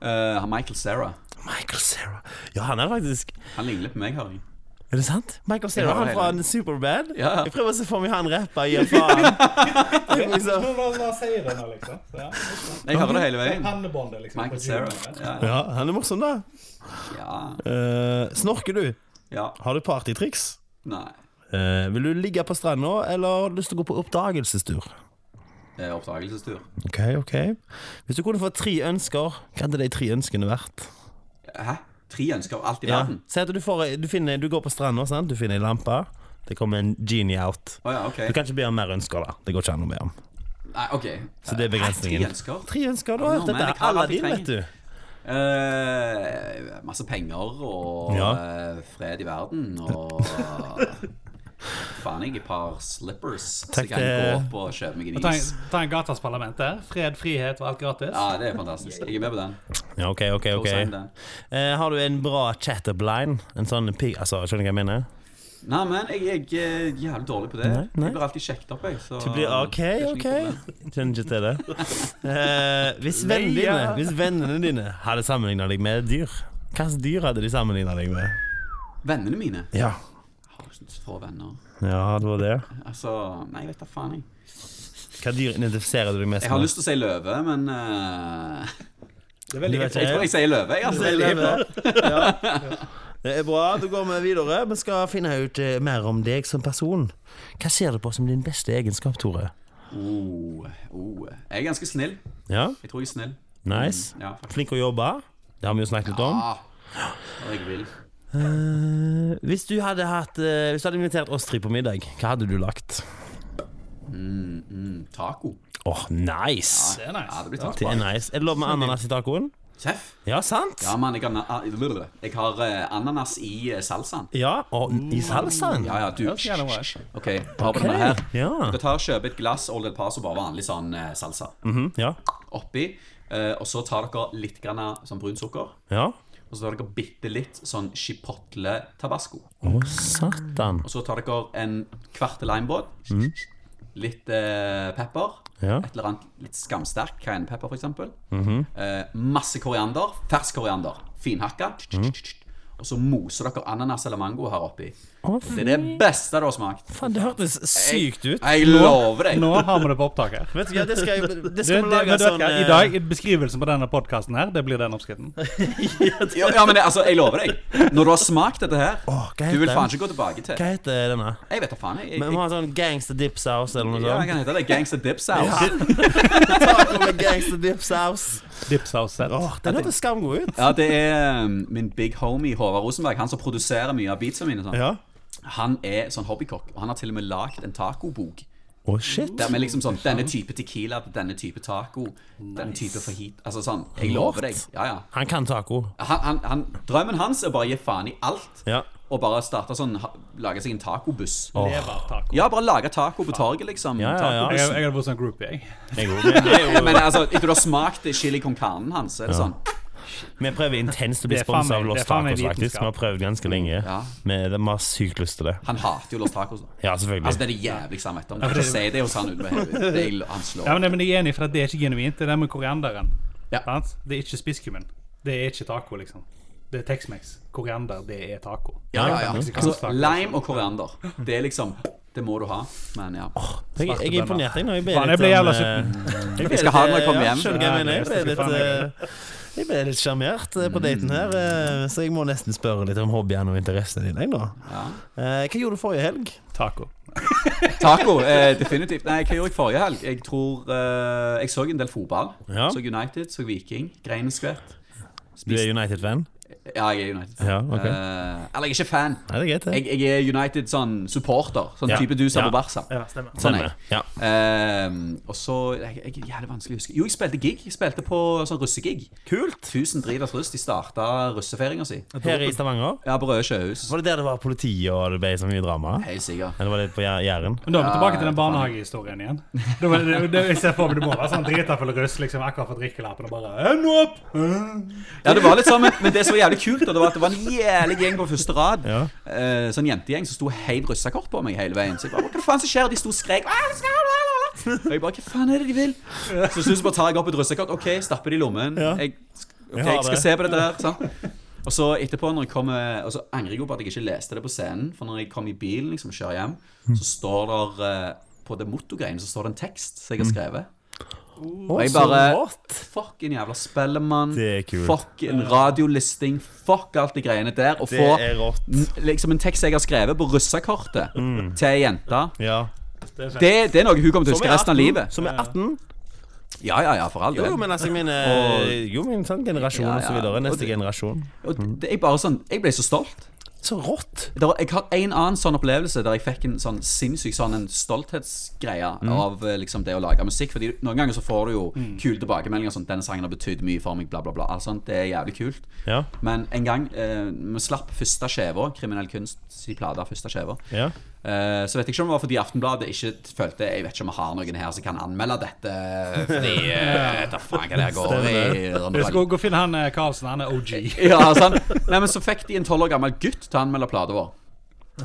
Speaker 2: Eh, Michael Sarah.
Speaker 3: Michael Cera. Ja, han er faktisk
Speaker 2: Han ligner litt på meg, hører jeg.
Speaker 3: Er det sant? Michael Cera,
Speaker 2: Ja,
Speaker 3: han
Speaker 2: det er
Speaker 3: fra
Speaker 2: det.
Speaker 3: en Superbad.
Speaker 2: Ja.
Speaker 3: Jeg prøver å se for meg han rapper i
Speaker 2: [LAUGHS]
Speaker 3: en faen. Det er liksom-
Speaker 2: Jeg hører det hele veien.
Speaker 1: liksom? Pannebåndet, liksom.
Speaker 2: Michael Sarah. Ja, ja.
Speaker 3: Ja, han er morsom, da.
Speaker 2: ja.
Speaker 3: Eh, snorker du?
Speaker 2: ja.
Speaker 3: Har du partytriks?
Speaker 2: Nei.
Speaker 3: Eh, vil du ligge på stranda, eller har du lyst til å gå på oppdagelsestur?
Speaker 2: Eh, Oppdagelsestur.
Speaker 3: Ok, ok Hvis du kunne få tre ønsker, hva hadde de tre ønskene vært?
Speaker 2: Hæ? Tre ønsker alt i
Speaker 3: Ja.
Speaker 2: verden?
Speaker 3: Si at du, får, du, finner, du går på stranda, sant? du finner ei lampe. Det kommer en genie out.
Speaker 2: Å ja,
Speaker 3: Du
Speaker 2: ok.
Speaker 3: kan ikke be om mer ønsker, da. Det går ikke an å be om.
Speaker 2: Nei, ok.
Speaker 3: Så det er begrensningen.
Speaker 2: Tre ønsker?
Speaker 3: Tre ønsker,
Speaker 2: Ja,
Speaker 3: da.
Speaker 2: men
Speaker 3: Dette
Speaker 2: jeg
Speaker 3: er
Speaker 2: har
Speaker 3: alle
Speaker 2: alt jeg
Speaker 3: dine, vet du.
Speaker 2: Eh, masse penger og
Speaker 3: Ja.
Speaker 2: eh, fred i verden og eh, Faen, jeg et par slippers, så
Speaker 3: Takk, eh.
Speaker 2: jeg kan gå
Speaker 3: det-
Speaker 2: opp og kjøpe meg en
Speaker 1: Ta
Speaker 2: is.
Speaker 1: en, ta en gatas parlament der. Fred, frihet og alt gratis.
Speaker 2: Ja, det er fantastisk. Jeg er med på den.
Speaker 3: Ja, ok, ok,
Speaker 2: Og
Speaker 3: ok
Speaker 2: sign den.
Speaker 3: eh, Har du en bra chatterblind? En sånn pig... Altså, skjønner du hva jeg mener?
Speaker 2: Nei, men jeg, jeg er jævlig dårlig på det.
Speaker 3: Nei, nei.
Speaker 2: Jeg blir alltid sjekket opp, jeg. Så
Speaker 3: Du blir OK,
Speaker 2: det er ikke
Speaker 3: OK.
Speaker 2: noe problem.
Speaker 3: Kjenner ikke til det. Eh, hvis, vennene
Speaker 1: Nei,
Speaker 3: dine,
Speaker 1: ja.
Speaker 3: hvis vennene dine hadde sammenligna deg med et dyr, hvilket dyr hadde de sammenligna deg med?
Speaker 2: Vennene mine
Speaker 3: Ja.
Speaker 2: Jeg har ikke så få venner.
Speaker 3: ja, det var det.
Speaker 2: Altså Nei, jeg vet da faen, jeg.
Speaker 3: Hva dyr identifiserer du deg mest
Speaker 2: Jeg har lyst til å si løve, men eh, [LAUGHS]
Speaker 1: Det er
Speaker 3: Du
Speaker 1: veldig
Speaker 3: vet
Speaker 2: Jeg tror jeg sier løve, jeg. Altså,
Speaker 3: Det er
Speaker 2: jeg
Speaker 3: bra. [LAUGHS] Ja. Det er bra. Da går vi videre. Vi skal finne ut eh, mer om deg som person. Hva ser du på som din beste egenskap, Tore?
Speaker 2: oh, oh. Jeg er ganske snill.
Speaker 3: Ja,
Speaker 2: Jeg tror jeg er snill.
Speaker 3: nice.
Speaker 2: Ja, faktisk.
Speaker 3: Flink å jobbe. Det har vi jo snakket litt om.
Speaker 2: Ah, og jeg vil.
Speaker 3: Eh, hvis, du hadde hatt, eh, hvis du hadde invitert oss tre på middag, hva hadde du lagt?
Speaker 2: Mm, mm, taco.
Speaker 3: Åh, nice!
Speaker 1: Det er
Speaker 2: Ja,
Speaker 1: nice.
Speaker 2: det blir
Speaker 3: Det
Speaker 2: taco.
Speaker 3: er nice. Er det lov med ananas i tacoen?
Speaker 2: Seff.
Speaker 3: Ja, sant?
Speaker 2: Ja, mann, jeg har, ah, blablabla. jeg har eh, ananas i eh, salsaen.
Speaker 3: Ja, og i salsaen?
Speaker 2: Ja, ja, du.
Speaker 1: That's kinda nice.
Speaker 2: OK, hør på denne her. [LAUGHS]
Speaker 3: Ja.
Speaker 2: Du tar kjøper et glass Old El Paso, bare vanlig sånn eh, salsa,
Speaker 3: Mhm, ja.
Speaker 2: oppi. eh, og så tar dere litt grann av sånn brun sukker,
Speaker 3: ja.
Speaker 2: og så tar dere bitte litt sånn chipotle tabasco.
Speaker 3: Å, satan.
Speaker 2: Og så tar dere en kvart limebåt, litt eh, pepper,
Speaker 3: Mhm. Ja. Mhm.
Speaker 2: et eller annet litt skamsterk, cayenne pepper for eksempel. eh, masse koriander, fersk koriander, finhakka. Og så moser dere ananas eller mango her oppi.
Speaker 3: Mhm. Å,
Speaker 2: Det er det beste du har smakt.
Speaker 3: faen, det hørtes sykt ut.
Speaker 2: Jeg lover deg.
Speaker 1: Nå har vi det på opptak her.
Speaker 3: Vet du, ja, det skal, jeg- det
Speaker 1: Du,
Speaker 3: skal
Speaker 1: det-
Speaker 3: vi
Speaker 1: men
Speaker 3: lage
Speaker 1: du vet
Speaker 3: sånn
Speaker 1: hva, I
Speaker 3: eh,
Speaker 1: dag, Beskrivelsen på denne podkasten her, det blir den oppskriften.
Speaker 2: [LAUGHS] Ja, ja, men det, altså, jeg lover deg. Når du har smakt dette her,
Speaker 3: Åh, hva heter
Speaker 2: du vil
Speaker 3: den?
Speaker 2: faen ikke gå tilbake til.
Speaker 3: Hva heter denne?
Speaker 2: Jeg vet da faen. Jeg, jeg,
Speaker 3: Men vi har en sånn gangster dip sauce eller noe
Speaker 2: ja, jeg
Speaker 3: sånt.
Speaker 2: kan hete det Gangster Dip Sauce.
Speaker 3: [LAUGHS] Taco med gangster dip sauce.
Speaker 1: Dipsaus sett.
Speaker 3: Åh, den hørtes skamgod ut.
Speaker 2: Ja, det er um, min big homie Håvard Rosenberg, han som produserer mye av beatsa mine. og Sånn.
Speaker 3: Ja.
Speaker 2: Han er sånn hobbykokk, og han har til og med lagd en tacobok.
Speaker 3: Å, shit.
Speaker 2: Der med liksom sånn denne type tequila, denne type taco, denne type fajit Altså sånn. Jeg lover deg. Ja, ja.
Speaker 3: Han kan taco.
Speaker 2: Han, han, han, drømmen hans er bare å gi faen i alt,
Speaker 3: Ja.
Speaker 2: og bare starte sånn ha- Lage seg en tacobuss.
Speaker 1: Levertaco.
Speaker 2: Ja, bare lage taco på torget, liksom.
Speaker 3: Ja, ja, ja.
Speaker 1: Jeg, jeg hadde vært sånn groupie, jeg.
Speaker 3: Jeg går med. Det
Speaker 2: [LAUGHS]
Speaker 3: er jo-
Speaker 2: Men altså, etter du har smakt chili con carnen hans, så er det sånn
Speaker 3: Vi prøver intenst å bli
Speaker 1: Det er faen
Speaker 3: sponsa av
Speaker 1: meg-
Speaker 3: Los
Speaker 1: det er faen meg
Speaker 3: Tacos, faktisk. Vi
Speaker 1: vitenskap.
Speaker 3: har prøvd ganske lenge.
Speaker 2: Ja.
Speaker 3: Men Vi har sykt lyst til det.
Speaker 2: Han hater jo Los Tacos. da.
Speaker 3: Ja, selvfølgelig.
Speaker 2: Altså, det er det jævligste han vet om. Ikke si det hos han uten å heve det. er- Han slår.
Speaker 1: Ja, men, men jeg er enig for at det er ikke genuint. Det er det med korianderen.
Speaker 2: Ja.
Speaker 1: Sant? Det er ikke spisskummen. Det er ikke taco, liksom. Det er Tex-Mex. Koriander, det er taco.
Speaker 2: Ja, ja, ja.
Speaker 1: Mexikansk
Speaker 2: Altså,
Speaker 1: taco.
Speaker 2: lime og koriander. Det er liksom Det må du ha. Men ja.
Speaker 3: Jeg, jeg er imponert jeg, nå. Jeg ble
Speaker 1: Faen, jeg ble jævla sulten.
Speaker 3: Jeg
Speaker 2: skal ha den når jeg kommer hjem.
Speaker 3: Skjønner du hva jeg mener? Jeg
Speaker 1: Ja,
Speaker 3: ble
Speaker 1: jeg skal faen meg
Speaker 3: litt, eh, jeg ble litt sjarmert eh, på daten her, eh, så jeg må nesten spørre litt om hobbyene og interessene dine. jeg, nå.
Speaker 2: ja.
Speaker 3: Eh, Hva gjorde du forrige helg?
Speaker 1: Taco.
Speaker 2: Taco, eh, definitivt. Nei, hva gjorde jeg forrige helg? Jeg tror eh, Jeg så en del fotball.
Speaker 3: Ja.
Speaker 2: Så United, så Viking. Grein og skvett.
Speaker 3: Du er United-fan?
Speaker 2: Ja, jeg er United.
Speaker 3: Ja, ok.
Speaker 2: Eh, eller jeg er ikke fan.
Speaker 3: Nei, det er greit, det.
Speaker 2: Jeg, jeg er United sånn supporter. Sånn
Speaker 3: Ja.
Speaker 2: type du ser
Speaker 3: Ja.
Speaker 2: på Barca.
Speaker 4: Ja, stemmer.
Speaker 2: Sånn er jeg.
Speaker 3: Ja.
Speaker 2: Ehm, og så jeg, jeg, Jævlig vanskelig å huske. Jo, jeg spilte gig. Jeg spilte på sånn russegig. Kult Tusen driters russ. De starta russefeiringa si.
Speaker 3: Her i Stavanger?
Speaker 2: Ja, på Røde Sjøhus.
Speaker 3: Var det der det var politi og det ble så mye drama?
Speaker 2: Helt sikker.
Speaker 3: Eller var det på Jæ- Jæren?
Speaker 1: Men da er vi tilbake til den barnehagehistorien igjen. Det, var- det, det, jeg ser for meg det må være sånn dritafull russ liksom, akkurat fått drikkelappen og bare «Eh, nå opp!
Speaker 2: Ja, det var litt sånn, men, men det som var jævlig kult, da, det var at det var en jævlig gjeng på første rad.
Speaker 3: Ja.
Speaker 2: Eh, sånn jentegjeng som sto og heiv russakort på meg hele veien. Så jeg bare, hva faen som skjer? De sto og skrek. «Hva skal du ha, la, la, la?» Og jeg bare, hva faen er det de vil? Så til slutt bare tar jeg opp et russekort. Ok, stapper det i lommen.
Speaker 3: Ja.
Speaker 2: Jeg, ok,
Speaker 3: Jeg har
Speaker 2: jeg
Speaker 3: det.
Speaker 2: skal se på dette her. sant? Og så etterpå, når jeg kommer, og så angrer jeg jo på at jeg ikke leste det på scenen. For når jeg kom i bilen liksom, og kjører hjem, så står der eh, på det motogreiene så står det en tekst som
Speaker 3: Mm.
Speaker 2: jeg har skrevet.
Speaker 3: Å,
Speaker 2: jeg
Speaker 3: så
Speaker 2: bare-
Speaker 3: rått!
Speaker 2: Fuck en jævla spellemann.
Speaker 3: Det er kult.
Speaker 2: Fuck en radiolisting. Fuck alt de greiene der. Og
Speaker 3: Det
Speaker 2: få
Speaker 3: er rått.
Speaker 2: n- liksom en tekst jeg har skrevet på russekortet til ei jente.
Speaker 3: Ja.
Speaker 2: Det, det er noe hun kommer til å
Speaker 3: Mm. Som
Speaker 2: huske
Speaker 3: er
Speaker 2: resten av
Speaker 3: 18,
Speaker 2: livet.
Speaker 3: Som er 18?
Speaker 2: Ja, ja, ja, for all
Speaker 3: Jo,
Speaker 2: del.
Speaker 3: jo, men altså,
Speaker 2: [LAUGHS]
Speaker 3: jeg mener Jo, men sånn generasjon
Speaker 2: Ja, ja.
Speaker 3: og så videre.
Speaker 2: Og
Speaker 3: Neste
Speaker 2: det-
Speaker 3: generasjon.
Speaker 2: Og det er bare sånn, Jeg ble så stolt.
Speaker 3: Så rått!
Speaker 2: Det var, jeg har en annen sånn opplevelse der jeg fikk en sånn sinnssyk sånn en stolthetsgreie
Speaker 3: Mm.
Speaker 2: av eh, liksom det å lage musikk. Fordi noen ganger så får du jo kule tilbakemeldinger sånn 'Denne sangen har betydd mye for meg', bla, bla, bla. Alt sånt, det er jævlig kult.
Speaker 3: Ja.
Speaker 2: Men en gang eh, vi slapp første skiva, 'Kriminell kunst' si plate, første skiva.
Speaker 3: Ja.
Speaker 2: Eh, så vet jeg ikke om det var fordi Aftenbladet ikke følte Jeg vet ikke om vi har noen her som kan anmelde dette. Fordi eh, da faen hva det her går i. rundt
Speaker 1: Du
Speaker 2: og-
Speaker 1: skal gå og finne han eh, Karlsen. Han er OG.
Speaker 2: ja, sant. Nei, men så fikk de en tolv år gammel gutt til å anmelde plata vår.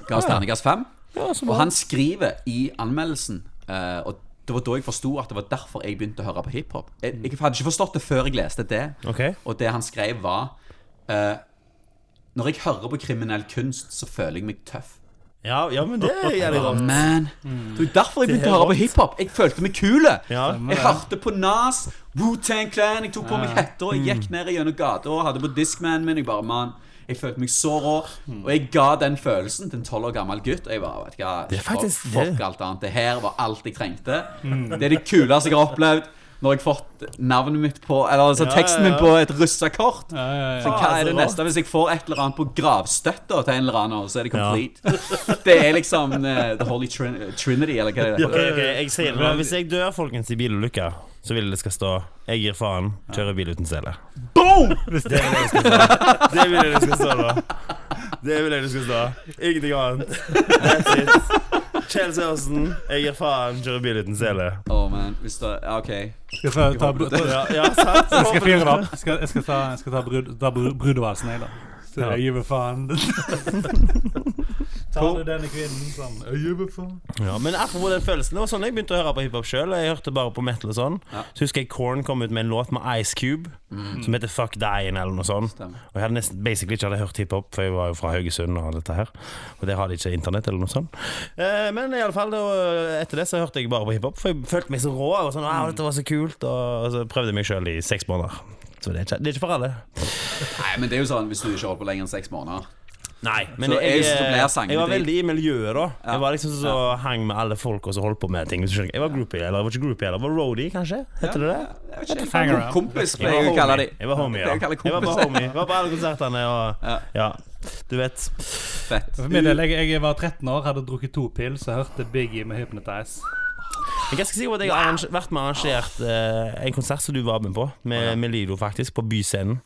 Speaker 2: Ga oss terningkast fem. Og han skriver i anmeldelsen eh, Og det var da jeg forsto at det var derfor jeg begynte å høre på hiphop. Jeg, jeg hadde ikke forstått det før jeg leste det.
Speaker 3: Ok.
Speaker 2: Og det han skrev, var eh, Når jeg hører på kriminell kunst, så føler jeg meg tøff.
Speaker 3: Ja, ja men det er jævlig
Speaker 2: Oh,
Speaker 3: rått.
Speaker 2: man. Det var derfor jeg begynte
Speaker 3: er
Speaker 2: å høre på hiphop. Jeg følte meg kule.
Speaker 3: Ja. Stemmer
Speaker 2: Jeg hørte på Nas, Wu-Tang Clan, jeg tok på meg hetta, jeg
Speaker 3: Mm.
Speaker 2: gikk ned gjennom gata og hadde på Discmanen min. Jeg bare, man, jeg følte meg så rå. Og jeg ga den følelsen til en tolv år gammel gutt. Og jeg bare, vet du hva,
Speaker 3: Det er faktisk
Speaker 2: fuck,
Speaker 3: det. Mm.
Speaker 2: fuck alt annet. Det her var alt jeg trengte. Det er det kuleste jeg har opplevd. Når jeg har fått navnet mitt på Eller altså
Speaker 3: Ja,
Speaker 2: teksten
Speaker 3: ja,
Speaker 2: min
Speaker 3: ja.
Speaker 2: på et russekort.
Speaker 1: Ja, ja, ja.
Speaker 2: Så hva
Speaker 3: Ah, så
Speaker 2: er det
Speaker 3: rart.
Speaker 2: neste? Hvis jeg får et eller annet på gravstøtta til en eller annen, så er det complete. det er liksom eh, The Holy Trin Trinity, eller hva det
Speaker 3: Ok,
Speaker 2: heter.
Speaker 3: ok, jeg sier det nå. Hvis jeg dør, folkens, i bilulykke, så vil det skal stå 'Jeg gir faen. Kjører bil uten sele'.
Speaker 1: Boom!
Speaker 3: Det vil jeg det skal stå. Det vil jeg det skal stå da. Det vil jeg det skal stå. Ingenting annet. That's it. Kjell Sørensen, jeg gir faen. Durabilityen sele.
Speaker 2: Åh, men hvis det ja, OK.
Speaker 1: Skal jeg ta, ta, br- ta,
Speaker 3: Ja, ja, sant?
Speaker 1: jeg skal fyre det opp. Jeg skal, jeg skal ta, jeg skal ta, brud, ta brud, brudevalsen, jeg, da. Så
Speaker 3: Ja.
Speaker 1: jeg gir meg faen. [LAUGHS] Tar du denne kvinnen som Jeg gir meg faen.
Speaker 3: Ja, men apropos den følelsen, det var sånn jeg begynte å høre på hiphop sjøl. Jeg hørte bare på metal og sånn.
Speaker 2: Ja. Mm.
Speaker 3: Så husker jeg Korn kom ut med en låt med Ice Cube som heter Fuck Dyen eller noe sånt.
Speaker 2: Stemmer.
Speaker 3: Og jeg hadde nesten basically ikke hadde hørt hiphop, for jeg var jo fra Haugesund og dette her. Og der har de ikke internett eller noe sånt. Eh, men i alle fall, det var- etter det så hørte jeg bare på hiphop, for jeg følte meg så rå. Og sånn, wow, dette var så kult Og, og så prøvde jeg meg sjøl i seks måneder. Så det er ikke, det er ikke for alle.
Speaker 2: Nei, men det er jo sånn hvis du ikke holder på lenger enn seks måneder.
Speaker 3: Nei, men
Speaker 2: Så
Speaker 3: jeg, jeg,
Speaker 2: jeg synes det blir sangene
Speaker 3: var
Speaker 2: til-
Speaker 3: veldig i miljøet, da.
Speaker 2: Ja.
Speaker 3: Jeg var liksom så hang med alle folk og så holdt på med ting. Hvis du skjønner. Jeg var groupie, eller jeg var ikke groupie, eller jeg var roadie, kanskje? Heter det det?
Speaker 2: Jeg vet ikke,
Speaker 1: Hang around.
Speaker 2: Kompis
Speaker 3: Jeg
Speaker 2: pleier jeg å
Speaker 3: var
Speaker 2: kalle
Speaker 3: homie.
Speaker 2: de.
Speaker 3: Jeg var homie, ja.
Speaker 2: Det kaller
Speaker 3: Jeg var bare
Speaker 2: kompiser.
Speaker 3: homie. Jeg var på alle konsertene og
Speaker 2: Ja.
Speaker 3: Ja, du vet.
Speaker 2: Fett.
Speaker 1: For min del, jeg, jeg var 13 år, hadde drukket to pils og hørte Biggie med Hypnotize.
Speaker 3: Jeg er ganske sikker på at jeg har arranger- vært med og arrangert eh, en konsert som du var med på, med, med Lido, faktisk, på Byscenen.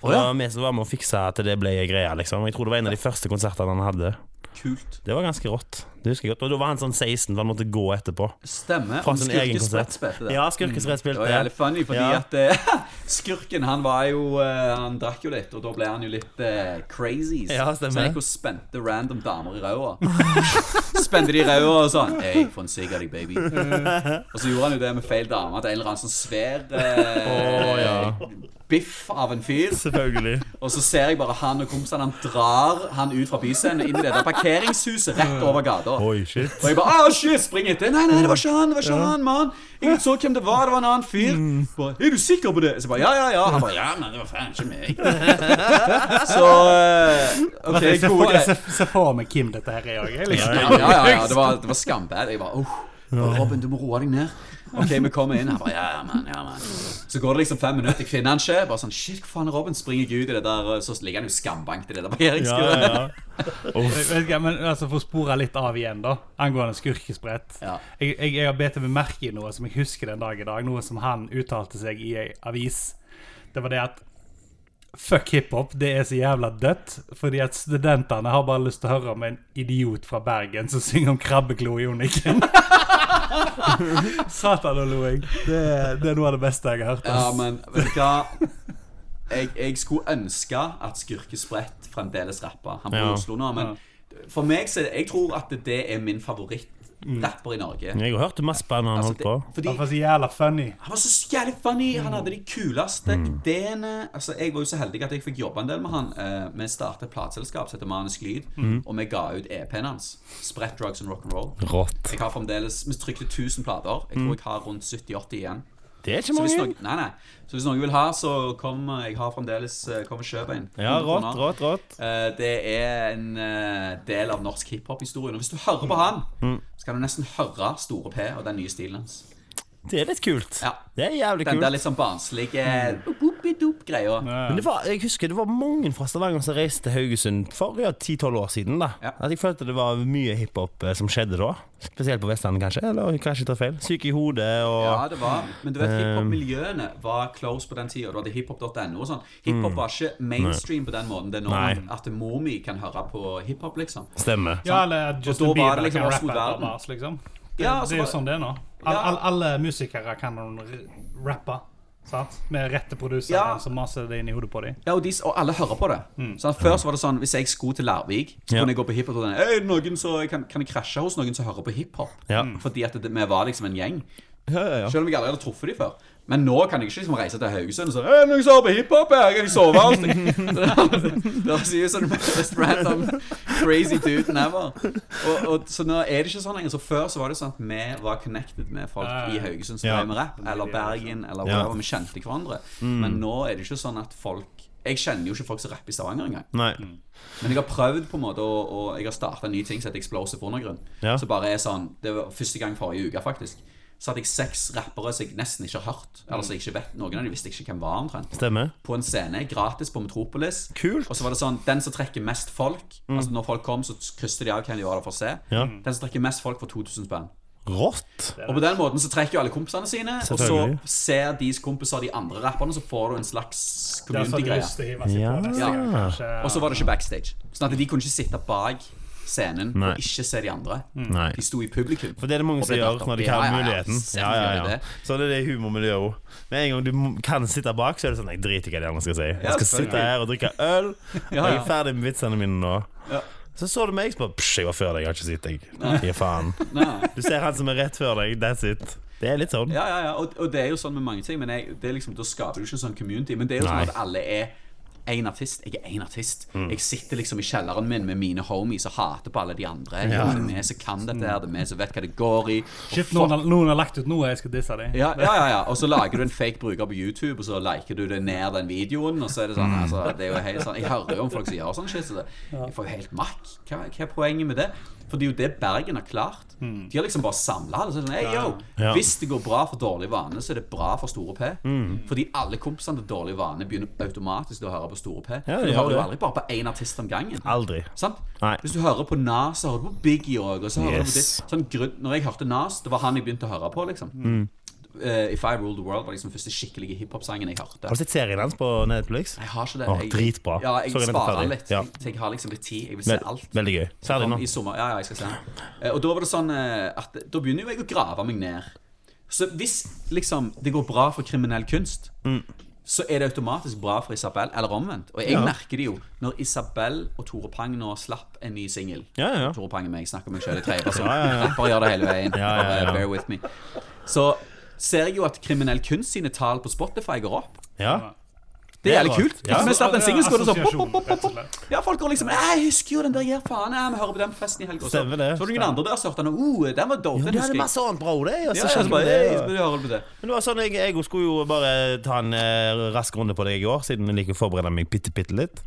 Speaker 3: For
Speaker 2: Å, ja.
Speaker 3: Det var vi som var med og fiksa at det ble greia, liksom. Jeg tror det var en av de første konsertene han hadde.
Speaker 2: Kult.
Speaker 3: Det var ganske rått. Det husker jeg godt. Og da var han sånn 16, for han måtte gå etterpå.
Speaker 2: Stemmer.
Speaker 3: Fra
Speaker 2: Om
Speaker 3: sin
Speaker 2: skurkesprett
Speaker 3: egen konsert.
Speaker 2: spilte det. Mm.
Speaker 3: Ja, Skurkesrett
Speaker 2: Det var
Speaker 3: spilte.
Speaker 2: jævlig funny, fordi
Speaker 3: Ja.
Speaker 2: at eh, [LAUGHS] skurken han var jo eh, Han drakk jo litt, og da ble han jo litt eh, crazy.
Speaker 3: Ja,
Speaker 2: så
Speaker 3: stemmer.
Speaker 2: han gikk og spente random damer i ræva. [LAUGHS] spente de i ræva og sånn. Hey, få en sigg av deg, baby. og så gjorde han jo det med feil dame til en eller annen sånn svær eh,
Speaker 3: Å, ja.
Speaker 2: biff av en fyr.
Speaker 3: Selvfølgelig.
Speaker 2: Og så ser jeg bare han og kompisene Han drar han ut fra byscenen og inn i det der parkeringshuset rett over gata.
Speaker 3: Oi, shit.
Speaker 2: Og jeg bare ah, shit, spring etter. Nei, nei, det var ikke han. det var ikke han, mann Jeg så hvem det var. Det var en annen fyr.
Speaker 3: Mm.
Speaker 2: Bare, er du sikker på det? Så jeg bare, ja, ja, ja. Han bare, ja, men det var faen ikke meg. så eh, OK,
Speaker 1: jeg ser
Speaker 2: gode
Speaker 1: for- jeg
Speaker 2: greier.
Speaker 1: ser ser for meg hvem dette her er òg. Liksom.
Speaker 2: Ja, ja, ja, ja, det var, det var skambad. Jeg bare, oh. Robin, du må roe deg ned. OK, vi kommer inn. Han bare, ja, ja, mann, ja, mann. Så går det liksom fem minutter, jeg finner han ikke. Bare sånn, shit, hva faen er Robin? Springer jeg ut i det der, og så ligger han jo skambankt i det der
Speaker 3: Ja,
Speaker 2: parkeringsskuret.
Speaker 3: ja, ja.
Speaker 1: Jeg vet ikke, men altså, For å spore litt av igjen, da, angående skurkesprett
Speaker 2: Ja.
Speaker 1: jeg, jeg, jeg har bet meg merke i noe som jeg husker den dag i dag, noe som han uttalte seg i ei avis. Det var det at Fuck hiphop, det er så jævla dødt. Fordi at studentene har bare lyst til å høre om en idiot fra Bergen som synger om krabbeklo i
Speaker 2: [LAUGHS]
Speaker 1: Joniken. Satan, nå lo jeg. Det, det er noe av det beste jeg har hørt.
Speaker 2: Ja,
Speaker 1: ass.
Speaker 2: men vet du hva? Jeg, jeg skulle ønske at Skurkesprett fremdeles rappa. Han bor i
Speaker 3: Ja.
Speaker 2: Oslo nå, men for meg så er det- Jeg tror at det er min favorittrapper i Norge.
Speaker 3: Jeg har hørt masse på han han
Speaker 2: Altså,
Speaker 3: holdt på.
Speaker 2: det, fordi
Speaker 1: Det var så jævla funny.
Speaker 2: han var så jævlig funny. Han hadde de kuleste ideene. Altså, Jeg var jo så heldig at jeg fikk jobbe en del med han. Eh, Vi startet et plateselskap som heter Manisk Lyd, og vi ga ut EP-en hans. Spredt drugs and rock'n'roll.
Speaker 3: Rått.
Speaker 2: Jeg har fremdeles Vi trykte 1000 plater. Jeg tror jeg har rundt 70-80 igjen.
Speaker 3: Det er ikke
Speaker 2: Så hvis,
Speaker 3: mange.
Speaker 2: noen, nei, nei. så hvis noen vil ha, så kom eh, Jeg har fremdeles eh, Kom og kjøp en.
Speaker 3: Ja,
Speaker 2: 100
Speaker 3: rått,
Speaker 2: kroner.
Speaker 3: rått, rått.
Speaker 2: Eh, Det er en eh, del av norsk hiphop-historien. Og hvis du hører på han,
Speaker 3: Mm.
Speaker 2: så kan du nesten høre Store P og den nye stilen hans.
Speaker 3: Det er litt kult.
Speaker 2: Ja.
Speaker 3: Det er
Speaker 2: Den
Speaker 3: jævlig
Speaker 2: der
Speaker 3: kult. Mm.
Speaker 2: litt sånn barnslige eh, boop-boop-greia.
Speaker 3: Men det var, jeg husker det var mange fra Stavanger som reiste til Haugesund for ja, 10-12 år siden. da
Speaker 2: Ja.
Speaker 3: At Jeg følte det var mye hiphop eh, som skjedde da. Spesielt på Vestlandet, kanskje. Eller kanskje jeg tar feil. Syk i hodet og
Speaker 2: Ja, det var Men
Speaker 3: Eh,
Speaker 2: du vet, hiphop-miljøene var close på den tida. Du hadde hiphop.no og sånn. Hiphop var ikke mainstream på den måten det er nå.
Speaker 3: Mm. Nei.
Speaker 2: At mor mi kan høre på hiphop, liksom.
Speaker 3: Stemme.
Speaker 1: Ja, eller at
Speaker 2: da
Speaker 1: Justin
Speaker 2: var
Speaker 1: Bieber
Speaker 2: det liksom
Speaker 1: kan
Speaker 2: Åsmund
Speaker 1: rappe etter
Speaker 2: Verden.
Speaker 1: Mars, liksom. Det,
Speaker 2: Ja,
Speaker 1: det
Speaker 2: altså
Speaker 1: er jo
Speaker 2: bare-
Speaker 1: sånn det er nå. All,
Speaker 2: Ja.
Speaker 1: all, alle musikere kan noen r- rappe, sant? Med rette produseren
Speaker 2: Ja.
Speaker 1: som maser det inn i hodet på dem.
Speaker 2: Ja, og, de, og alle hører på det. Sånn, før så var det sånn, Hvis jeg skulle til Larvik, så
Speaker 3: Mm. Ja.
Speaker 2: kunne jeg gå på hiphop og sånn, «Øy, noen så, kan, kan jeg krasje hos noen som hører på hiphop.
Speaker 3: Ja.
Speaker 2: Fordi at det, vi var liksom en gjeng.
Speaker 3: Ja, ja, ja.
Speaker 2: Selv om jeg aldri hadde truffet dem før. Men nå kan jeg ikke liksom reise til Haugesund og så, «Øy, noen som hører på hiphop her, kan jeg sove
Speaker 3: [LAUGHS]
Speaker 2: hos deg?» Så Det det høres jo ut som den mest random crazy dude ever. Og, og, så nå er det ikke sånn lenger. Så Før så var det sånn at vi var connected med folk
Speaker 1: Ja, ja.
Speaker 2: i Haugesund som
Speaker 3: Ja.
Speaker 2: drev med rap, eller Bergen, eller
Speaker 3: Ja. Mm.
Speaker 2: whatever. Vi kjente hverandre. Men nå er det ikke sånn at folk Jeg kjenner jo ikke folk som rapper i Stavanger engang.
Speaker 3: Nei.
Speaker 2: Men jeg har prøvd på en måte å, og jeg har starta en ny ting som heter Explosive Undergrunn.
Speaker 3: Ja.
Speaker 2: Så bare er sånn Det var første gang forrige uke, faktisk. Så hadde jeg seks rappere som jeg nesten ikke har hørt. Eller som jeg ikke vet Noen av dem visste jeg ikke hvem var, omtrent.
Speaker 3: Stemmer.
Speaker 2: På en scene, gratis på Metropolis.
Speaker 3: Kult. Mm.
Speaker 2: Og så var det sånn Den som trekker mest folk Altså Når folk kom, så krysset de av hvem de var der for å se.
Speaker 3: Ja.
Speaker 1: Mm.
Speaker 2: Den som trekker mest folk, får 2000 spenn.
Speaker 3: Rått.
Speaker 2: Og på den måten så trekker jo alle kompisene sine, og så
Speaker 3: Selvfølgelig.
Speaker 2: ser de kompiser de andre rapperne, så får du en slags
Speaker 1: Det er sånn
Speaker 2: community-greie.
Speaker 1: lyst til å hive seg
Speaker 3: Ja.
Speaker 1: på neste gang, kanskje.
Speaker 2: Og så var det ikke backstage. Sånn at de kunne ikke sitte bak scenen
Speaker 3: Nei.
Speaker 2: og ikke se de andre.
Speaker 3: Nei.
Speaker 2: De sto i publikum.
Speaker 3: For det er det mange
Speaker 2: Og
Speaker 3: som
Speaker 2: ble
Speaker 3: gjør
Speaker 2: dratt opp.
Speaker 3: når de
Speaker 2: Ja, ja,
Speaker 3: kan
Speaker 2: ja,
Speaker 3: muligheten. Ja,
Speaker 2: selvfølgelig
Speaker 3: ja,
Speaker 2: gjør de
Speaker 3: ja.
Speaker 2: det.
Speaker 3: Så det er det i humormiljøet òg. Med en gang du må- kan sitte bak, så er det sånn Jeg driter i hva de andre skal si. Jeg skal
Speaker 2: selvfølgelig.
Speaker 3: sitte her og drikke øl.
Speaker 2: [LAUGHS] Ja,
Speaker 3: Jeg
Speaker 2: ja.
Speaker 3: er ferdig med vitsene mine nå.
Speaker 2: Ja.
Speaker 3: Så så du meg, så bare Psj, jeg var før deg, jeg har ikke sett deg. Gi faen.
Speaker 2: [LAUGHS] Nei.
Speaker 3: Du ser han som er rett før deg. That's it. Det er litt sånn.
Speaker 2: Ja, ja, ja. Og, og det er jo sånn med mange ting, men jeg, det er liksom, da skaper du ikke en sånn community. Men det er jo
Speaker 3: Nei. Mm.
Speaker 2: sånn at alle er én artist. Jeg er én artist. Jeg sitter liksom i kjelleren min med mine homies og hater på alle de andre. Jeg er med som kan dette her, det er med som vet hva det går i. Og
Speaker 1: Shit,
Speaker 2: fuck
Speaker 1: noen, har- noen har lagt ut noe, jeg skal disse dem.
Speaker 2: Ja, ja, ja, ja. Og så lager du en fake bruker på YouTube, og så liker du det ned den videoen. Og så er det
Speaker 3: Mm.
Speaker 2: sånn, altså, det er jo helt sånn Jeg hører jo om folk som gjør sånn shit. Så det, jeg får jo helt makk. Hva, hva er poenget med det? For det er jo det Bergen har klart. De har liksom bare samla det. Så er det sånn, hey, yo,
Speaker 3: Mm. Ja.
Speaker 2: Hvis det går bra for dårlig vane, så er det bra for Store P.
Speaker 3: Mm.
Speaker 2: Fordi alle kompisene til dårlig vane begynner automatisk å høre på Store P.
Speaker 3: Ja,
Speaker 2: For
Speaker 3: de
Speaker 2: du
Speaker 3: gjør
Speaker 2: hører jo
Speaker 3: det.
Speaker 2: aldri bare på én artist om gangen.
Speaker 3: Aldri.
Speaker 2: Sant?
Speaker 3: Nei.
Speaker 2: Hvis du hører på Nas, så hører du på Biggie òg. Og så hører du på
Speaker 3: Yes.
Speaker 2: det. Sånn, grunn- når jeg hørte Nas, det var han jeg begynte å høre på. liksom
Speaker 3: Mm.
Speaker 2: Eh, If I Rule The World var liksom første skikkelige hiphop-sangen jeg hørte.
Speaker 3: Har du sett serien hans på Netflix?
Speaker 2: Jeg har ikke det.
Speaker 3: Åh,
Speaker 2: Jeg-
Speaker 3: dritbra.
Speaker 2: Ja, jeg
Speaker 3: Sorry, vent,
Speaker 2: sparer
Speaker 3: ferdig.
Speaker 2: litt.
Speaker 3: Ja.
Speaker 2: Jeg, jeg har liksom litt tid. Jeg vil se
Speaker 3: Vel-
Speaker 2: alt.
Speaker 3: Veldig gøy.
Speaker 2: Som
Speaker 3: Ferdig
Speaker 2: kom
Speaker 3: nå.
Speaker 2: I sommer. Ja, ja, jeg skal se den. Eh, Og da var det sånn eh, at Da begynner jo jeg å grave meg ned. Så hvis liksom det går bra for kriminell kunst,
Speaker 3: Mm.
Speaker 2: så er det automatisk bra for Isabel, eller omvendt. Og jeg merker det jo når Isabel og Tore Pang nå slapp en ny singel.
Speaker 3: Ja, ja, ja.
Speaker 2: Tore Pang er meg, jeg snakker om meg sjøl i tredje person.
Speaker 3: Ja, ja, ja.
Speaker 2: Rapper gjør det hele veien.
Speaker 3: Ja, ja, ja.
Speaker 2: Bare bear with me. Så ser jeg jo at kriminell kunst sine tall på Spotify går opp.
Speaker 3: Ja.
Speaker 2: Det er jævlig
Speaker 3: bra.
Speaker 2: kult.
Speaker 3: Ja.
Speaker 2: Hvis vi slapp en singel, så går det sånn
Speaker 1: Assosiasjon,
Speaker 2: pop, pop, pop,
Speaker 1: rett og
Speaker 2: pop.
Speaker 1: slett.
Speaker 2: Ja, folk går liksom «Nei, Jeg husker jo den der ja, faen, jeg, vi hører på den festen i helga. Så
Speaker 3: Stemmer det.
Speaker 2: så var det noen andre der som hørte den, og oh, den var dope. den
Speaker 3: Men Du hadde
Speaker 2: husker jeg.
Speaker 3: masse annet bra ord, det. og så
Speaker 2: Ja, ja,
Speaker 3: skjønte
Speaker 2: så
Speaker 3: du
Speaker 2: bare,
Speaker 3: det,
Speaker 2: «Hey,
Speaker 3: og-
Speaker 2: så burde du høre på det.
Speaker 3: Men det var sånn, jeg, jeg skulle jo bare ta en eh, rask runde på deg i går, siden jeg liker å forberede meg bitte, bitte litt.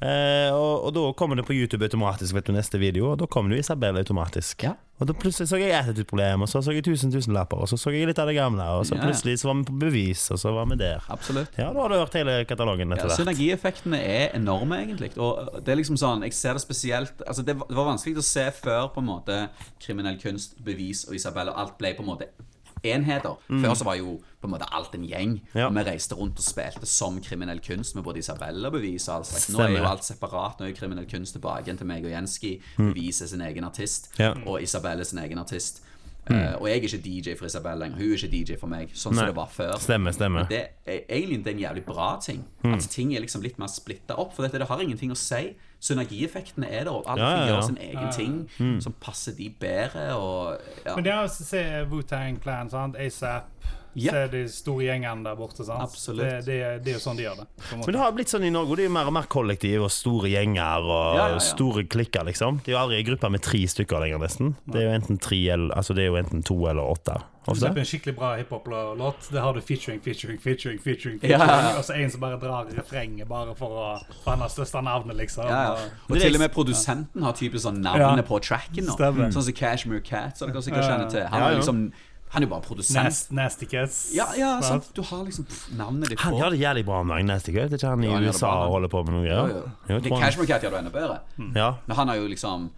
Speaker 3: Eh, og, og da kommer det på YouTube automatisk, vet du, neste video, og da kommer det jo Isabel automatisk.
Speaker 2: Ja.
Speaker 3: Og da plutselig så jeg attitude-problem, og så så jeg tusen tusenlapper, og så så jeg litt av det gamle, og så
Speaker 2: Ja, ja.
Speaker 3: plutselig så var vi på bevis, og så var vi der.
Speaker 2: Absolutt.
Speaker 3: Ja, da har du hørt hele katalogen
Speaker 2: Ja,
Speaker 3: etter hvert.
Speaker 2: Synergieffektene er enorme, egentlig. Og det er liksom sånn, jeg ser det spesielt altså Det var- det var vanskelig å se før på en måte kriminell kunst, bevis og Isabel, og alt ble på en måte enheter. Før så var jo på en måte alt en gjeng.
Speaker 3: Mm. Ja.
Speaker 2: Og vi reiste rundt og spilte som kriminell kunst med både Isabel og bevis. og alt slags. Nå er jo
Speaker 3: Stemmer.
Speaker 2: alt separat. Nå er jo kriminell kunst tilbake igjen til meg og Jenski. Bevis er sin egen artist,
Speaker 3: Mm. Ja. Mm.
Speaker 2: og Isabel er sin egen artist. Eh, og jeg er ikke DJ for Isabel lenger. Hun er ikke DJ for meg, sånn som
Speaker 3: Nei.
Speaker 2: det var før.
Speaker 3: Stemmer, stemmer.
Speaker 2: Og det er egentlig det er en jævlig bra ting.
Speaker 3: Mm.
Speaker 2: At ting er liksom litt mer splitta opp. For dette, det har ingenting å si. Synergieffektene er der, og alle
Speaker 3: Ja, Mm. ja, ja.
Speaker 2: gjør sin egen ting som passer de bedre. Og, ja.
Speaker 1: Men det er å se Wu-Tang Clan, sant? ASAP,
Speaker 2: Yep.
Speaker 1: se de store gjengene der borte, sant?
Speaker 2: Absolutt.
Speaker 1: Det, det, er- det er jo sånn de gjør det. på en måte.
Speaker 3: Men det har blitt sånn i Norge, det er jo mer og mer kollektiv og store gjenger og
Speaker 2: Ja, ja, ja.
Speaker 3: store klikker, liksom. Det er jo aldri en gruppe med tre stykker lenger, nesten. Det er jo enten, tre, eller, altså, det er jo enten to eller åtte.
Speaker 1: For
Speaker 3: Ofte.
Speaker 1: eksempel en skikkelig bra hiphop-låt. Det har du featuring, featuring, featuring. featuring, featuring.
Speaker 2: Ja, ja, ja.
Speaker 1: Og så en som bare drar refrenget bare for å For han har største navnet, liksom.
Speaker 2: ja, ja.
Speaker 1: Og-
Speaker 2: Og til og med produsenten har typisk sånn
Speaker 1: Ja.
Speaker 2: navnet på tracken nå.
Speaker 1: Stemmer.
Speaker 2: Sånn som Cashmere Cat, som dere sikkert
Speaker 1: Ja, ja.
Speaker 2: kjenner til. Han
Speaker 3: Ja,
Speaker 2: er
Speaker 3: ja.
Speaker 2: liksom Han er jo bare produsent.
Speaker 1: Nas- Nasty Kids.
Speaker 2: Ja, ja,
Speaker 1: sant?
Speaker 2: sant. Du har liksom pff, navnet ditt
Speaker 3: Han
Speaker 2: på.
Speaker 3: gjør det jævlig bra om dagen neste kveld. Er ikke han i
Speaker 2: Ja, han gjør det
Speaker 3: USA
Speaker 2: bra, han.
Speaker 3: og holder på med noe greier?
Speaker 2: Jo,
Speaker 3: Jo,
Speaker 2: jo.
Speaker 3: tror han.
Speaker 2: Cashmere Cat gjør det enda bedre.
Speaker 1: Mm.
Speaker 3: Ja.
Speaker 2: Men han har jo liksom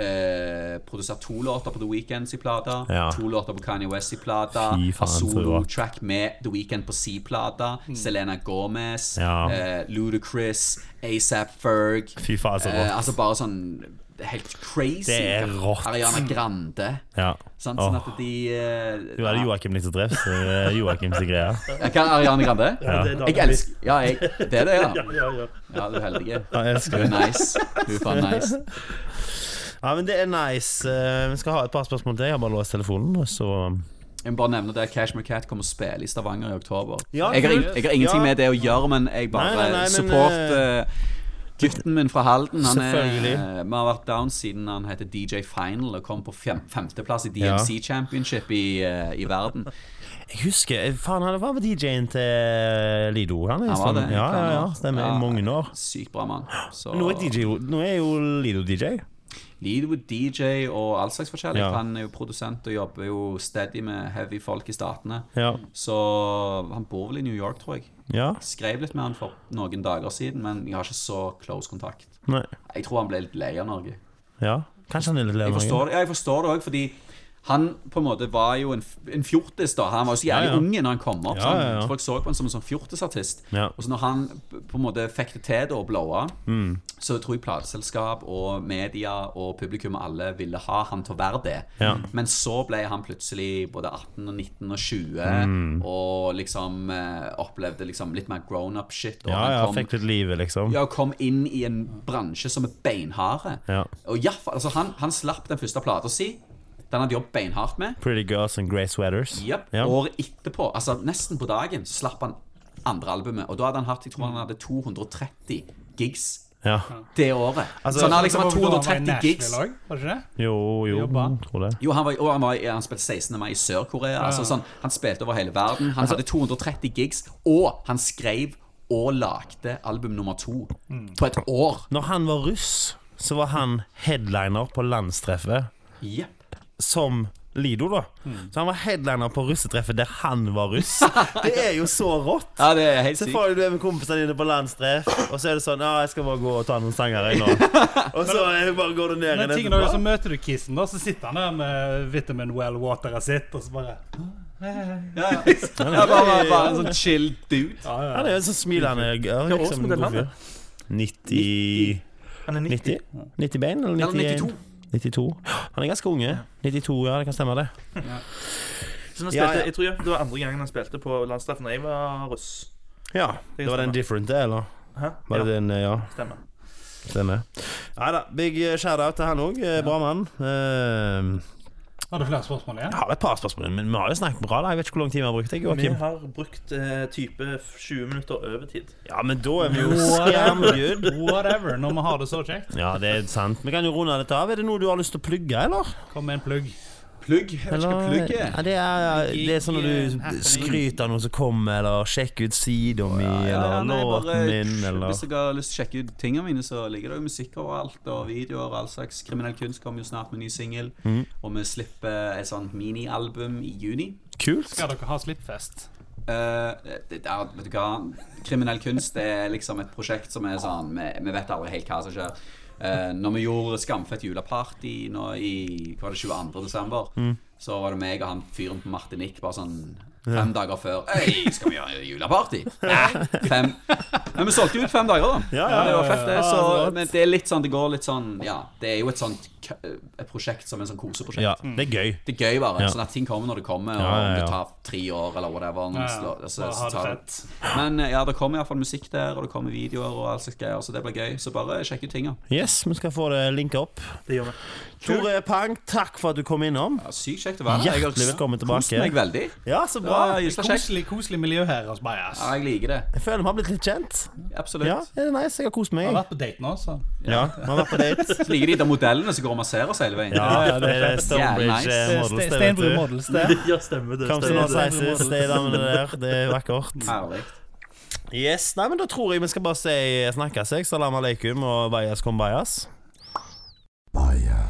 Speaker 2: eh, produsert to låter på The Weeknd i plata,
Speaker 3: Ja.
Speaker 2: to låter på Kanye West i plata,
Speaker 3: Fy faen,
Speaker 2: har
Speaker 3: så
Speaker 2: solotrack med The Weeknd på C-plata,
Speaker 4: Mm.
Speaker 2: Selena Gomez,
Speaker 3: Ja.
Speaker 2: eh, Ludacris, ASAP Ferg
Speaker 3: Fy faen, så rått.
Speaker 2: eh, Altså bare sånn helt crazy.
Speaker 3: Det er rått.
Speaker 2: Ariana Grande.
Speaker 3: Ja.
Speaker 2: Sant?
Speaker 3: Åh.
Speaker 2: Sånn at de eh,
Speaker 3: Du er det Joakim Nisse Dreff, så det er Joakim sin
Speaker 2: [LAUGHS]
Speaker 3: greie.
Speaker 2: Ja, Hva er Ariana Grande?
Speaker 4: Det er
Speaker 2: Jeg
Speaker 4: David Lee.
Speaker 2: elsker Ja, jeg, det er det, ja.
Speaker 4: [LAUGHS] Ja, ja.
Speaker 2: Ja, du er heldig.
Speaker 3: Jeg elsker
Speaker 2: Du er nice. Du er faen nice.
Speaker 3: Ja, men det er nice. Eh, Vi skal ha et par spørsmål til. Jeg har bare låst telefonen, og så
Speaker 2: Jeg må bare nevne det at Cashmere Cat kommer og spiller i Stavanger i oktober.
Speaker 3: Ja,
Speaker 2: jeg, har, ing-
Speaker 3: kult.
Speaker 2: jeg har ingenting
Speaker 3: Ja.
Speaker 2: med det å gjøre, men jeg bare
Speaker 3: Nei, nei, nei, men,
Speaker 2: support
Speaker 3: eh,
Speaker 2: eh, gutten min fra Halden. Han er,
Speaker 3: Selvfølgelig.
Speaker 2: eh, vi har vært down siden han heter DJ Final og kom på fem, femteplass i DMC Championship i, eh, i verden.
Speaker 3: Jeg husker eh, Faen, han var DJ-en til Lido. Han er
Speaker 2: Han
Speaker 3: jo
Speaker 2: var
Speaker 3: sånn.
Speaker 2: det,
Speaker 3: Ja,
Speaker 2: i
Speaker 3: ja,
Speaker 2: flere
Speaker 3: ja.
Speaker 2: år.
Speaker 3: Stemmer. I
Speaker 2: Ja.
Speaker 3: mange år.
Speaker 2: Sykt bra mann. Så
Speaker 3: Nå er, DJ, jo- nå er jo Lido DJ.
Speaker 2: Lido er DJ og all slags forskjellig.
Speaker 3: Ja.
Speaker 2: Han er jo produsent og jobber jo steady med heavy folk i statene.
Speaker 3: Ja.
Speaker 2: Så han bor vel i New York, tror jeg.
Speaker 3: Ja.
Speaker 2: Skrev litt med han for noen dager siden, men jeg har ikke så close kontakt.
Speaker 3: Nei.
Speaker 2: Jeg tror han ble litt lei av Norge.
Speaker 3: Ja. Kanskje han er litt lei
Speaker 2: Jeg
Speaker 3: av Norge.
Speaker 2: forstår det, ja, jeg forstår det også, fordi Han på en måte var jo en, f- en fjortis, da. Han var jo så jævlig
Speaker 3: Ja, ja.
Speaker 2: unge når han kom opp.
Speaker 3: Ja,
Speaker 2: sant?
Speaker 3: ja, ja.
Speaker 2: Så Folk så på han som en sånn fjortisartist.
Speaker 3: Ja.
Speaker 2: Og så når han p- på en måte fikk det til da å blowe,
Speaker 3: Mm.
Speaker 2: så tror jeg plateselskap og media og publikum og alle ville ha han til å være det.
Speaker 3: Ja.
Speaker 2: Men så ble han plutselig både 18 og 19 og 20
Speaker 3: Mm.
Speaker 2: og liksom eh, opplevde liksom litt mer grown up shit. Og
Speaker 3: Ja,
Speaker 2: han
Speaker 3: ja,
Speaker 2: kom-
Speaker 3: fikk litt livet, liksom.
Speaker 2: ja, og kom inn i en bransje som er beinharde.
Speaker 3: Ja.
Speaker 2: Og i hvert fall, altså han, han slapp den første plata si. Den hadde jobbet beinhardt med.
Speaker 3: Pretty Girls and Grey Sweaters.
Speaker 2: Yep.
Speaker 3: Ja.
Speaker 2: Året etterpå, altså nesten på dagen, så slapp han andre albumet. Og da hadde han hatt jeg tror han hadde 230 gigs
Speaker 3: Ja.
Speaker 2: det året.
Speaker 3: Altså,
Speaker 2: så han har liksom
Speaker 1: Så
Speaker 2: hatt
Speaker 1: var vel da han var i
Speaker 2: 230 gigs.
Speaker 1: Nashville også, Var det ikke det?
Speaker 3: Jo, jo,
Speaker 1: Jobba.
Speaker 3: tror det.
Speaker 2: Jo, han, var, og han, var, han spilte 16. mai i Sør-Korea. Altså, sånn, han spilte over hele verden. Han hadde 230 gigs, og han skrev og lagde album nummer to
Speaker 1: Mm.
Speaker 2: på et år.
Speaker 3: Når han var russ, så var han headliner på landstreffet
Speaker 2: Jepp.
Speaker 3: som Lido, da. Så han var headliner på russetreffet der han var russ. Det er jo så rått!
Speaker 2: Ja, det er helt
Speaker 3: Så
Speaker 2: sykt.
Speaker 3: får du det med kompisene dine på landstreff, og så er det sånn Ja, jeg skal bare gå og ta noen sanger, jeg nå. Og så eh, bare går du ned
Speaker 1: Men
Speaker 3: igjen
Speaker 1: tingen er jo, så
Speaker 3: etterpå.
Speaker 1: møter du Kissen, da, så sitter han der med vitamin well-wateret sitt, og så bare
Speaker 2: Ja, ja. ja bare, bare en sånn chill dude.
Speaker 3: Han er jo så smilende. Ja,
Speaker 4: Hva
Speaker 3: liksom,
Speaker 4: årsmodell er han, da?
Speaker 3: 90
Speaker 4: Han er 90.
Speaker 3: 90? 90 bein, eller
Speaker 2: Eller
Speaker 3: 91?
Speaker 2: 92.
Speaker 3: 92. Han er ganske unge. 92, ja, det kan stemme, det.
Speaker 4: Så han
Speaker 3: Ja,
Speaker 4: spilte,
Speaker 3: ja.
Speaker 4: Jeg tror ja, det var andre gangen han spilte på landstreffen da jeg var russ.
Speaker 3: Ja, Det var den different, det, eller?
Speaker 4: Hæ?
Speaker 3: Var det
Speaker 4: Ja,
Speaker 3: den, eh, ja,
Speaker 4: stemmer.
Speaker 3: stemmer. Nei da, big eh, shout-out til han òg. Bra mann. Eh,
Speaker 1: Har du flere spørsmål igjen?
Speaker 3: Jeg har et par spørsmål, men vi har jo snakket bra. da Jeg vet ikke hvor lang tid vi har brukt. jeg,
Speaker 4: Vi
Speaker 3: Joakim.
Speaker 4: har brukt eh, type 20 minutter overtid.
Speaker 3: Ja, men da er vi jo skamgood.
Speaker 1: Whatever, når vi har det så kjekt.
Speaker 3: Ja, det er sant. Vi kan jo runde dette av. Er det noe du har lyst til å plugge, eller?
Speaker 1: Kom med en plugg.
Speaker 2: Plugg. Jeg vet ikke hva plugg
Speaker 3: ja,
Speaker 2: er.
Speaker 3: det, er, det er sånn når du skryter av noen som kommer, eller sjekker ut sida mi, eller
Speaker 2: nei,
Speaker 3: låten min, eller
Speaker 2: Hvis jeg har lyst til å sjekke ut tingene mine, så ligger det jo musikk overalt. Og videoer og all slags. Kriminell kunst kommer jo snart med ny singel.
Speaker 3: Mm.
Speaker 2: Og vi slipper et sånt minialbum i juni.
Speaker 3: Kult.
Speaker 1: Skal dere ha slippfest?
Speaker 2: Eh, det, det er, vet du hva? Kriminell kunst det er liksom et prosjekt som er sånn Vi, vi vet aldri helt hva som skjer. Uh, når vi gjorde Skamfett juleparty nå i hva var det, 22. desember,
Speaker 3: Mm.
Speaker 2: så var det meg og han fyren på Martinique bare sånn fem dager før. Øy, skal vi gjøre juleparty? Nei, fem. Men vi solgte ut fem dager, da.
Speaker 3: Ja, ja,
Speaker 2: det var
Speaker 3: ja,
Speaker 2: fett, det.
Speaker 3: ja,
Speaker 2: Så,
Speaker 3: rått.
Speaker 2: men det er litt sånn Det går litt sånn Ja, det er jo et sånt k- et prosjekt som er sånn koseprosjekt.
Speaker 3: Ja, det er gøy.
Speaker 2: Det er gøy bare,
Speaker 3: Ja.
Speaker 2: sånn at ting kommer når det kommer, og
Speaker 3: Ja, ja, ja.
Speaker 2: om det tar tre år eller whatever. Når
Speaker 1: Ja,
Speaker 2: det
Speaker 1: ja.
Speaker 2: slår, altså,
Speaker 1: Bare
Speaker 2: så
Speaker 1: ha det
Speaker 2: tar det.
Speaker 1: fett.
Speaker 2: Men eh, ja, det kommer iallfall musikk der, og det kommer videoer og alt slags greier, så det blir gøy. Så bare sjekk ut tinga.
Speaker 3: Yes, vi skal få det linka opp.
Speaker 4: Det gjør vi.
Speaker 3: Tore Pang, takk for at du kom innom.
Speaker 2: Ja, sykt kjekt å være her.
Speaker 3: Hjertelig velkommen
Speaker 2: kost
Speaker 3: tilbake.
Speaker 2: meg veldig.
Speaker 3: Ja, så
Speaker 2: Det var
Speaker 3: bra.
Speaker 2: jævla kjekt.
Speaker 1: Koselig, koselig miljø her hos Bajas.
Speaker 2: Ja, jeg liker det.
Speaker 3: Jeg føler vi har blitt litt kjent.
Speaker 2: Absolutt.
Speaker 3: Ja, det er nice. Jeg har kost meg.
Speaker 1: Har
Speaker 3: jeg.
Speaker 1: vært på date nå, så.
Speaker 3: Ja, vi har vært på date.
Speaker 2: Så liker de de modellene som går og masserer oss hele veien.
Speaker 3: [LAUGHS] Ja, ja, det er Stonebridge
Speaker 2: nice.
Speaker 1: Ste-
Speaker 3: eh, Models, det, vet
Speaker 1: Steinbru
Speaker 3: du.
Speaker 1: Models, det.
Speaker 4: [LAUGHS] Ja, stemmer det.
Speaker 3: Come to
Speaker 4: Stemmer
Speaker 3: North
Speaker 4: det.
Speaker 3: Sizes, det er damene der. Det er vakkert.
Speaker 2: Herlig.
Speaker 3: Yes, nei, men Da tror jeg vi skal bare si snakkes, jeg. Salam aleikum og bajas kom bajas.
Speaker 5: Bias.